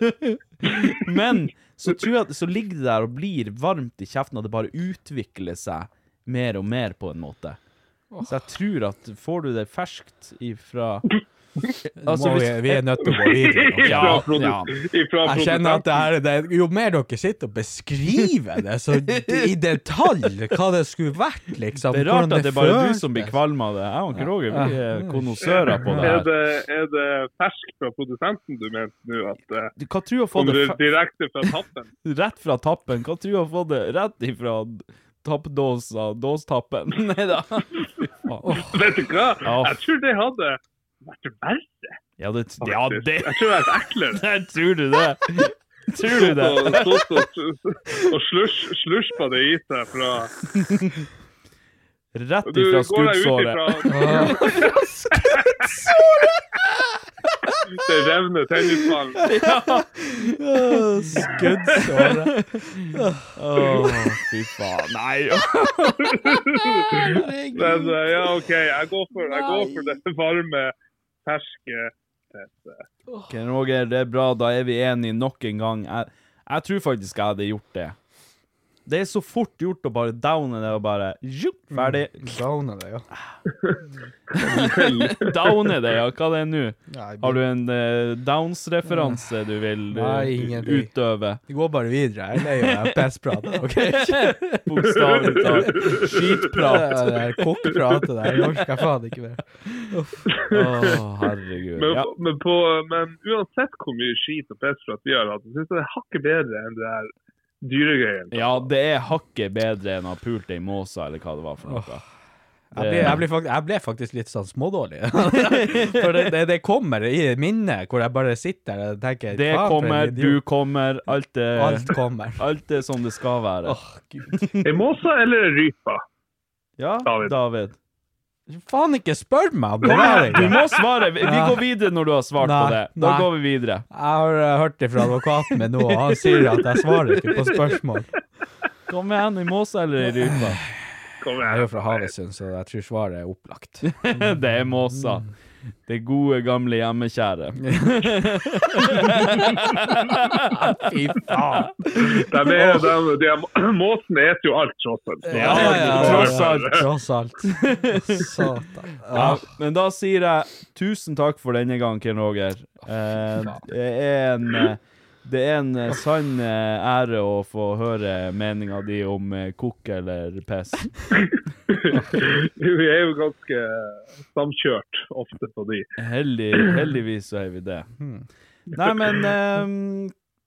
Speaker 2: Men så tror jeg at så ligger det der og blir varmt i kjeften, og det bare utvikler seg mer og mer, på en måte. Så jeg tror at får du det ferskt ifra Altså,
Speaker 3: Må vi,
Speaker 2: hvis-
Speaker 3: vi er nødt til å gå videre. nå.
Speaker 2: Ja,
Speaker 5: Ifra produ-
Speaker 2: ja.
Speaker 5: ifra
Speaker 3: Jeg kjenner at det
Speaker 5: produsenten.
Speaker 3: her er det, Jo mer dere sitter og beskriver det så i detalj hva det skulle vært, liksom
Speaker 2: Det er rart
Speaker 3: hvordan
Speaker 2: at det er bare du
Speaker 3: føltes.
Speaker 2: som blir kvalm av det. Jeg og ikke Roger vi er konnoissører på det
Speaker 5: er
Speaker 2: her.
Speaker 5: det, er det fersk fra produsenten du mente nå? At eh,
Speaker 2: Du, Hva tror du har fått
Speaker 5: kommer
Speaker 2: det
Speaker 5: det direkte fra tappen?
Speaker 2: fe- rett fra tappen? Hva tror du har fått det rett ifra tappdåsa, dåstappen? Nei da.
Speaker 5: Vet du hva?
Speaker 2: Ja.
Speaker 5: Jeg tror det hadde vært verre.
Speaker 2: Ja, det, ja, det
Speaker 5: Jeg tror det hadde vært eklere.
Speaker 2: Der tror du det. Tror du det?
Speaker 5: Og, stått og, og slurs- slurpa det i seg fra
Speaker 2: Rett
Speaker 5: Du
Speaker 2: ifra
Speaker 5: går deg ut
Speaker 2: skuddsåret.
Speaker 5: ifra Det revner tennisballen.
Speaker 2: Ja. Skuddsåret. Å, fy faen. Nei.
Speaker 5: Men eh, ja, OK, jeg går for, jeg går for det varme, ferske testet.
Speaker 2: Ok, Roger, det er bra. Da er vi enige nok en gang. Jeg, jeg tror faktisk jeg hadde gjort det. Det er så fort gjort å bare downe det og bare zjup, ferdig.
Speaker 3: Downe det, ja. Mm.
Speaker 2: downe det, ja. Hva det er nå?
Speaker 3: Nei, det-
Speaker 2: Har du en eh, downs-referanse du vil eh,
Speaker 3: Mm. Nei, ingenting.
Speaker 2: utøve?
Speaker 3: Vi går bare videre. Jeg er lei av pissprat. OK?
Speaker 2: Bokstavelig talt. Skitprat.
Speaker 3: Ja, Det er kokkprat. det der. Jeg orker faen ikke mer.
Speaker 2: Å, herregud.
Speaker 5: Men,
Speaker 2: Ja.
Speaker 5: men, på, men uansett hvor mye skit og piss for at vi har hatt, syns jeg det er hakket bedre enn det der dyregreien.
Speaker 2: ja, det er hakket bedre enn å ha pult ei måse, eller hva det var for noe.
Speaker 3: Jeg
Speaker 2: Eh,
Speaker 3: ble, jeg, ble faktisk, jeg ble faktisk litt sånn smådårlig. For det, det, det kommer i minnet hvor jeg bare sitter og tenker
Speaker 2: Det
Speaker 3: "Faen, for en
Speaker 2: kommer,
Speaker 3: idiot."
Speaker 2: du kommer, alt er
Speaker 3: Alt kommer.
Speaker 2: Alt er som det skal være.
Speaker 5: Er måsa eller rypa?
Speaker 2: Ja,
Speaker 5: David.
Speaker 2: David.
Speaker 3: Faen, ikke spør meg om det der
Speaker 2: Du
Speaker 3: engang!
Speaker 2: må svare. Vi vi
Speaker 3: Ja.
Speaker 2: går videre når du har svart på
Speaker 3: Nei,
Speaker 2: det. Da
Speaker 3: nei.
Speaker 2: går vi videre.
Speaker 3: Jeg har eh, hørt det fra advokaten min nå, og han sier at jeg svarer ikke på spørsmål.
Speaker 2: Kom igjen, i måsa eller i rypa?
Speaker 5: Kom
Speaker 3: Jeg er jo
Speaker 5: igjen.
Speaker 3: fra Havøysund, så jeg tror svaret er opplagt.
Speaker 2: Det er måsa. Det gode, gamle hjemmekjære.
Speaker 3: Fy faen!
Speaker 5: De, er, de, de, er- måsene eter jo alt, tross alt. Så
Speaker 2: Ja,
Speaker 5: det er
Speaker 2: ja,
Speaker 5: ikke
Speaker 2: tross
Speaker 5: bare-
Speaker 2: alt.
Speaker 3: Tross alt. Satan.
Speaker 2: Ja, men da sier jeg tusen takk for denne gang, Ken Roger. Eh, det er en eh, det er en eh, sann eh, ære å få høre meninga di om eh, kokk eller piss.
Speaker 5: Vi er jo ganske samkjørt ofte på de.
Speaker 2: Heldig, heldigvis så er vi det. Nei, men ehm,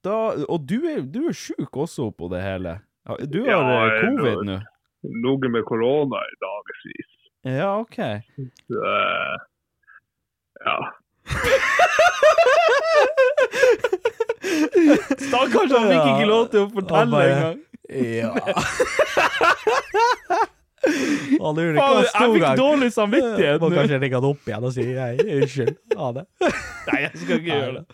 Speaker 2: da Og du er, du er sjuk også oppå det hele. Ja, Du har
Speaker 5: Ja,
Speaker 2: eh,
Speaker 5: jeg-
Speaker 2: covid nå.
Speaker 5: Ligget med korona i dagevis.
Speaker 2: Ja, OK.
Speaker 5: Eh, Ja.
Speaker 2: Stakkars, han fikk ikke lov til å
Speaker 3: Han
Speaker 2: fortelle
Speaker 3: bare-
Speaker 2: engang.
Speaker 3: Ja Han lurer ikke
Speaker 2: Faen,
Speaker 3: hva
Speaker 2: Jeg fikk
Speaker 3: gang Eh,
Speaker 2: dårlig samvittighet
Speaker 3: Må
Speaker 2: nå.
Speaker 3: kanskje ringe han opp igjen og si Hei, unnskyld. Ha det.
Speaker 2: Nei, jeg skal ikke gjøre det.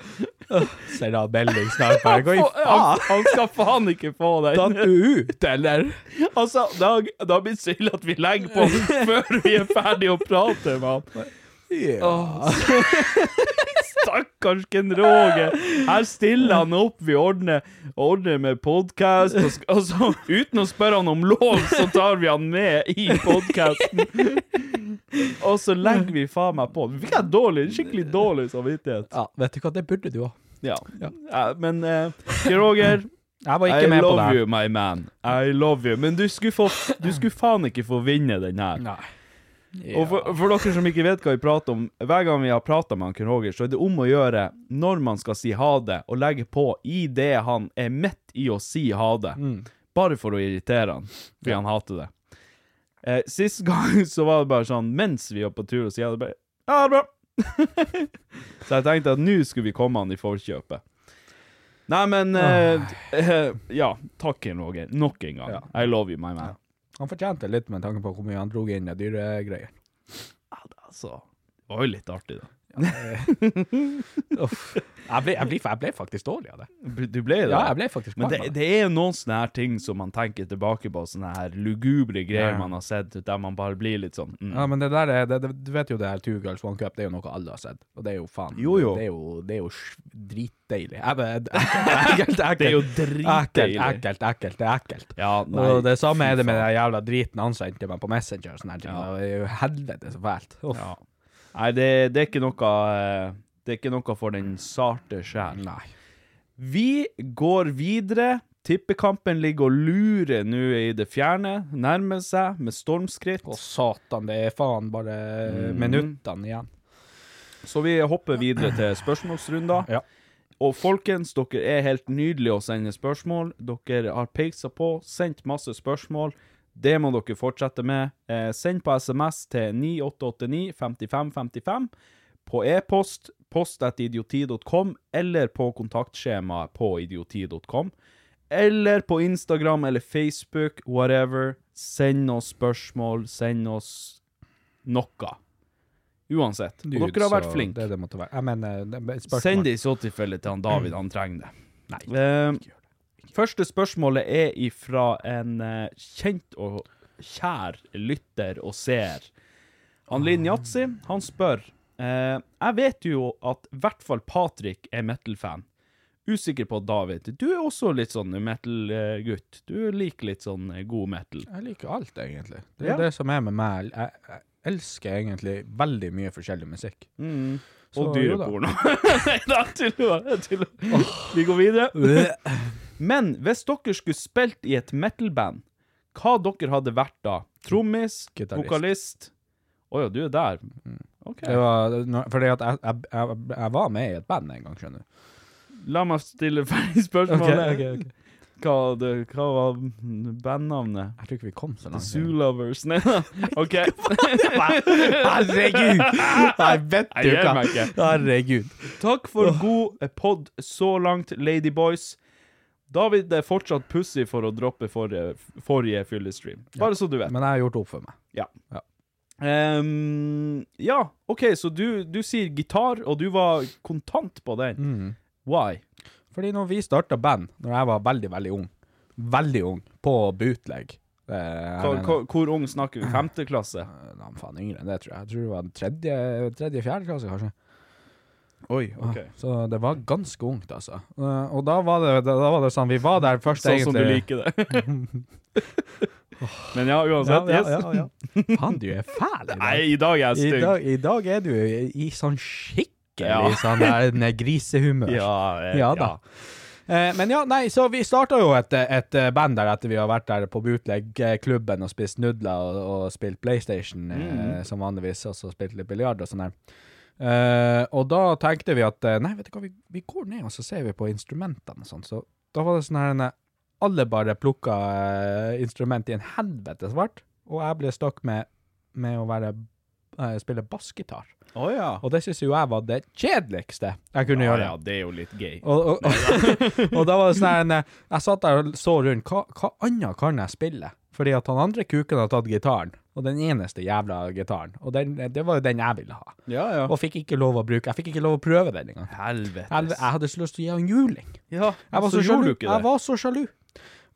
Speaker 3: Send han melding snart. Bare gå i
Speaker 2: Få- Han,
Speaker 3: faen.
Speaker 2: han skal faen ikke få
Speaker 3: Datt
Speaker 2: den.
Speaker 3: du ut, eller?
Speaker 2: Altså, det har- det har blitt synd at vi legger på før vi er ferdig å prate med han.
Speaker 3: Ja.
Speaker 2: Stakkars Ken Roger. Her stiller han opp. Vi ordner, ordner med podkast. Og, sk- og så, uten å spørre han om lov, så tar vi han med i podkasten. Og så legger vi faen meg på. Vi har dårlig, skikkelig dårlig samvittighet.
Speaker 3: ja. Vet du hva, det burde du òg.
Speaker 2: Ja. Ja, men eh, Ken Roger,
Speaker 3: Jeg var
Speaker 2: I
Speaker 3: ikke med på
Speaker 2: love
Speaker 3: det.
Speaker 2: you, my man. I love you. Men du skulle, få, du skulle faen ikke få vinne den her.
Speaker 3: Nei.
Speaker 2: Og for, for dere som ikke vet hva vi prater om, hver gang vi har prata med han Ken Roger, så er det om å gjøre når man skal si ha det, og legge på i det han er midt i å si ha det. Bare for å irritere han, fordi han hater det. Eh, Sist gang så var det bare sånn, mens vi var på tur og si ha det, bare Ja, det er bra! så jeg tenkte at nå skulle vi komme han i forkjøpet. Nei, men eh, eh, Ja, takk, Ken Roger. Nok en gang. I love you, my man.
Speaker 3: Han fortjente litt med tanke på hvor mye han dro inn i dyregreier.
Speaker 2: Altså, det var jo litt artig, da.
Speaker 3: Uff. Jeg ble, jeg, ble, jeg ble faktisk dårlig av det.
Speaker 2: Du ble det?
Speaker 3: Ja, jeg ble faktisk
Speaker 2: Men
Speaker 3: kvalm
Speaker 2: det,
Speaker 3: av det.
Speaker 2: det er noen sånne her ting som man tenker tilbake på, sånne her lugubre greier
Speaker 3: Ja.
Speaker 2: man har sett, der man bare blir litt sånn mm.
Speaker 3: Ja, men det der er, det, det, Du vet jo det her Two Girls One Cup, det er jo noe alle har sett. Og det er jo faen
Speaker 2: Jo, jo.
Speaker 3: Det er jo, det er jo sj- dritdeilig. Jeg vet- Ekkelt, ekkelt. ekkelt.
Speaker 2: Det er jo
Speaker 3: Ekkelt,
Speaker 2: dritdeilig.
Speaker 3: ekkelt, ekkelt. Det er ekkelt.
Speaker 2: Ja, nei,
Speaker 3: og det samme
Speaker 2: fy
Speaker 3: er det med
Speaker 2: faen.
Speaker 3: den jævla driten han sendte meg på Messenger. og Sånne her ting. Det er jo helvete så fælt. Uff.
Speaker 2: Ja. Nei, det, det er ikke noe eh, Det er ikke noe for den sarte sjel.
Speaker 3: Nei.
Speaker 2: Vi går videre. Tippekampen ligger og lurer nå i det fjerne. Nærmer seg med stormskritt.
Speaker 3: Å, satan, det er faen bare
Speaker 2: Mm.
Speaker 3: minuttene igjen.
Speaker 2: Så vi hopper videre til spørsmålsrunder.
Speaker 3: Ja.
Speaker 2: Og folkens, dere er helt nydelige å sende spørsmål. Dere har peisa på, sendt masse spørsmål. Det må dere fortsette med. Eh, send på SMS til 9889 5555. på e-post, post.idioti.com, eller på kontaktskjemaet på idioti.com. Eller på Instagram eller Facebook, whatever. Send oss spørsmål, send oss noe. Uansett. Og
Speaker 3: Dude,
Speaker 2: dere har vært
Speaker 3: så
Speaker 2: flinke.
Speaker 3: Det er det måtte være. Jeg mener, det er et spørsmål.
Speaker 2: Send det i så tilfelle til han David, han trenger det. Eh, første spørsmålet er ifra en eh, kjent og kjær lytter og ser. Han Linn Yatzy, han spør eh, Jeg vet jo at i hvert fall Patrick er metal-fan. Usikker på David. Du er også litt sånn metal-gutt. Du liker litt sånn eh, god metal.
Speaker 3: Jeg liker alt, egentlig. Det er
Speaker 2: Ja.
Speaker 3: det som er med meg. Jeg, jeg elsker egentlig veldig mye forskjellig musikk.
Speaker 2: Mm.
Speaker 3: Så,
Speaker 2: Og
Speaker 3: jo da.
Speaker 2: dyreporno. Nei da, tulla. jeg tuller. Vi går videre. Men hvis dere skulle spilt i et metal-band, hva dere hadde vært da? Trommis?
Speaker 3: Gitarist.
Speaker 2: Vokalist? Å ja, du er der.
Speaker 3: Mm.
Speaker 2: OK.
Speaker 3: Det var, når- fordi at jeg, jeg, jeg, jeg var med i et band en gang, skjønner du.
Speaker 2: La meg stille ferdig spørsmålet.
Speaker 3: Ok, ok, ok.
Speaker 2: Hva, det, hva var bandnavnet?
Speaker 3: Jeg tror ikke vi kom så
Speaker 2: The
Speaker 3: langt.
Speaker 2: Zoo Lovers? Nei da. OK.
Speaker 3: Herregud! Jeg vet
Speaker 2: Jeg
Speaker 3: du
Speaker 2: gir
Speaker 3: hva.
Speaker 2: meg ikke.
Speaker 3: Herregud.
Speaker 2: Takk for god eh, pod så langt, Ladyboys. David er fortsatt pussig for å droppe forrige, forrige fyllestream. Bare så du vet.
Speaker 3: Men jeg har gjort opp for meg.
Speaker 2: Ja.
Speaker 3: Ja.
Speaker 2: Ehm, ja, OK, så du, du sier gitar, og du var kontant på den.
Speaker 3: Mm.
Speaker 2: Why?
Speaker 3: Fordi når vi starta band, når jeg var veldig, veldig ung, veldig ung, på bootleg eh, jeg
Speaker 2: Hva,
Speaker 3: mener-
Speaker 2: hva, hvor ung snakker vi? Femte klasse?
Speaker 3: Eh, Nei, men faen yngre enn det, tror jeg. Jeg tror det var tredje, tredje fjerde klasse, kanskje.
Speaker 2: Oi, OK.
Speaker 3: Så det var ganske ungt, altså. Eh, Og da var det, da, da var det sånn Vi var der først,
Speaker 2: Sånn som du
Speaker 3: egentlig.
Speaker 2: liker det. Men ja, uansett.
Speaker 3: ja,
Speaker 2: yes.
Speaker 3: ja, ja, ja. Faen, du er fæl i dag.
Speaker 2: Nei, i dag er jeg
Speaker 3: I
Speaker 2: stygg.
Speaker 3: dag, I dag er du i i sånn skikkelig
Speaker 2: Ja.
Speaker 3: sånn der ne- grisehumør.
Speaker 2: Ja, eh,
Speaker 3: Ja da. Eh, men ja, nei, så vi starta jo et, et eh, band der etter vi har vært der på bootleg-klubben og spist nudler og, og spilt PlayStation eh,
Speaker 2: Mm.
Speaker 3: som vanligvis, og så spilt litt biljard og sånn der. Eh, og da tenkte vi at eh, nei, vet du hva, vi, vi går ned og så ser vi på instrumentene og sånn. Så da var det sånn her nei, Alle bare plukka eh, instrument i en helvete svart, og jeg ble stakk med, med å være eh, spille bassgitar.
Speaker 2: Å ja.
Speaker 3: Og det syns jo jeg var det kjedeligste jeg kunne
Speaker 2: Ja,
Speaker 3: gjøre.
Speaker 2: ja, det er jo litt gay.
Speaker 3: Og, og, og da var det sånn her en, eh, Jeg satt der og så rundt. Hva, hva annet kan jeg spille? Fordi at han andre kuken har tatt gitaren, og den eneste jævla gitaren. Og den, det var jo den jeg ville ha.
Speaker 2: Ja, ja.
Speaker 3: Og fikk ikke lov å bruke Jeg fikk ikke lov å prøve den engang. Jeg,
Speaker 2: Helvetes.
Speaker 3: jeg hadde så lyst til å gi han juling.
Speaker 2: Ja,
Speaker 3: Jeg var så,
Speaker 2: gjorde
Speaker 3: sjalu.
Speaker 2: du ikke
Speaker 3: Jeg
Speaker 2: det.
Speaker 3: var så sjalu.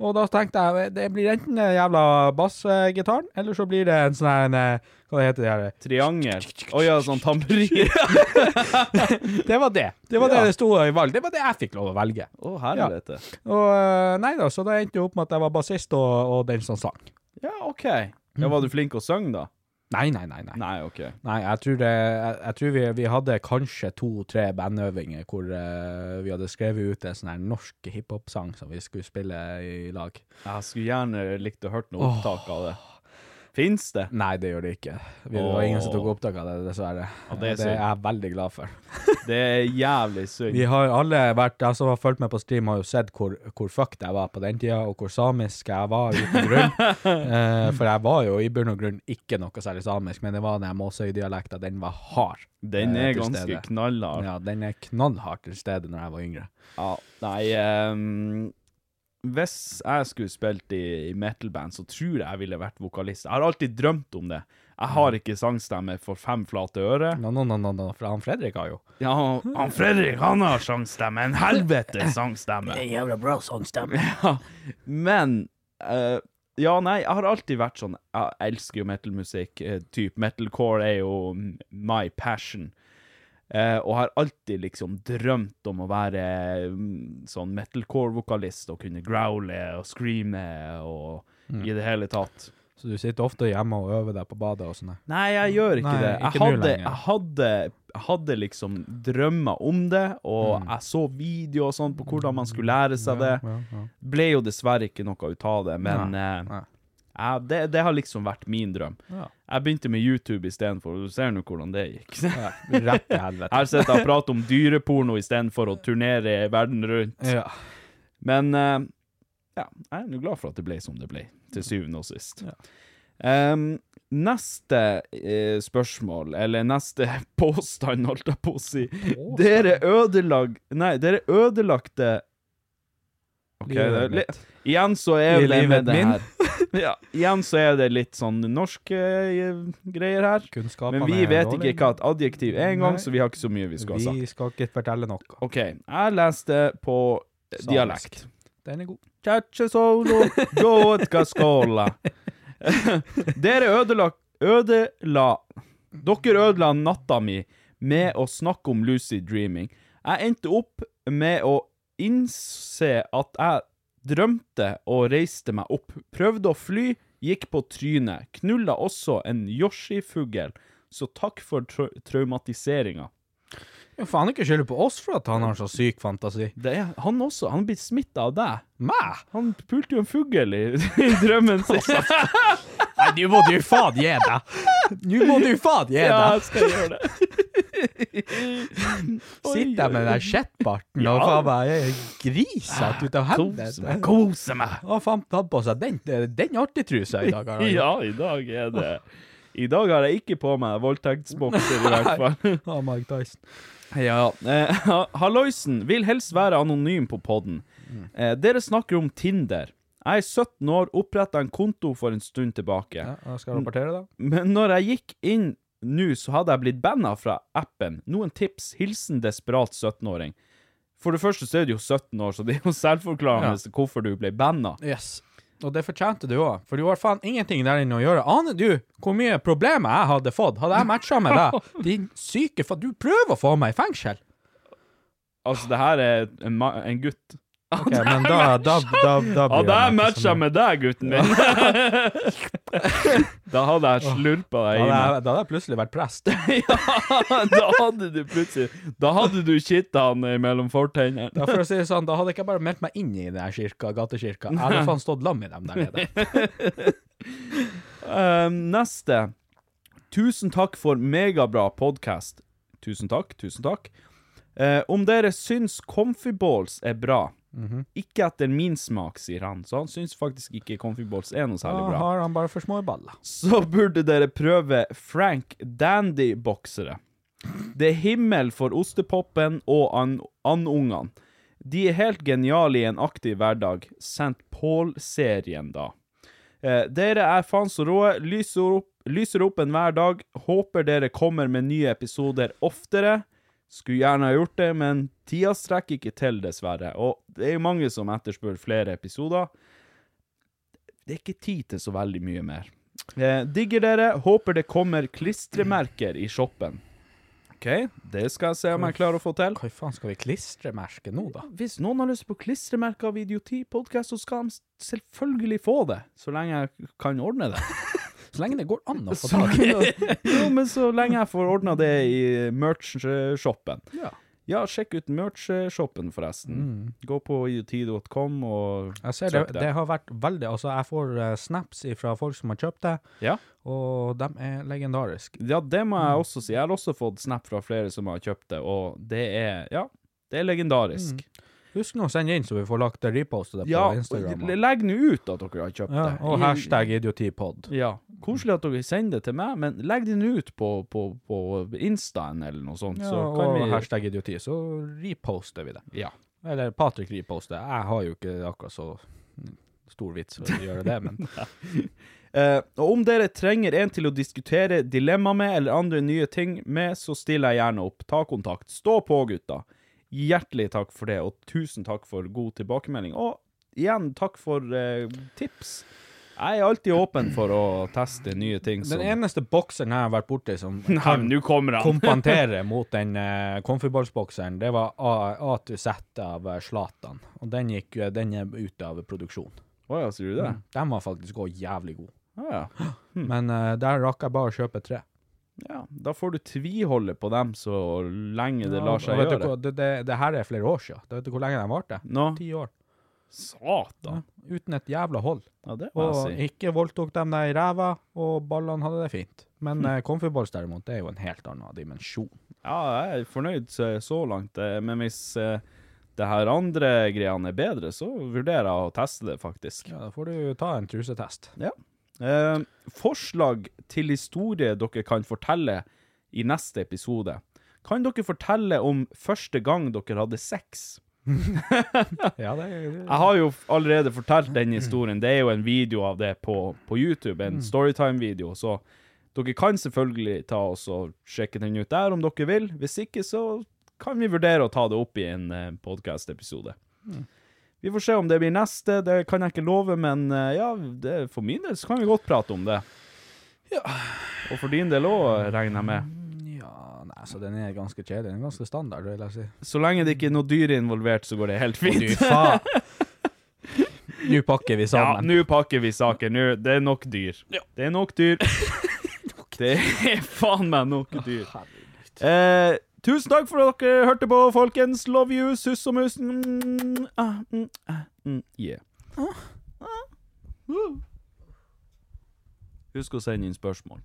Speaker 3: Og da tenkte jeg det blir enten eh, jævla bassgitaren, eller så blir det en sånn her en, eh, Hva heter det her?
Speaker 2: Triangel. Å ja, sånn tamburin. Å,
Speaker 3: Det var det. Det var
Speaker 2: Ja.
Speaker 3: det det sto i valg. Det var det jeg fikk lov å velge.
Speaker 2: helvete.
Speaker 3: Og eh, nei da, så det endte jo opp med at jeg var bassist og, og den som sang.
Speaker 2: Ja. OK. Ja, Var du flink å synge, da?
Speaker 3: Nei, nei, nei. Nei,
Speaker 2: Mm. Nei, OK.
Speaker 3: nei jeg tror, det, jeg, jeg tror vi, vi hadde kanskje to-tre bandøvinger hvor eh, vi hadde skrevet ut en sånn her norsk hiphop-sang som vi skulle spille i lag.
Speaker 2: Jeg skulle gjerne likt å hørt noe opptak av det. Fins det?
Speaker 3: Nei, det gjør det ikke. Vi, Det var ingen som tok opptak av det, dessverre.
Speaker 2: Ja, det er
Speaker 3: det,
Speaker 2: synd.
Speaker 3: er jeg veldig glad for.
Speaker 2: Det er jævlig synd.
Speaker 3: Vi har alle vært, jeg som har fulgt med på stream, har jo sett hvor, hvor fucked jeg var på den tida, og hvor samisk jeg var uten grunn. Eh, for jeg var jo i bunn og grunn ikke noe særlig samisk, men det var den Måsøy-dialekta, den var hard.
Speaker 2: Den
Speaker 3: eh,
Speaker 2: er
Speaker 3: til
Speaker 2: ganske
Speaker 3: stede.
Speaker 2: knallhard.
Speaker 3: Ja, den er knallhard til stede når jeg var yngre.
Speaker 2: Ja, nei ehm, Hvis jeg skulle spilt i, i metal-band, så tror jeg jeg ville vært vokalist. Jeg har alltid drømt om det. Jeg har ikke sangstemme for fem flate øre.
Speaker 3: No, no, no, no, no, for han Fredrik har jo
Speaker 2: Ja, han Fredrik han har sangstemme. En helvetes sangstemme. En jævla bra sangstemme. Ja, men eh, Ja, nei, jeg har alltid vært sånn Jeg elsker jo metalmusikk. eh, typ metalcore er jo m- my passion. Eh, og har alltid liksom drømt om å være mm, sånn metalcore-vokalist og kunne growle og screame og
Speaker 3: Mm.
Speaker 2: i det hele tatt.
Speaker 3: Så du sitter ofte hjemme og øver deg på badet og sånn? der.
Speaker 2: Nei, jeg gjør ikke
Speaker 3: Nei,
Speaker 2: det. Jeg
Speaker 3: ikke nå
Speaker 2: hadde,
Speaker 3: lenger.
Speaker 2: jeg, hadde, jeg hadde liksom drømmer om det,
Speaker 3: Mm.
Speaker 2: og jeg så videoer og sånn på hvordan man skulle lære seg det. Ble jo dessverre ikke noe ut av det, men eh,
Speaker 3: nei.
Speaker 2: jeg- det, det har liksom vært min drøm. Jeg begynte med YouTube istedenfor, og du ser nå hvordan det gikk.
Speaker 3: Rett til helvete.
Speaker 2: Her sitter jeg og prater om dyreporno istedenfor å turnere verden rundt.
Speaker 3: Ja.
Speaker 2: Men eh, ja, jeg er nå glad for at det ble som det ble, til syvende og sist. Ehm, Neste eh, spørsmål, eller neste påstand, holdt jeg på å si Dere ødelag... Nei, dere ødelagte Ok, det
Speaker 3: Livet
Speaker 2: er
Speaker 3: mitt.
Speaker 2: litt Igjen så er
Speaker 3: I
Speaker 2: det
Speaker 3: livet
Speaker 2: med det
Speaker 3: min.
Speaker 2: her ja, Igjen så er det litt sånn norske eh, greier her. Men vi
Speaker 3: er
Speaker 2: vet
Speaker 3: dårlige.
Speaker 2: ikke hva et adjektiv er
Speaker 3: Nei.
Speaker 2: engang, så vi har ikke så mye vi skal ha sagt.
Speaker 3: Vi skal ikke fortelle noe.
Speaker 2: OK. Jeg leste på eh,
Speaker 3: Samisk.
Speaker 2: dialekt.
Speaker 3: Den er god.
Speaker 2: Tjatsje solo, gotka skåla. Dere ødela Ødela Dere ødela natta mi med å snakke om lucid dreaming. Jeg endte opp med å innse at jeg drømte og reiste meg opp. Prøvde å fly, gikk på trynet. Knulla også en Yoshi-fugl. Så takk for tra traumatiseringa.
Speaker 3: Jo, faen ikke skylde på oss for at han har så syk fantasi.
Speaker 2: Det er han også. Han blir smitta av deg.
Speaker 3: Meg?
Speaker 2: Han pulte jo en fugl i, i drømmen sin.
Speaker 3: Nei, nå må du faen gi deg! Nå må du faen gi
Speaker 2: Ja, jeg
Speaker 3: deg!
Speaker 2: skal gjøre det.
Speaker 3: Sitter jeg med den der skjettbarten og faen meg er grisete ut av hendene.
Speaker 2: Kose meg.
Speaker 3: Å, faen, ta på seg den, eh, den artigtrusa i dag. har han.
Speaker 2: Ja, i dag er det I dag har jeg ikke på meg voldtektsbokser, i hvert fall.
Speaker 3: Å, Ah, Mike Tyson.
Speaker 2: Ja. Eh, ha- Halloisen vil helst være anonym på podden.
Speaker 3: Mm.
Speaker 2: Eh, dere snakker om Tinder. Jeg er 17 år, oppretta en konto for en stund tilbake.
Speaker 3: Ja, jeg skal rapportere, da.
Speaker 2: Men når jeg gikk inn nå, så hadde jeg blitt banna fra appen. Noen tips? Hilsen desperat 17-åring. For det første så er du jo 17 år, så det er jo selvforklarende hvorfor du ble banna.
Speaker 3: Yes. Og det fortjente du òg, for du har faen ingenting der inne å gjøre. Aner du hvor mye problemer jeg hadde fått? Hadde jeg matcha med deg? Din syke faen, du prøver å få meg i fengsel!
Speaker 2: Altså, det her er en, ma en gutt.
Speaker 3: Ok, men da, da, da, da
Speaker 2: Ja,
Speaker 3: blir
Speaker 2: det
Speaker 3: jeg
Speaker 2: er
Speaker 3: matchet
Speaker 2: matcha
Speaker 3: som-
Speaker 2: med deg, gutten min. da hadde jeg slurpa
Speaker 3: Da
Speaker 2: deg i meg.
Speaker 3: hadde jeg- da hadde jeg plutselig vært prest.
Speaker 2: Ja, da hadde du plutselig Da hadde du kitta han mellom fortennene.
Speaker 3: Da, for å si det sånn, da hadde jeg ikke bare meldt meg inn i den her kirka, gatekirka. Jeg hadde faen stått lam i dem der nede.
Speaker 2: Eh, neste. Tusen takk for megabra podkast. Tusen takk, tusen takk. Eh, om dere syns Comfy Balls er bra Ikke etter min smak, sier han, så han syns faktisk ikke Comfy Balls er noe særlig
Speaker 3: Da
Speaker 2: bra.
Speaker 3: har han bare for små baller.
Speaker 2: så burde dere prøve Frank Dandy-boksere. Det er himmel for ostepopen og an- andungene. De er helt geniale i en aktiv hverdag. St. Paul-serien, da. Eh, dere er faen så råe. Lyser opp, lyser opp en hver dag. Håper dere kommer med nye episoder oftere. Skulle gjerne ha gjort det, men tida strekker ikke til, dessverre. Og det er jo mange som etterspør flere episoder. Det er ikke tid til så veldig mye mer. Eh, digger dere. Håper det kommer klistremerker i shoppen. OK, det skal jeg se om jeg klarer å få til.
Speaker 3: Hva i faen skal vi klistre merket nå, da?
Speaker 2: Hvis noen har lyst på klistremerker av Idioti-podkast, så skal de selvfølgelig få det. Så lenge jeg kan ordne det.
Speaker 3: Så lenge det går an å
Speaker 2: Så,
Speaker 3: få tak i det.
Speaker 2: jo, men så lenge jeg får ordna det i merch-shoppen.
Speaker 3: Ja. Mm.
Speaker 2: Ja, sjekk ut merch-shoppen, forresten. Gå på idioti.com og
Speaker 3: Jeg ser
Speaker 2: søk
Speaker 3: det, det har vært veldig Altså, jeg får eh, snaps fra folk som har kjøpt det.
Speaker 2: Ja.
Speaker 3: Og de er legendariske.
Speaker 2: Ja, det må
Speaker 3: Mm.
Speaker 2: jeg også si. Jeg har også fått snap fra flere som har kjøpt det, og det er Ja, det er legendarisk.
Speaker 3: Husk nå å sende inn, så vi får lagt det repostet Mm. det på
Speaker 2: Ja,
Speaker 3: Instagram.
Speaker 2: le- legg nå ut at dere har kjøpt
Speaker 3: Ja,
Speaker 2: det.
Speaker 3: og
Speaker 2: I-
Speaker 3: hashtag idiotipod.
Speaker 2: Ja. Koselig at dere sender det til meg, men legg det nå ut på, på, på Instaen eller noe sånt,
Speaker 3: Ja,
Speaker 2: så kan
Speaker 3: og
Speaker 2: vi
Speaker 3: hashtag idioti, så reposter vi det.
Speaker 2: Ja.
Speaker 3: Eller Patrick reposter. Jeg har jo ikke akkurat så stor vits for å gjøre det, men
Speaker 2: Eh, og om dere trenger en til å diskutere dilemma med eller andre nye ting med, så stiller jeg gjerne opp. Ta kontakt. Stå på, gutta. Hjertelig takk for det, og tusen takk for god tilbakemelding. Og igjen, takk for eh, tips. Jeg er alltid åpen for å teste nye ting som
Speaker 3: Den eneste bokseren jeg har vært borti som
Speaker 2: sånn. Nei, men nå kommer han!
Speaker 3: kompantere mot den uh, konfiballsbokseren, det var A, A to Z av eh, Zlatan. Og den gikk eh, den er ut av produksjon.
Speaker 2: Å ja, Hm. sier du det?
Speaker 3: Den var faktisk òg jævlig god.
Speaker 2: Å ja.
Speaker 3: Men eh, der rakk jeg bare å kjøpe tre.
Speaker 2: ja. Da får du tviholde på dem så lenge det lar
Speaker 3: Og
Speaker 2: seg
Speaker 3: vet du
Speaker 2: gjøre.
Speaker 3: hva, det, det, det her er flere år siden. Da Vet du hvor lenge den varte?
Speaker 2: Nå?
Speaker 3: Ti år.
Speaker 2: Satan!
Speaker 3: Uten et jævla hold.
Speaker 2: Ja, det må
Speaker 3: Og
Speaker 2: jeg si.
Speaker 3: ikke voldtok de deg i ræva, og ballene hadde det fint. Men eh, konfiballs derimot, det er jo en helt annen dimensjon.
Speaker 2: Ja, jeg er fornøyd så- så langt, eh, men hvis eh, det her andre greiene er bedre, så vurderer jeg å teste det, faktisk.
Speaker 3: Ja, da får du ta en trusetest.
Speaker 2: Ja. Eh, forslag til historie dere kan fortelle i neste episode. Kan dere fortelle om første gang dere hadde sex?
Speaker 3: Ja, det er
Speaker 2: Jeg har jo allerede fortalt den historien. Det er jo en video av det på, på YouTube, en
Speaker 3: Mm.
Speaker 2: Storytime-video. Så dere kan selvfølgelig ta oss og sjekke den ut der om dere vil. Hvis ikke, så kan vi vurdere å ta det opp i en eh, podcast-episode.
Speaker 3: Mm.
Speaker 2: Vi får se om det blir neste. Det kan jeg ikke love, men eh, ja, det, for min del så kan vi godt prate om det. Og for din del òg, regner jeg med.
Speaker 3: Ja, nei, så den er ganske kjedelig. Den er ganske standard, vil jeg si.
Speaker 2: Så lenge det ikke er noe dyr involvert, så går det helt fint.
Speaker 3: du faen. Nå pakker vi
Speaker 2: Ja,
Speaker 3: sammen.
Speaker 2: nå pakker vi saken. Nå, det er nok dyr. Det er nok dyr. det er faen meg nok dyr. Eh, tusen takk for at dere hørte på, folkens. Love you, suss og mus. Mm, ah, mm, ah, mm, yeah. Husk å sende inn spørsmål.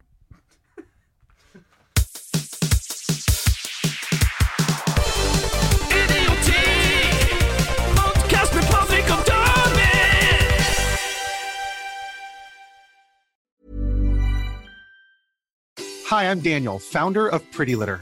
Speaker 9: Hi, I'm Daniel, founder of Pretty Litter.